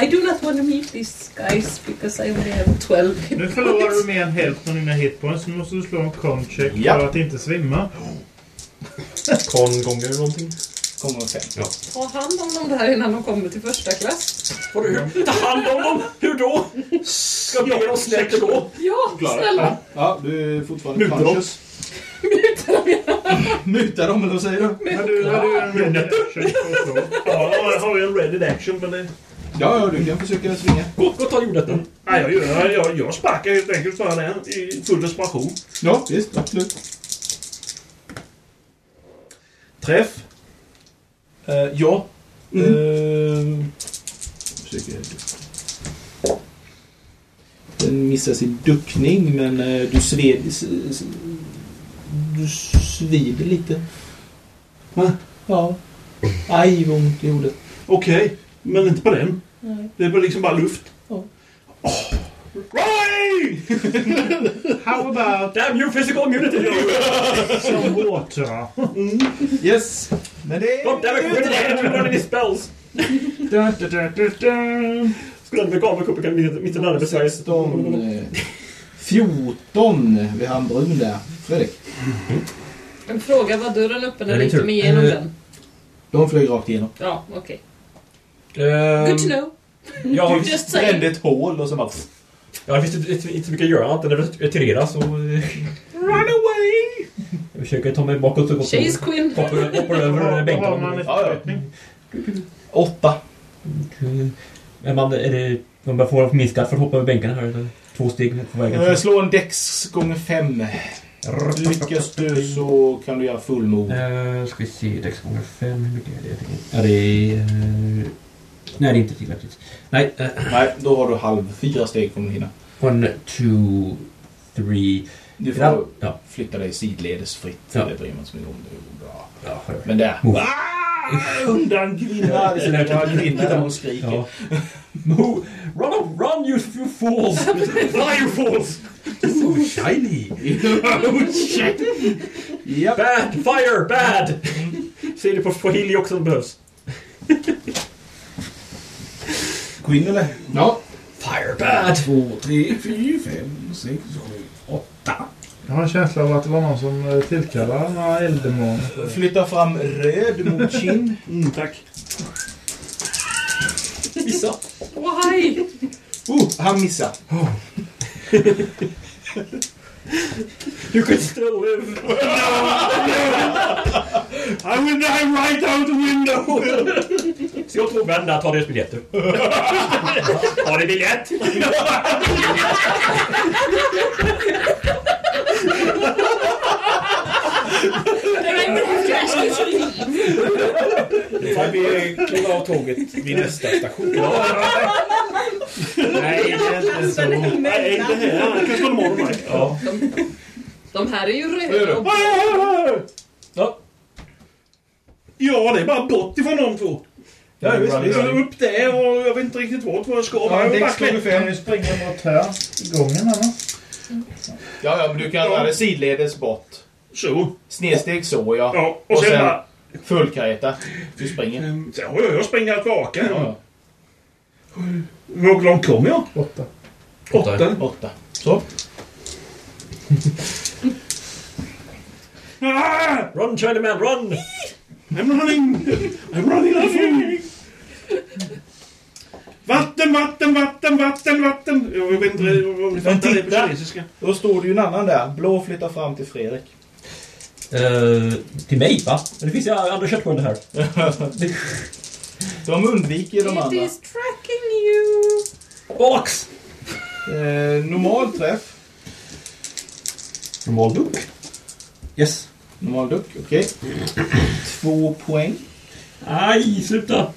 I do not want to meet these guys because I only have 12 hit Nu förlorar du mer än hälften av dina hitpoints. Nu måste du slå en con-check Ja. för att inte svimma. Kon gånger någonting. Kommer fem. Ja. Ta hand om dem där innan de kommer till första klass. Får du ta hand om dem? Hur då? Ska vi ge dem snällt då? Ja, Klara. snälla. Ja, du är fortfarande Muta dem. conscious. Muta dem, eller vad säger du? Har du, har du en ready action? att slå? Ja, jag har ju en ready action men det... Ja, ja, du kan försöka svinga. Gå, gå och ta jordnötten. Nej, jag, jag, jag, jag sparkar helt enkelt för den i full desperation. Ja, visst. Absolut. Träff. Eh, ja. Mm. Eh, försöker- Den missar sin duckning, men eh, du sved... s- s- Du svider lite. Va? Ja. Aj, vad ont det gjorde. Okej, men inte på den. Nej. Det är bara liksom bara luft. Ja. Roy! How about... Damn you physical immunity! Some water. Yes. Men det... God damn it, we're dead! We're running in spells! Skulle den veganverkuppen kan mitt mitt namn besvärjas. 14. Vi har en brun där. Fredrik. Men fråga var dörren öppen Ja, det är eller inte tur. med igenom Eh. den. De flög rakt igenom. Ja, okej. Good Good to know. Jag har Just saying. ett hål och så bara... Ja, det finns inte, inte, inte så mycket att göra annat än att retirera så... Run away! Jag försöker ta mig bakåt så gott det Chase går. Quinn. Hoppar hoppar över Vad har man bänken. ett Ja, förflyttning? Åtta. Är man, är det, man bör få minskat för att hoppa över bänken här eller? Två steg på vägen. Eh, Slå en dex gånger fem. Lyckas du så kan du göra fullmord. Uh, ska vi se, Dex gånger 5, hur mycket är det? Ja, det är... eh, nej, det är inte tillräckligt. Nej. eh, Nej, då har du halv. Fyra steg kommer du hinna. one, two, three... Du får Ja. Ja. flytta dig sidledes fritt. Ja. Det bryr man sig inte om. Det är bra. Ja, hör. Men där. Mm. Move. Ah, Undan kvinna! Det är bara kvinnor där och skriker. Oh. Ja. Move. Run, up, run you, you fools! Fly you fools! Oh, shiny! oh shit! Bad! Fire! Bad! Säger det på swahili också om det behövs. Gå in eller? Ja. Fire bad! 2, 3, 4, 5, 6, 7, 8. Jag har en känsla av att det var någon som eh, tillkallade några elddemoner. Flytta fram röd mot kind. Mm, tack. Missa! Why? Oh, han missar. You could still live! I will die right out the window! Se åt två män där, ta deras biljetter. Har ni biljett? Nu får vi kliva av tåget vid nästa station. Nej, det är inte så. Nej, inte här. Det kanske var morgon, Mike. Ja. De här är ju röda. och- Ja. Ja, det är bara bort ifrån de två. Ja, visst, Jag visst. är upp där och jag vet inte riktigt vart vad jag ska. Ja, jag Dex slog fem. Nu springer jag mot här. I gången annars. Ja, ja, men du kan röra dig sidledes bort. Så. Snedsteg så, ja. Ja, och sen bara- fullkareta. Du Mm. springer. Sen har jag, jag springer att vaka. Ja, ja. Hur långt kom jag? Åtta. Åtta. Åtta. Så. Ah! Run Chinaman, run! I'm running! I'm running out of food! Vatten, vatten, vatten, vatten, vatten! Jag vet Mm. inte om ni fattar det på titta. kinesiska. Då står det ju en annan där. Blå flyttar fram till Fredrik. Eh, till mig va? Men det finns ju andra köttbullar här. De undviker de It andra. is tracking you. Box! Eh, normal träff. Normal duck. Yes. Normal duck, okej. Två poäng. Aj, sluta!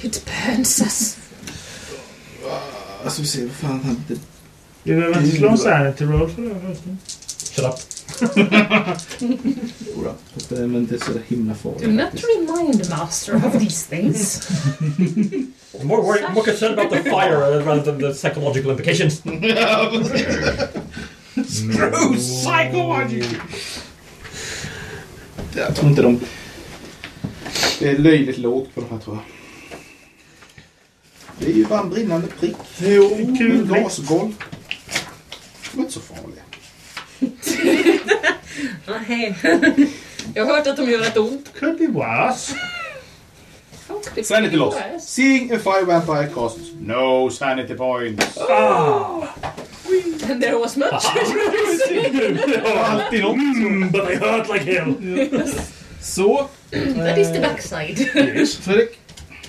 It burns us. Alltså vi ser vad fan han inte... Du behöver inte slå en sanity roll för det förresten. Shut up. Jodå, fast den är inte så himla Do farlig. not remind master of these things. More, worried, more concerned about the fire uh, rather than the psychological implications. True psychology! Jag tror inte de... Det är löjligt lågt på de här tror jag. Det är ju bara en brinnande prick. Jo, Mm, kul. Gasgolv. Det var inte så farligt. Nej. Jag har hört att de gör ett ont. Could be worse. Sanity loss. Seeing a fire vampire costs no sanity points. Ah. And there was much. Alltid något. Mm, but I hurt like hell. Så. That is the backside. Fredrik?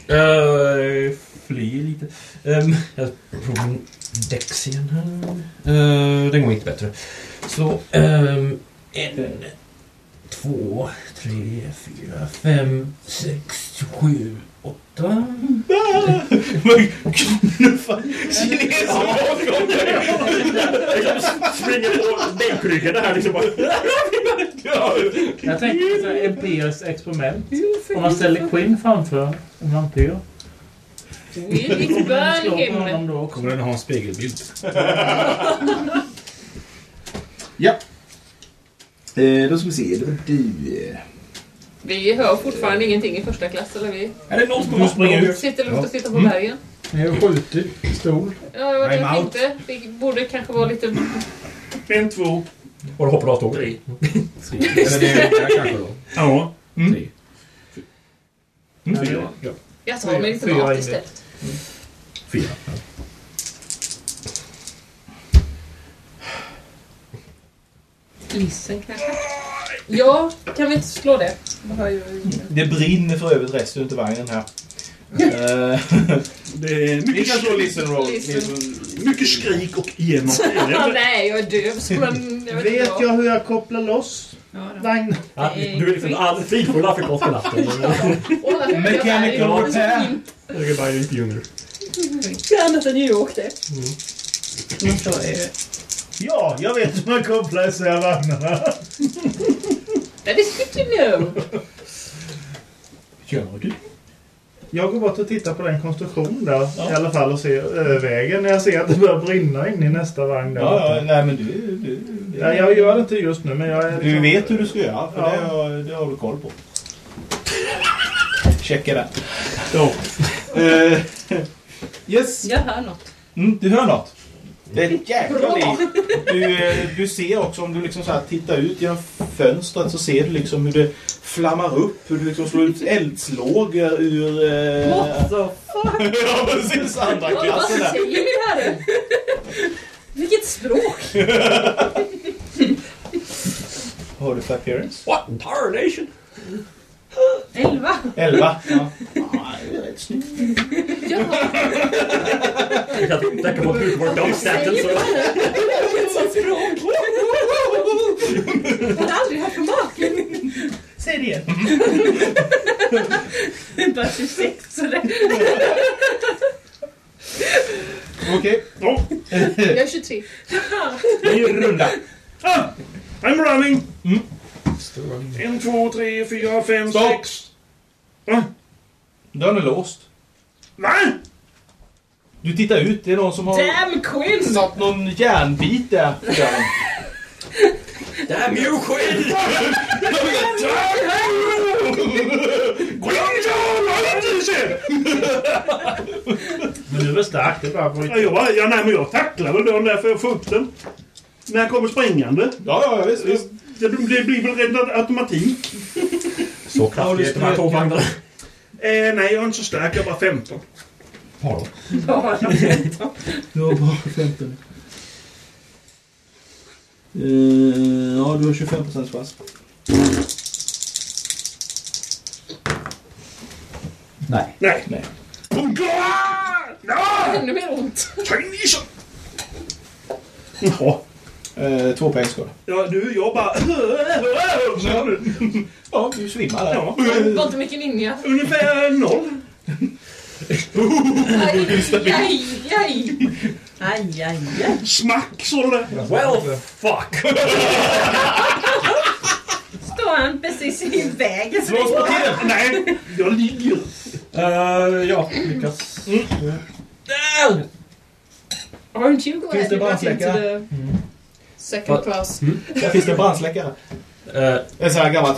Uh, fly lite. Ehm, jag provar min dex igen här. Eh, den går inte bättre. Så, ehm, en, två, tre, fyra, fem, sex, sju, åtta. Springer på bänkryggarna här liksom bara... Jag tänker så här, empiriskt experiment. Om man ställer Quinn framför en vampyr. We burn him. Kommer den ha en spegelbild? Ja. Eh, då ska vi se, det var du. eh. Vi hör fortfarande ingenting i första klass, eller vi? Är det någon som vill springa ut? Sitter lugnt och sitter på Mm. bergen. Jag har skjutit pistol. Ja, det var det I'm jag out. tänkte. Vi borde kanske vara lite... En, två. Och då hoppar du av tåget. Tre. Eller det är jag kanske då. Ja. Mm. Mm, fyra. Ja. Jag tar mig lite Fyra mat inne. istället. Fyra. Lissen kanske? Ja, kan vi inte slå det? Vad har jag i- Det brinner för övrigt resten utav vagnen här. Eh, Det är Vi kan mycket, slå listen roll. Listen. mycket skrik och genom. Ah, Nej, jag är döv. så man- Jag vet inte Vet vad. jag hur jag kopplar loss vagnen? Ja, du är liksom alldeles fridfull afrikanska natten. Åh, vad hög jag är. Mechanical Jag är så repair. himla- Jag är bara inte junior. Det är annat än New York det. Ja, jag vet hur man kopplar isär vagnarna. That is good to know. Gör du? Jag går bort och tittar på den konstruktionen där i alla fall och ser eh, vägen när jag ser att det börjar brinna in i nästa vagn. Där. Ja, ja, nej men du... du, du Ja, jag gör det inte just nu, men jag är... Du vet hur du ska göra, för Ja. det, har, det har du koll på. Checka det. Så. Eh, yes. Jag hör något. Mm, du hör något. Det är ett jäkla Bra. liv. Du, eh, du ser också, om du liksom så här tittar ut genom fönstret så ser du liksom hur det flammar upp. Hur du liksom slår ut eldslågor ur... Eh... What the fuck? Ja, precis. Andra Vad vad klassen där. säger ni här? Vilket språk! Har du för appearance? What in tarnation? Elva. Elva. Ja. Ja, det är rätt snyggt. Jag kan tänka på att du var dödsstaten så... Vilket språk! Jag har aldrig haft maken. Säg det igen. Bara 26 sådär. Okej. Jag är 23. Ny runda. Ah, I'm running! En, två, tre, fyra, fem, Stopp. sex. Va? Mm. Dörren är låst. Va? Du tittar ut, det är någon som har Damn Quinn! satt någon järnbit där på dörren. Damn you quid! Gå långt jag har inte sett! Men du är väl stark, det är bara på Ja, jag bara, ja, nej, men jag tacklar väl dörren där för att få upp den. När jag kommer springande. Ja, ja, visst. visst. Det, det blir väl rent automatik. Så kraftigt de här tågvagnarna. Eh, nej, jag är inte så stark. Jag är bara 15. Har Bara 15. Du har bara 15. Uh, ja, du har 25 procents chans. Nej. Nej. Nej. Oh, God! Ja! Ännu mer ont. Chinesen! Jaha. Eh, två poäng ska du. Ja, du, jag bara... Ja, du svimmar där. Ja. Var inte mycket ninja. Ungefär noll. Aj, aj, aj. Aj, aj, aj. Smack sa du det. Well, fuck. Står han precis i vägen? Slås på tiden. Nej, jag ligger. Eh, ja, lyckas. Mm. Aren't you glad Finns det Mm. you got into brandsläckare? the second Va- class? Där finns det brandsläckare. Eh, En sån här gammal...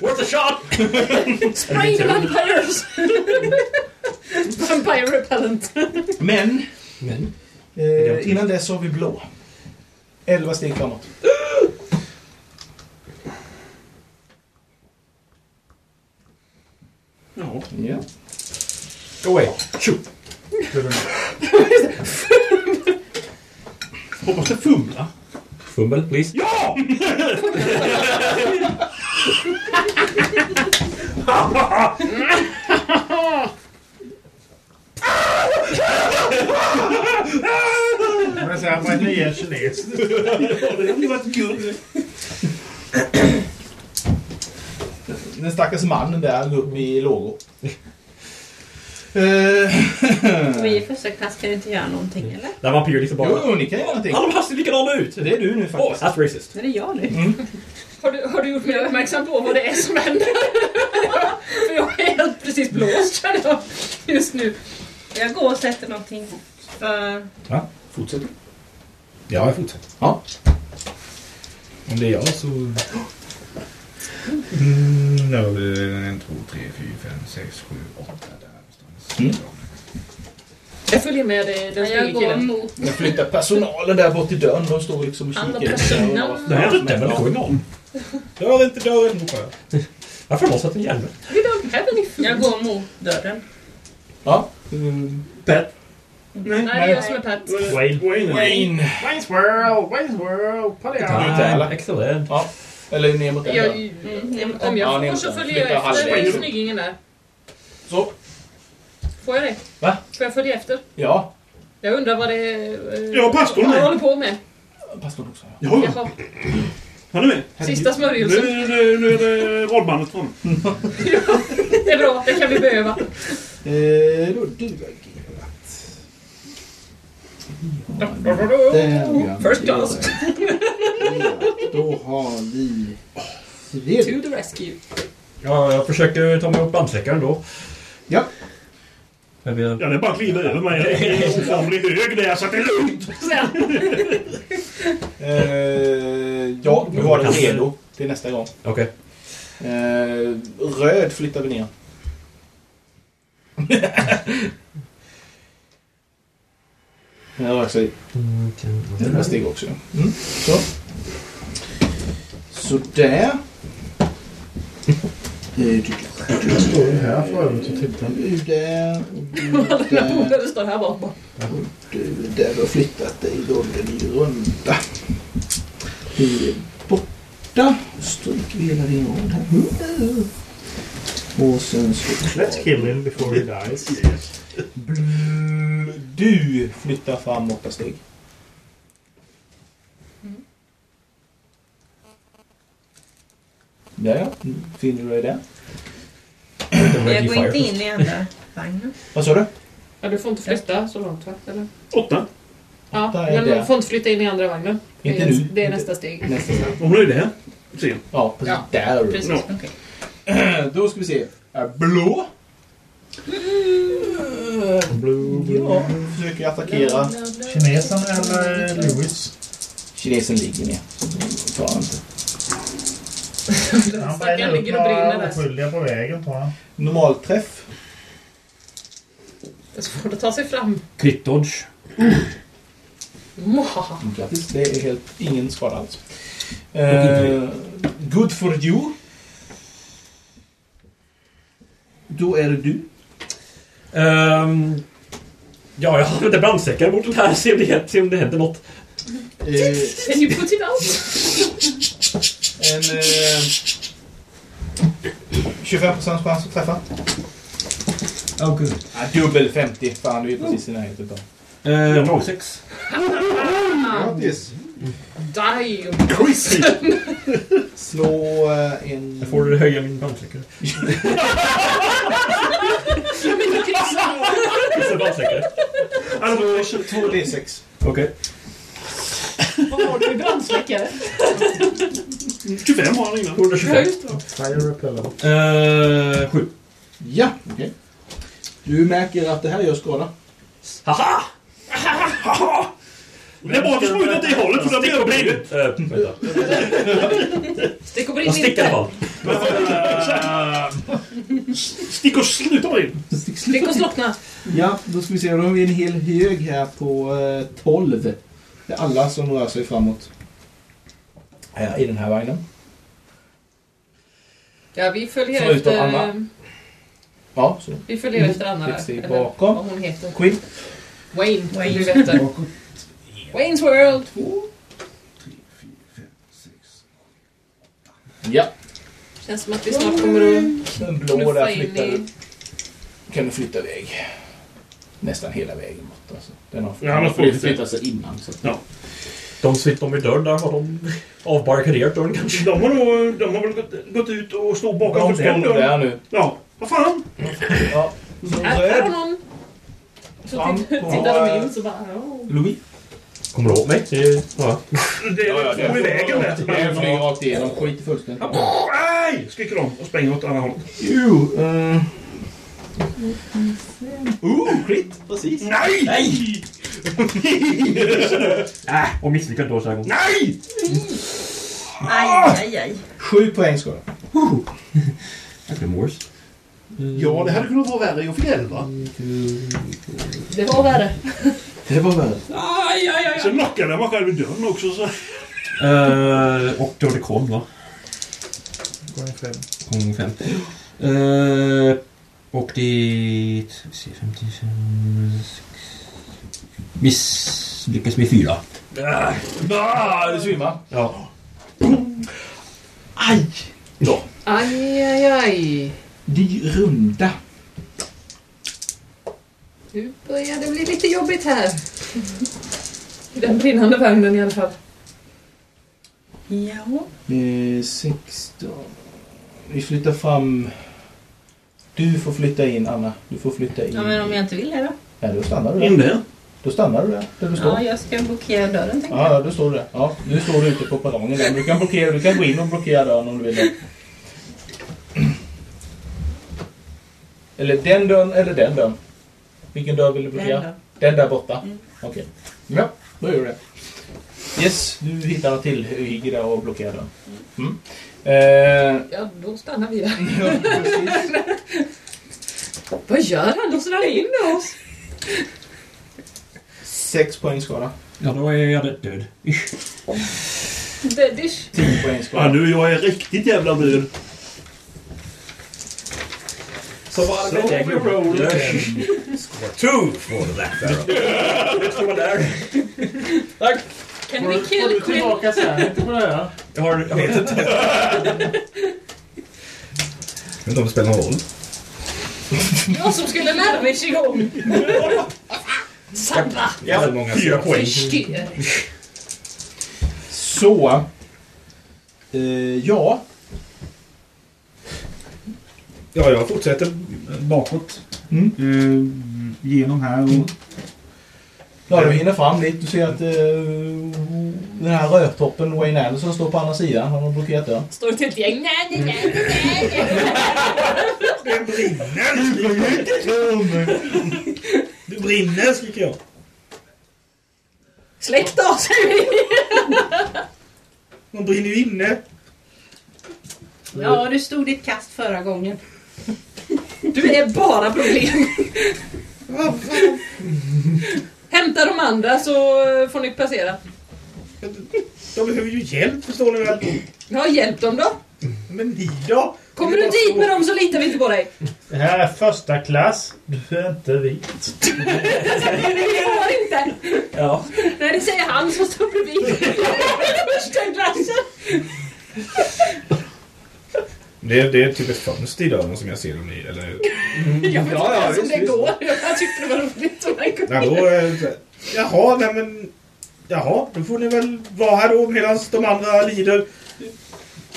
Worth a shot! Spray the vampires! Vampire repellent. Men... Eh, innan dess har vi blå. Elva steg framåt. Ja. Ja. Go away. Tjo! Hoppas det fumlar. Fumble, please. Ja! Men så här, vad är nya kines? Det hade varit kul. Den stackars mannen där upp i lågor. Eh, Vi i första klass kan ju inte göra någonting, eller? Där vampyr liksom bara... Jo, ni kan göra någonting. Alla de här ser likadana ut! Det är du nu Åh, faktiskt. that's racist. Är det jag nu? Har du, har du gjort mig uppmärksam på vad det är som händer? För jag är helt precis blåst känner jag just nu. Jag går och sätter någonting för... Ja, fortsätt. Ja, jag fortsätter. Ja. Om det är jag så... Mm, då blir det en, två, tre, fyra, fem, sex, sju, åtta där någonstans. Jag följer med dig, den Jag snygga går killen. mot... Jag flyttar personalen där bort i dörren. De står liksom och Andra kikar. personal. Det här är inte definition om. Rör inte dörren, ropar jag. Varför har någon satt en hjälm? We don't have any food. Jag går mot dörren. Ja. Pet. Nej, det är jag som är Pat. Wayne. Wayne. Wayne. Wayne's World, Where's World, på det Ah, här. Tärla. Excellent. Ja. Eller ner mot den Jag, dörren. mm, om Ja, jag ni får måste så följer flytta jag efter halvvägs. snyggingen där. Så. Får jag det? Va? Får jag följa efter? Ja. Jag undrar vad det är... eh, Ja, pastorn Vad är. jag håller på med. Pastorn också. ja. Jo, Jaha, han är med. sista smörjelsen. Nu, nu, nu är det rollbandet från. Det är bra, det kan vi behöva. Eh, då har du agerat. First class. Då har vi... To the rescue. Ja, jag försöker ta mig upp brandsläckaren då. Ja. Men vi har... Ja, det är bara att kliva över mig. Jag är oformlig hög där så att det är lugnt. Eh, ja, du har den redo till nästa gång. Okej. Eh, röd flyttar vi ner. Den rör sig några steg också. Mm. Så. Sådär. Jag står ju här för övrigt och tittar. Du där. Alla Du dina där. polare står här bak bara. Du där. Du har flyttat dig då. Den är runda. Du är borta. Stryker vi hela din rad här. Mm. Och sen så... Let's kill him before he dies. Du flyttar fram åtta steg. Mm. Där ja, nu Mm. finner du dig där. Jag går inte in i andra vagnen. Vad sa du? Ja, du får inte flytta så långt va? Eller? Åtta. Ja, Där är men det. du får inte flytta in i andra vagnen. det Inte är, nu. Det är Inte- nästa steg. Nästa steg. Om nu är det här. Se. Ja, precis. Ja, Där. Precis, Ja. okej. Då ska vi se. Är Blå. Blue, Ja, försöker attackera. Kinesen eller eh, Lewis? Kinesen ligger ner. Tar han inte. Han Stackaren bränner upp ligger och brinner några där. oskyldiga på vägen tror jag. Normalträff. Det är svårt att ta sig fram. Kvittodge. Mwahaha. Mm, Grattis, det är helt ingen skada alls. inte Eh, good for you. Då är det du. Ehm, ja, jag använder brandsäckar mot den här. Se om det, se om det händer något. Eh, Can you put it out? En eh, 25% chans att träffa. Oh, good. Ja, dubbel 50. Fan, du är precis i närheten då. Eh, 06. Grattis! Die! Slå eh, en... Får du höja min brandsläckare? Men du kan ju slå. Vissa brandsäckare. 2D6. Okej. Vad har du i brandsläckare? 25 har han innan. 125. Fire repellent. Eh, sju. Ja, okej. Du märker att det här gör skada. Haha! Haha! Det är bra att du smutade åt det hållet för då blir jag blind. Eh, Stick Jag och brinn sticker inte! Stick och sluta med det. Stick och slockna! Ja, då ska vi se. Då har vi en hel hög här på eh, 12. Det är alla som rör sig framåt. Här, I den här vagnen. Ja, vi följer Förutom efter... eh, Anna. Ja, så. Vi följer efter Anna Vi där. ser Eller Mm. bakom. Vad hon heter. Queen. Wayne. Wayne. Du vet det. Wayne's World. Ja. Känns som att vi snart kommer att Den blå där knuffa in flyttar i... du. Kan du flytta iväg. Nästan hela vägen bort. Alltså. Den har Ja, men flyttat sig innan. Så. att- De sitter om i dörren där. Har de avbarrikaderat dörren kanske? De har, nog, de har väl gått, gått ut och står bakom De står nog där nu. Ja, vad fan. Ja. Här här har någon... Så Fram titt- på- tittar de in så bara... "Åh." Louis. Kommer du ihåg mig? Det är- Ja. Det är ja, två i vägen där. Den flyger rakt igenom. Skiter fullständigt Aj! Skriker de och springer åt andra hållet. Jo. Uh... Oh, crit! Precis. Uh, Nej! Nej! Äh, och misslyckat då så här gång. Nej! Aj, aj, aj. Sju poäng ska du. Det blir Morse. Ja, det hade kunnat vara värre. Jag fick 11. Det var värre. Det var värre. Aj, aj, aj, Sen aj. knockade jag mig själv i dörren också. Så. Eh, och då det kom va? Gånger fem. Gång fem. Eh, och det... ska vi se, 55... Misslyckas med fyra. Ah, du svimmar. Ja. Aj! Då. Aj, aj, aj. Ny runda. Nu börjar det bli lite jobbigt här. I den brinnande vagnen i alla fall. Ja. Eh, 16. Vi flyttar fram... Du får flytta in, Anna. Du får flytta in. ja, men om jag inte vill det då? Nej, då stannar du där. In där. Då stannar du där, där du står. Ja, jag ska blockera dörren tänkte Ja, jag. ja, då står du där. Ja, nu står du ute på perrongen där. Du kan, blockera, du kan gå in och blockera dörren om du vill. Eller den dörren eller den dörren. Vilken dörr vill du blockera? Den dörren. Mm. Den där borta? Okej. Ja, då gör du det. Yes, du hittar en till hygge där och blockerar dörren. Mm. Eh, Ja, då stannar vi där. ja, precis. Vad gör han? Låser han in oss? Sex poäng skada. Ja, då är jag död. död. Ish. Daddish. Tio poäng skada. Ja, nu jag är riktigt jävla blyg. Så var det med we roll Score two for that arrow. Jag tror där. Can we kill Quinn? Jag har... Jag vet inte. Men de spelar någon roll. Jag som skulle lära mig qigong. Sabba. Ja, så många Fyra poäng. Förstör. Så. Eh, ja. Ja, jag fortsätter bakåt. Eh, genom här och... Ja, du hinner fram dit. Du ser att eh, den här rödtoppen Wayne Anderson står på andra sidan. Han har blockerat dörren. Står ett helt gäng. Nej, nej, nej, nej, nej. Det brinner! Det brinner, skriker jag. Släck då, säger vi. Man brinner ju inne. Ja, du stod ditt kast förra gången. Du är bara problem. Hämta de andra så får ni passera. De behöver ju hjälp, förstår ni väl? Ja, hjälp dem då. Men ni då? Kommer du dit med dem så litar vi inte på dig. Det här är första klass. Du är inte vit. Det går inte. Ja. Nej, det säger han som står bredvid. Första klassen. Det är, det är typ ett fönster i dörren som jag ser dem i. Eller... Jag vet Ja, inte ja, ens om visst, det visst. går. Jag tyckte det var roligt. om det går. Ja, då, eh, jaha, nej men... Jaha, då får ni väl vara här då medan de andra lider.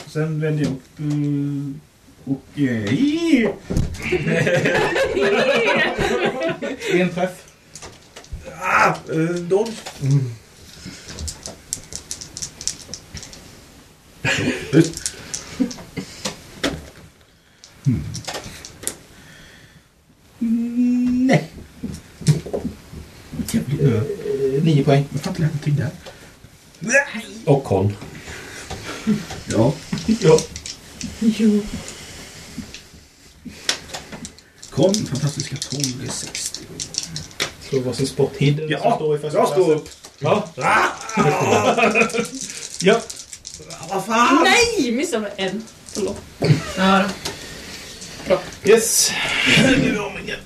Sen vänder jag upp... eh, Och... eh, En träff. Ah, eh, dodge. Nej. Nio poäng. Jag fattar ingenting där. Och kon. Ja. Ja. Jo. Kom, fantastiska 12 är 60. Slå varsin sporthid. Ja, jag står upp. Ja. ja. Vad fan? Nej! Missade med en. Förlåt. Ja. Bra. Yes. Nu om igen.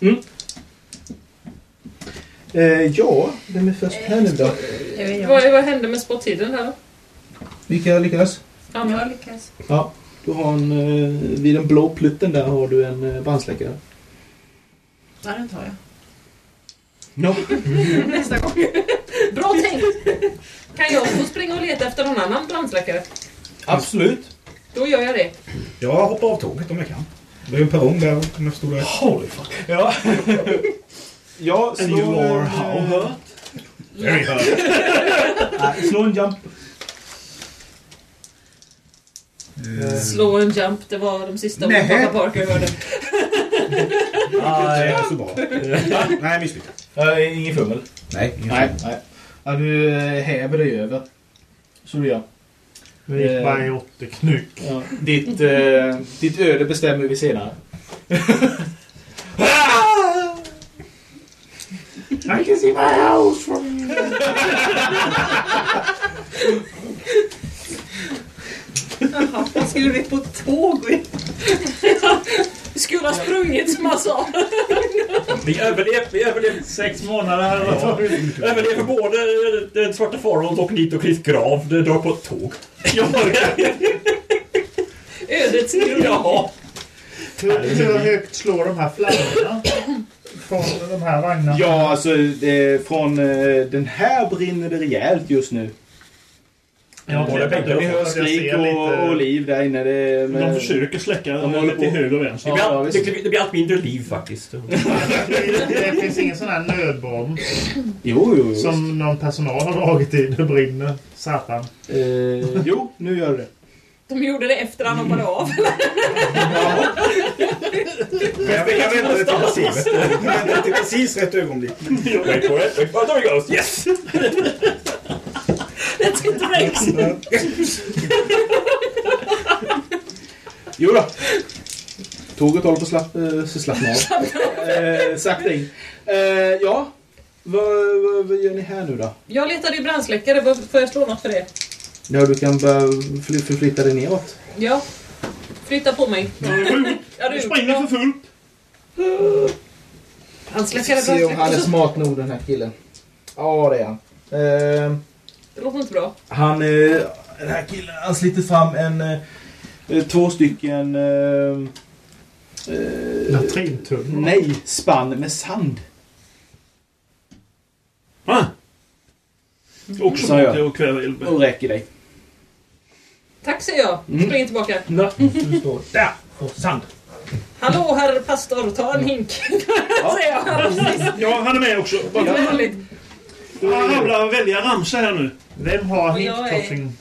Mm. Eh, ja, vem är först här nu då? Vad, vad hände med sporttiden där då? Vilka lyckades? Ja, men jag lyckas. Ja, du har en, eh, vid den blå plutten där har du en eh, brandsläckare. Ja, den tar jag. Ja. Nästa gång. Bra tänkt! Kan jag få springa och leta efter någon annan brandsläckare? Absolut. Då gör jag det. Jag hoppar av tåget om jag kan. Det är ju en perrong där om jag förstod det Holy fuck. Ja. ja, And you are how hurt? Very hurt. slå en jump. Slå en jump, det var de sista orden Nej. pappa Parker hörde. Nej, det är så bra. Nej, misslyckat. Uh, ingen fummel? Nej, ingen Nej, fummel. nej. Ja, du eh, häver dig över. Så du gör. Det gick bara i åtteknyck. Ja, ditt, eh, ditt öde bestämmer vi senare. I can see my house from here. Jaha, jag skulle vi på tåg? skulle ha sprungit som han sa. Vi överlevde vi överlevt sex månader. Ja. Överlevde både eh, den svarta faran och dit och Chris grav. Det drar på ett tåg. Ja, Ödets grund. Ja. Hur, hur högt slår de här flammorna? Från de här vagnarna? Ja, alltså eh, från eh, den här brinner det rejält just nu. Ja, det tänkte jag Ni hör också. Jag skrik ser lite- och, och liv där inne. Det, De försöker släcka De håller till på. höger och vänster. Ja, ja, visst. Alltså, Det, det blir allt mindre liv faktiskt. Det finns ingen sån här nödbomb Jo, jo, jo. som någon personal har dragit i. Det brinner. Satan. Eh, jo, nu gör det. De gjorde det efter han hoppade av. Jag vet- jag väntade till precis. Jag väntade till precis rätt ögonblick. Wait for it. Wait for it. There it goes. Yes! That's it breaks. Jo då. Tåget håller på att slapp, eh, så slappna av. eh, sakta in. Eh, ja, vad, vad, vad gör ni här nu då? Jag letade ju brandsläckare, Vad- får jag slå något för det? Ja, du kan börja fly- förflytta dig neråt. Ja. Flytta på mig. Ja, du. Springa för fullt. Brandsläckare, Se om han är brandsläckare. smart nog den här killen. Ja, det är han. Eh, Det låter inte bra. han eh, den här killen, han sliter fram en... Eh, två stycken... Eh, eh, Latrintunnor. Nej, spann med sand. Ah. Också Sa jag. bort och kväva elden. Och räcker dig. Tack säger jag. Mm. Spring tillbaka. Du står där och sand. Hallå herr pastor, ta en hink. säger jag. Ja, han är med också. Bara- Väldigt. Du har jävla välja ramsa här nu. Vem har Och jag är- hinktoffing?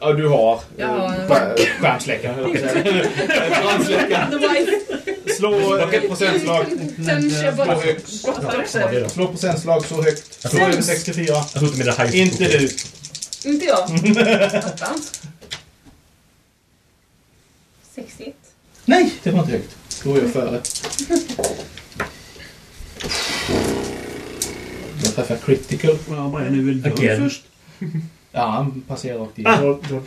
Ja, du har Ja, eh, ja. skär- skärmsläckare. höll jag på att säga. Eh, Brandsläckare. Slå eh, procentslag. Sen kör jag bara... Slå högt. Brottar också. Slå procentslag så högt. Slå över 64. Jag trodde med det här. Inte du. Inte jag. Attans. 61. Nej, det var inte högt. Då är jag före. Jag träffar critical. Ja, vad är nu väl dörr Again. först? Ja, han passerar rakt Ah. igenom. Dodge.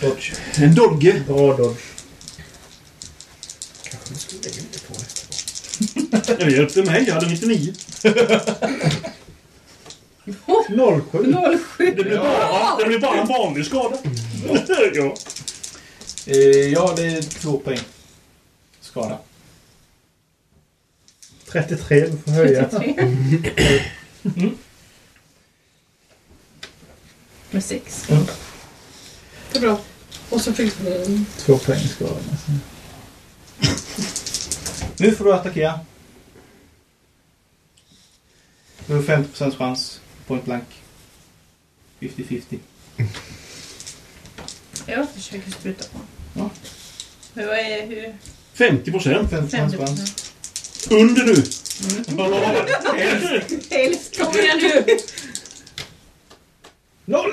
Dodge. En dogge. Bra dodge. Jag hjälpte mig. Jag hade 99. Nollsju. 07. Det blir bara, det blir bara en vanlig skada. ja. Eh, ja, det är två poäng. Skada. 33. Du får höja. 33. Med 6. Det är bra. Och så fick vi... Två poäng skada. Nu får du attackera. Du har 50% chans. Point blank. 50-50. Jag försöker spruta på. Ja. Men vad är hur? 50 procent. 50 procent. Under nu. Mm. Helst. Kom igen nu! 01! Ja!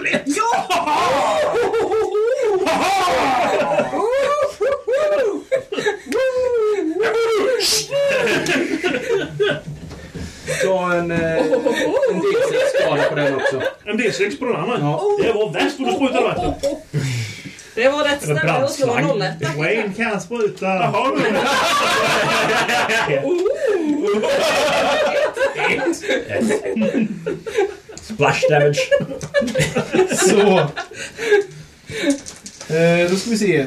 Ta en, en D6 skada på den också. En D6 på den andra? Det var värst vad du sprutade vatten. Det var rätt Eller snabbt att slå brandslang. 01. Wayne kan spruta. Jaha, du. Splash damage. Så. Eh, då ska vi se.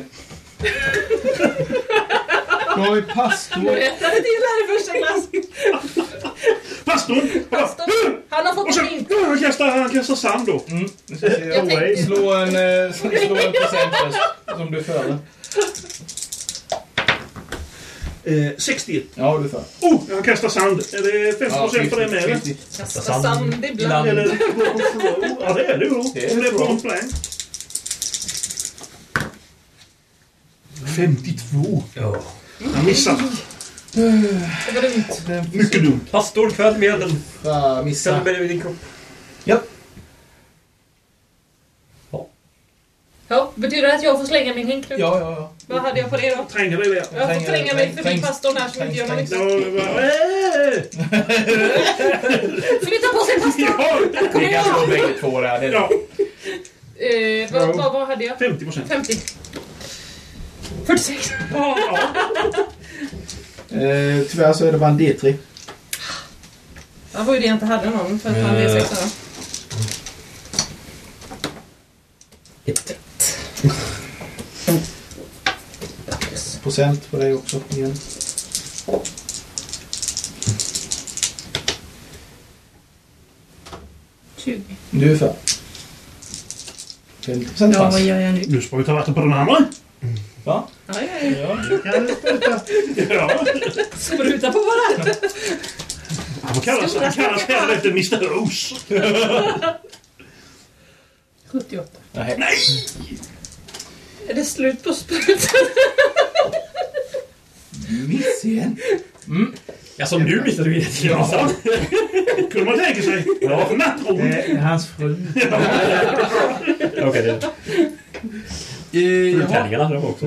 Då har vi pastor. Berättade till här i första klass. Pastorn! Pastorn, Han har fått en vilt. Han kastar, han kastar sand då. Mm. Jag tänkte- Slå en, eh, slå en procent först, som du förde. Eh, 61. Ja, du för. Oh, han kastar sand. Är det 50 procent på det med? eller? Kasta sand ibland. Eller går på flow. Ja, det är det ju då. Det är Om det är bra. på en plan. 52. Ja. Han missar. Det var dumt. Mycket dumt. Pastor, kväll med den. Ah, missa. Sen börjar vi din kropp. Ja, betyder det att jag får slänga min hink nu? Ja, ja, ja. Vad hade jag på det då? Tränga dig där. Jag får tränga mig förbi Tränga- pastorn här som inte gör någon tränga- nytta. Eh, Flytta på sig pastorn! Kom Det igen! kan slå bägge två där. Det är Ja. Eh, vad, vad, vad hade jag? 50 procent. 50. 46. Eh, tyvärr så är det bara en D3. Det var ju det jag inte hade någon för att han är Eh. 16 år. Ett. Procent på dig också igen. Du är för. 50 procent Ja, vad gör jag nu? Nu sprutar vatten på den andra. Va? Ja, ja, ja. Kan du spruta? Ja. Spruta på varandra! Han kallas, han kallas heller inte Mr. Rose. 78. Nej! Är det slut på sprutan? Miss igen. Mm. Alltså nu missade du jättegärna. Ja. Kunde man tänka sig. Ja. Nattron. Eh. Hans fru. Okej, det... Eh, Tärningarna hade de också.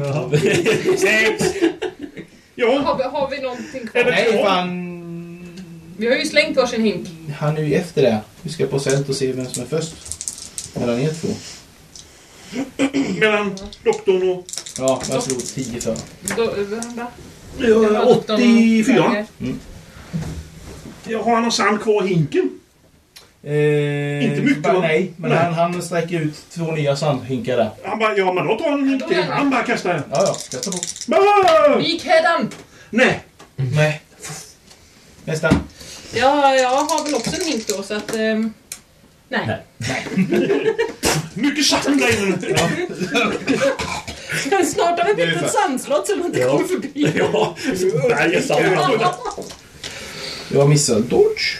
Sex! Har, vi- har vi någonting kvar? Nej, fan. Vi har ju slängt varsin hink. Han är ju efter det. Vi ska procent och se vem som är först. Mellan er två. Mellan doktorn och... Ja, jag slog 10 för. Då, eh, va? Ja, 84. Mm. Jag har någon sand kvar i hinken. Eh, Inte mycket, bara va? Nej, men Nej. Han, han sträcker ut två nya sandhinkar där. Han bara, ja men då tar han en hink till. Han bara kastar den. Ja, ja. Kasta på. Bah! Vikhädan! Nej. Nej. Nästa. Ja, jag har väl också en hink då så att... ehm, nej. Mycket sand där inne. nu. Snart har vi Det är byggt fan- ett sandslott som man inte Ja. kommer förbi. Ja. Berg och sand. Jag missade Dodge.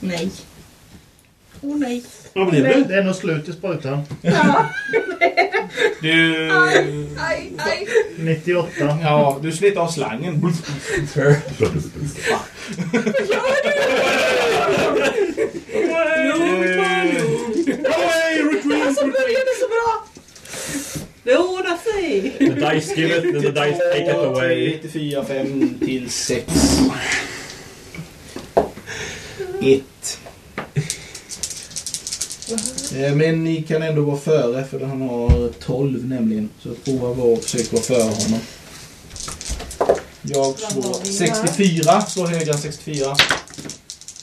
Nej. Åh nej. Vad blev det? Det är nog slut i sprutan. Du... Aj, aj. 98. Ja, du slet av slangen. Hej, retreat! Alltså började så bra! Det ordnar sig. The dice give it, Typ the dice take it away. 3, 4, 5 till 6. 1. Eh, Men ni kan ändå vara före för han har 12 nämligen. Så prova att vara- försök vara före honom. Jag slår 64. Slår högre än 64.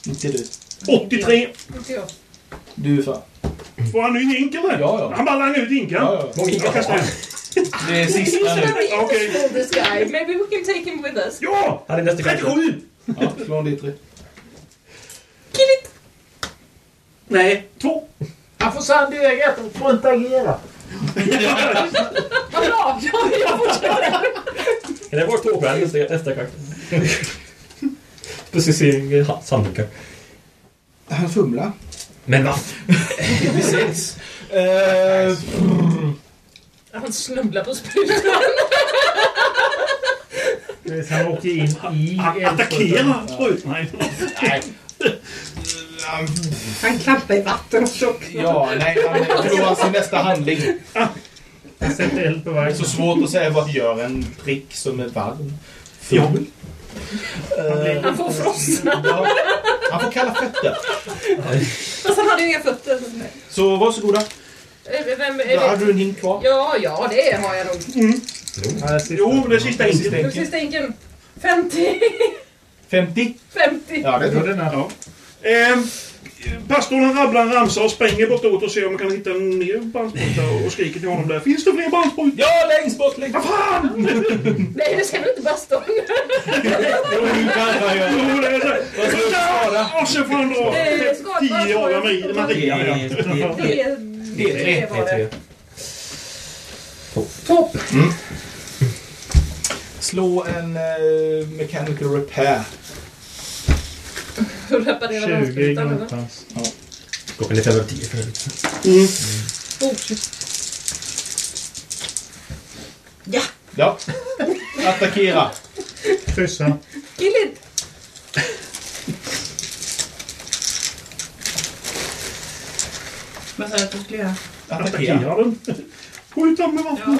Inte du. 83. Inte jag. Du är före. Får han ny hink eller? Ja, Han bara langar ut hinken. Ja, ja. Jag kastar den. Det är sista nu. Okej. Hold this guy. Maybe we can take him with us. Ja! Han är nästa kanske. 37! Ja, slå en D3. Nej. Två. Han får sand i ögat och får inte agera. Vad bra! Ja, jag fortsätter. Är det vår tågvärd nästa, nästa karaktär? Precis i ha- handdukar. Han fumlar. Men va? Precis. Eh, Han snubblar på sprutan. Han åker in i Attackera eldsprutan. sprutan! Nej. Han klampar i vatten och tjocknar. Ja, nej, han förlorar sin nästa handling. Jag sätter eld på vargen. Så svårt att säga vad gör en prick som är varm. Ja. Eh, Han får frossa. ja, han får kalla fötter. Fast han hade ju inga fötter. Så varsågoda. Eh, Vem är Då hade det? du en hink kvar. Ja, ja, det har jag nog. Jo, men det är sista Nu instinken. finns det ingen... 50! 50? 50! Ja, det tror tror jag. jag. Ja. Ehm, pastorn rabblar en ramsa och springer bortåt och ser om man kan hitta en mer bandspruta och skriker till honom där. Finns det fler bandsprutor? Ja, längst bort! Längst Vad fan! Nej, det ska du inte baston. Jo, det är så. Vad ska du svara? Och så får han dra Eh, skadbar, tio av skadbar. Maria. Maria, ja. Det är... Det var det. Topp! Slå en eh, mechanical repair. Reparera 20 danssprutan, eller? någonstans. Klockan är fem över tio för övrigt. Oh, Ja, Ja. Attackera. Kryssa. killigt! Vad sa du att du skulle göra? Attackerar den. Skjut dem med vapen.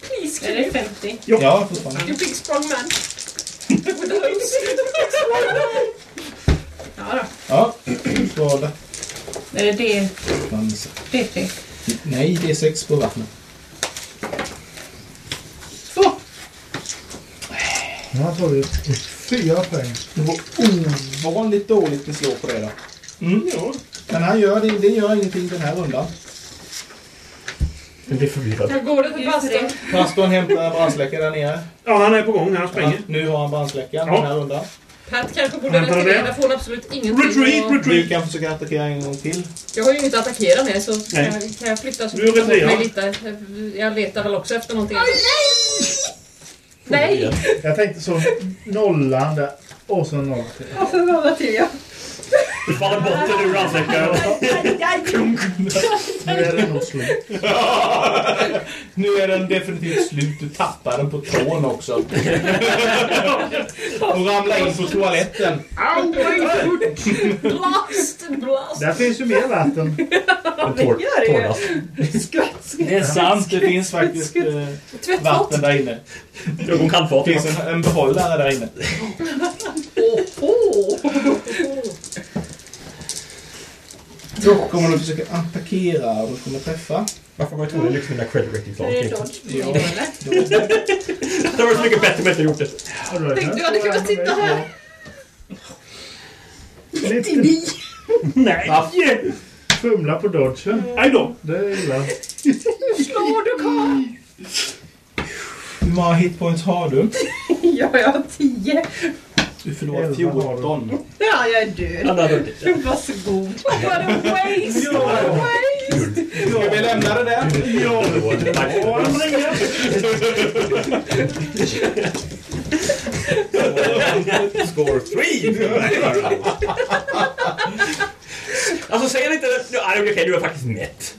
Please, Är det killigt! 50? Ja, fortfarande. You big strong man. With the hose. Ja Ja, skada. då. Är det D? D3? Nej, det är sex på vattnet. Nu har han tagit fyra poäng. Det var ovanligt dåligt vi slår på det då. Mm, ja. Men han gör det, det gör ingenting den här rundan. Det är förvirrat. Hur går det för baston? Pastorn hämtar brandsläckare där nere. Ja, han är på gång. Han Ja, springer. nu har han brandsläckaren Ja. den här rundan. Pat kanske borde retirera för hon har absolut ingenting Retreat, att- Du retreat! kan försöka attackera en gång till. Jag har ju inget att attackera med så kan Nej. jag, kan jag flytta så Du fort retirerar. mig lite. Jag letar väl också efter någonting. nej! Nej! Jag tänkte så nollan där och så noll till. Varför var det till jag? Du faller bort ur brandsläckaren. Nu är det nog slut. Nu är den definitivt slut. Du tappar den på tån också. Och ramlar in på toaletten. Au, Blast! Blast! Där finns ju mer vatten. Det gör det ju. Det är sant. Det finns faktiskt eh, Tvättfat! vatten där inne. Jag går Det finns en, en behållare där inne. Då kommer du försöka attackera och du kommer träffa. Varför var jag tvungen att lyfta mina credit Det är rating-plan? dodge. Ja. Eller? Det hade varit så mycket bättre om jag inte gjort det. Tänk, du hade kunnat sitta här. 99! Nej! Fumla på dodgen. Aj då! Det är illa. Slår du Karl? Hur många hitpoints har du? Ja, jag har 10. Du förlorar Elva har du. 14. Ja, jag är död. Han hade varit lite. Varsågod. What a waste! What a waste! Ska vi lämna det där? Ja, han springer. Score three! Alltså säger han inte det? Ja, Okej, du är faktiskt mätt.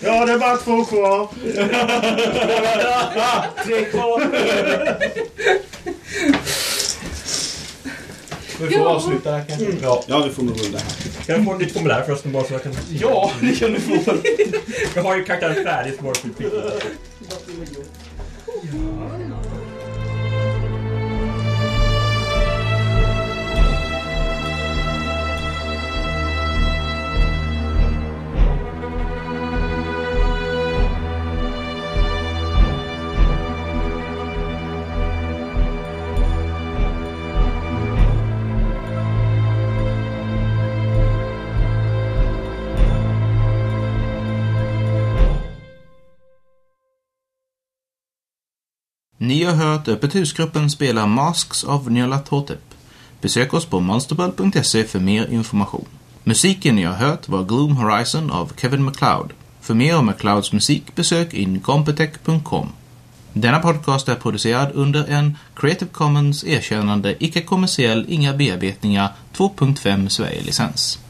Ja, det är bara två kvar. Tre kvar. Vi får avsluta där kanske. Ja, vi får nog runda här. Kan jag få ditt formulär förresten bara så jag kan... Ja, det kan du få. Jag har ju karaktären färdig för vår Ni har hört Öppet husgruppen spela Masks of Nyarlathotep. Besök oss på monsterball.se för mer information. Musiken ni har hört var Gloom Horizon av Kevin MacLeod För mer om McClouds musik besök incompetech.com. Denna podcast är producerad under en Creative Commons erkännande icke-kommersiell, inga bearbetningar 2.5 Sverige-licens.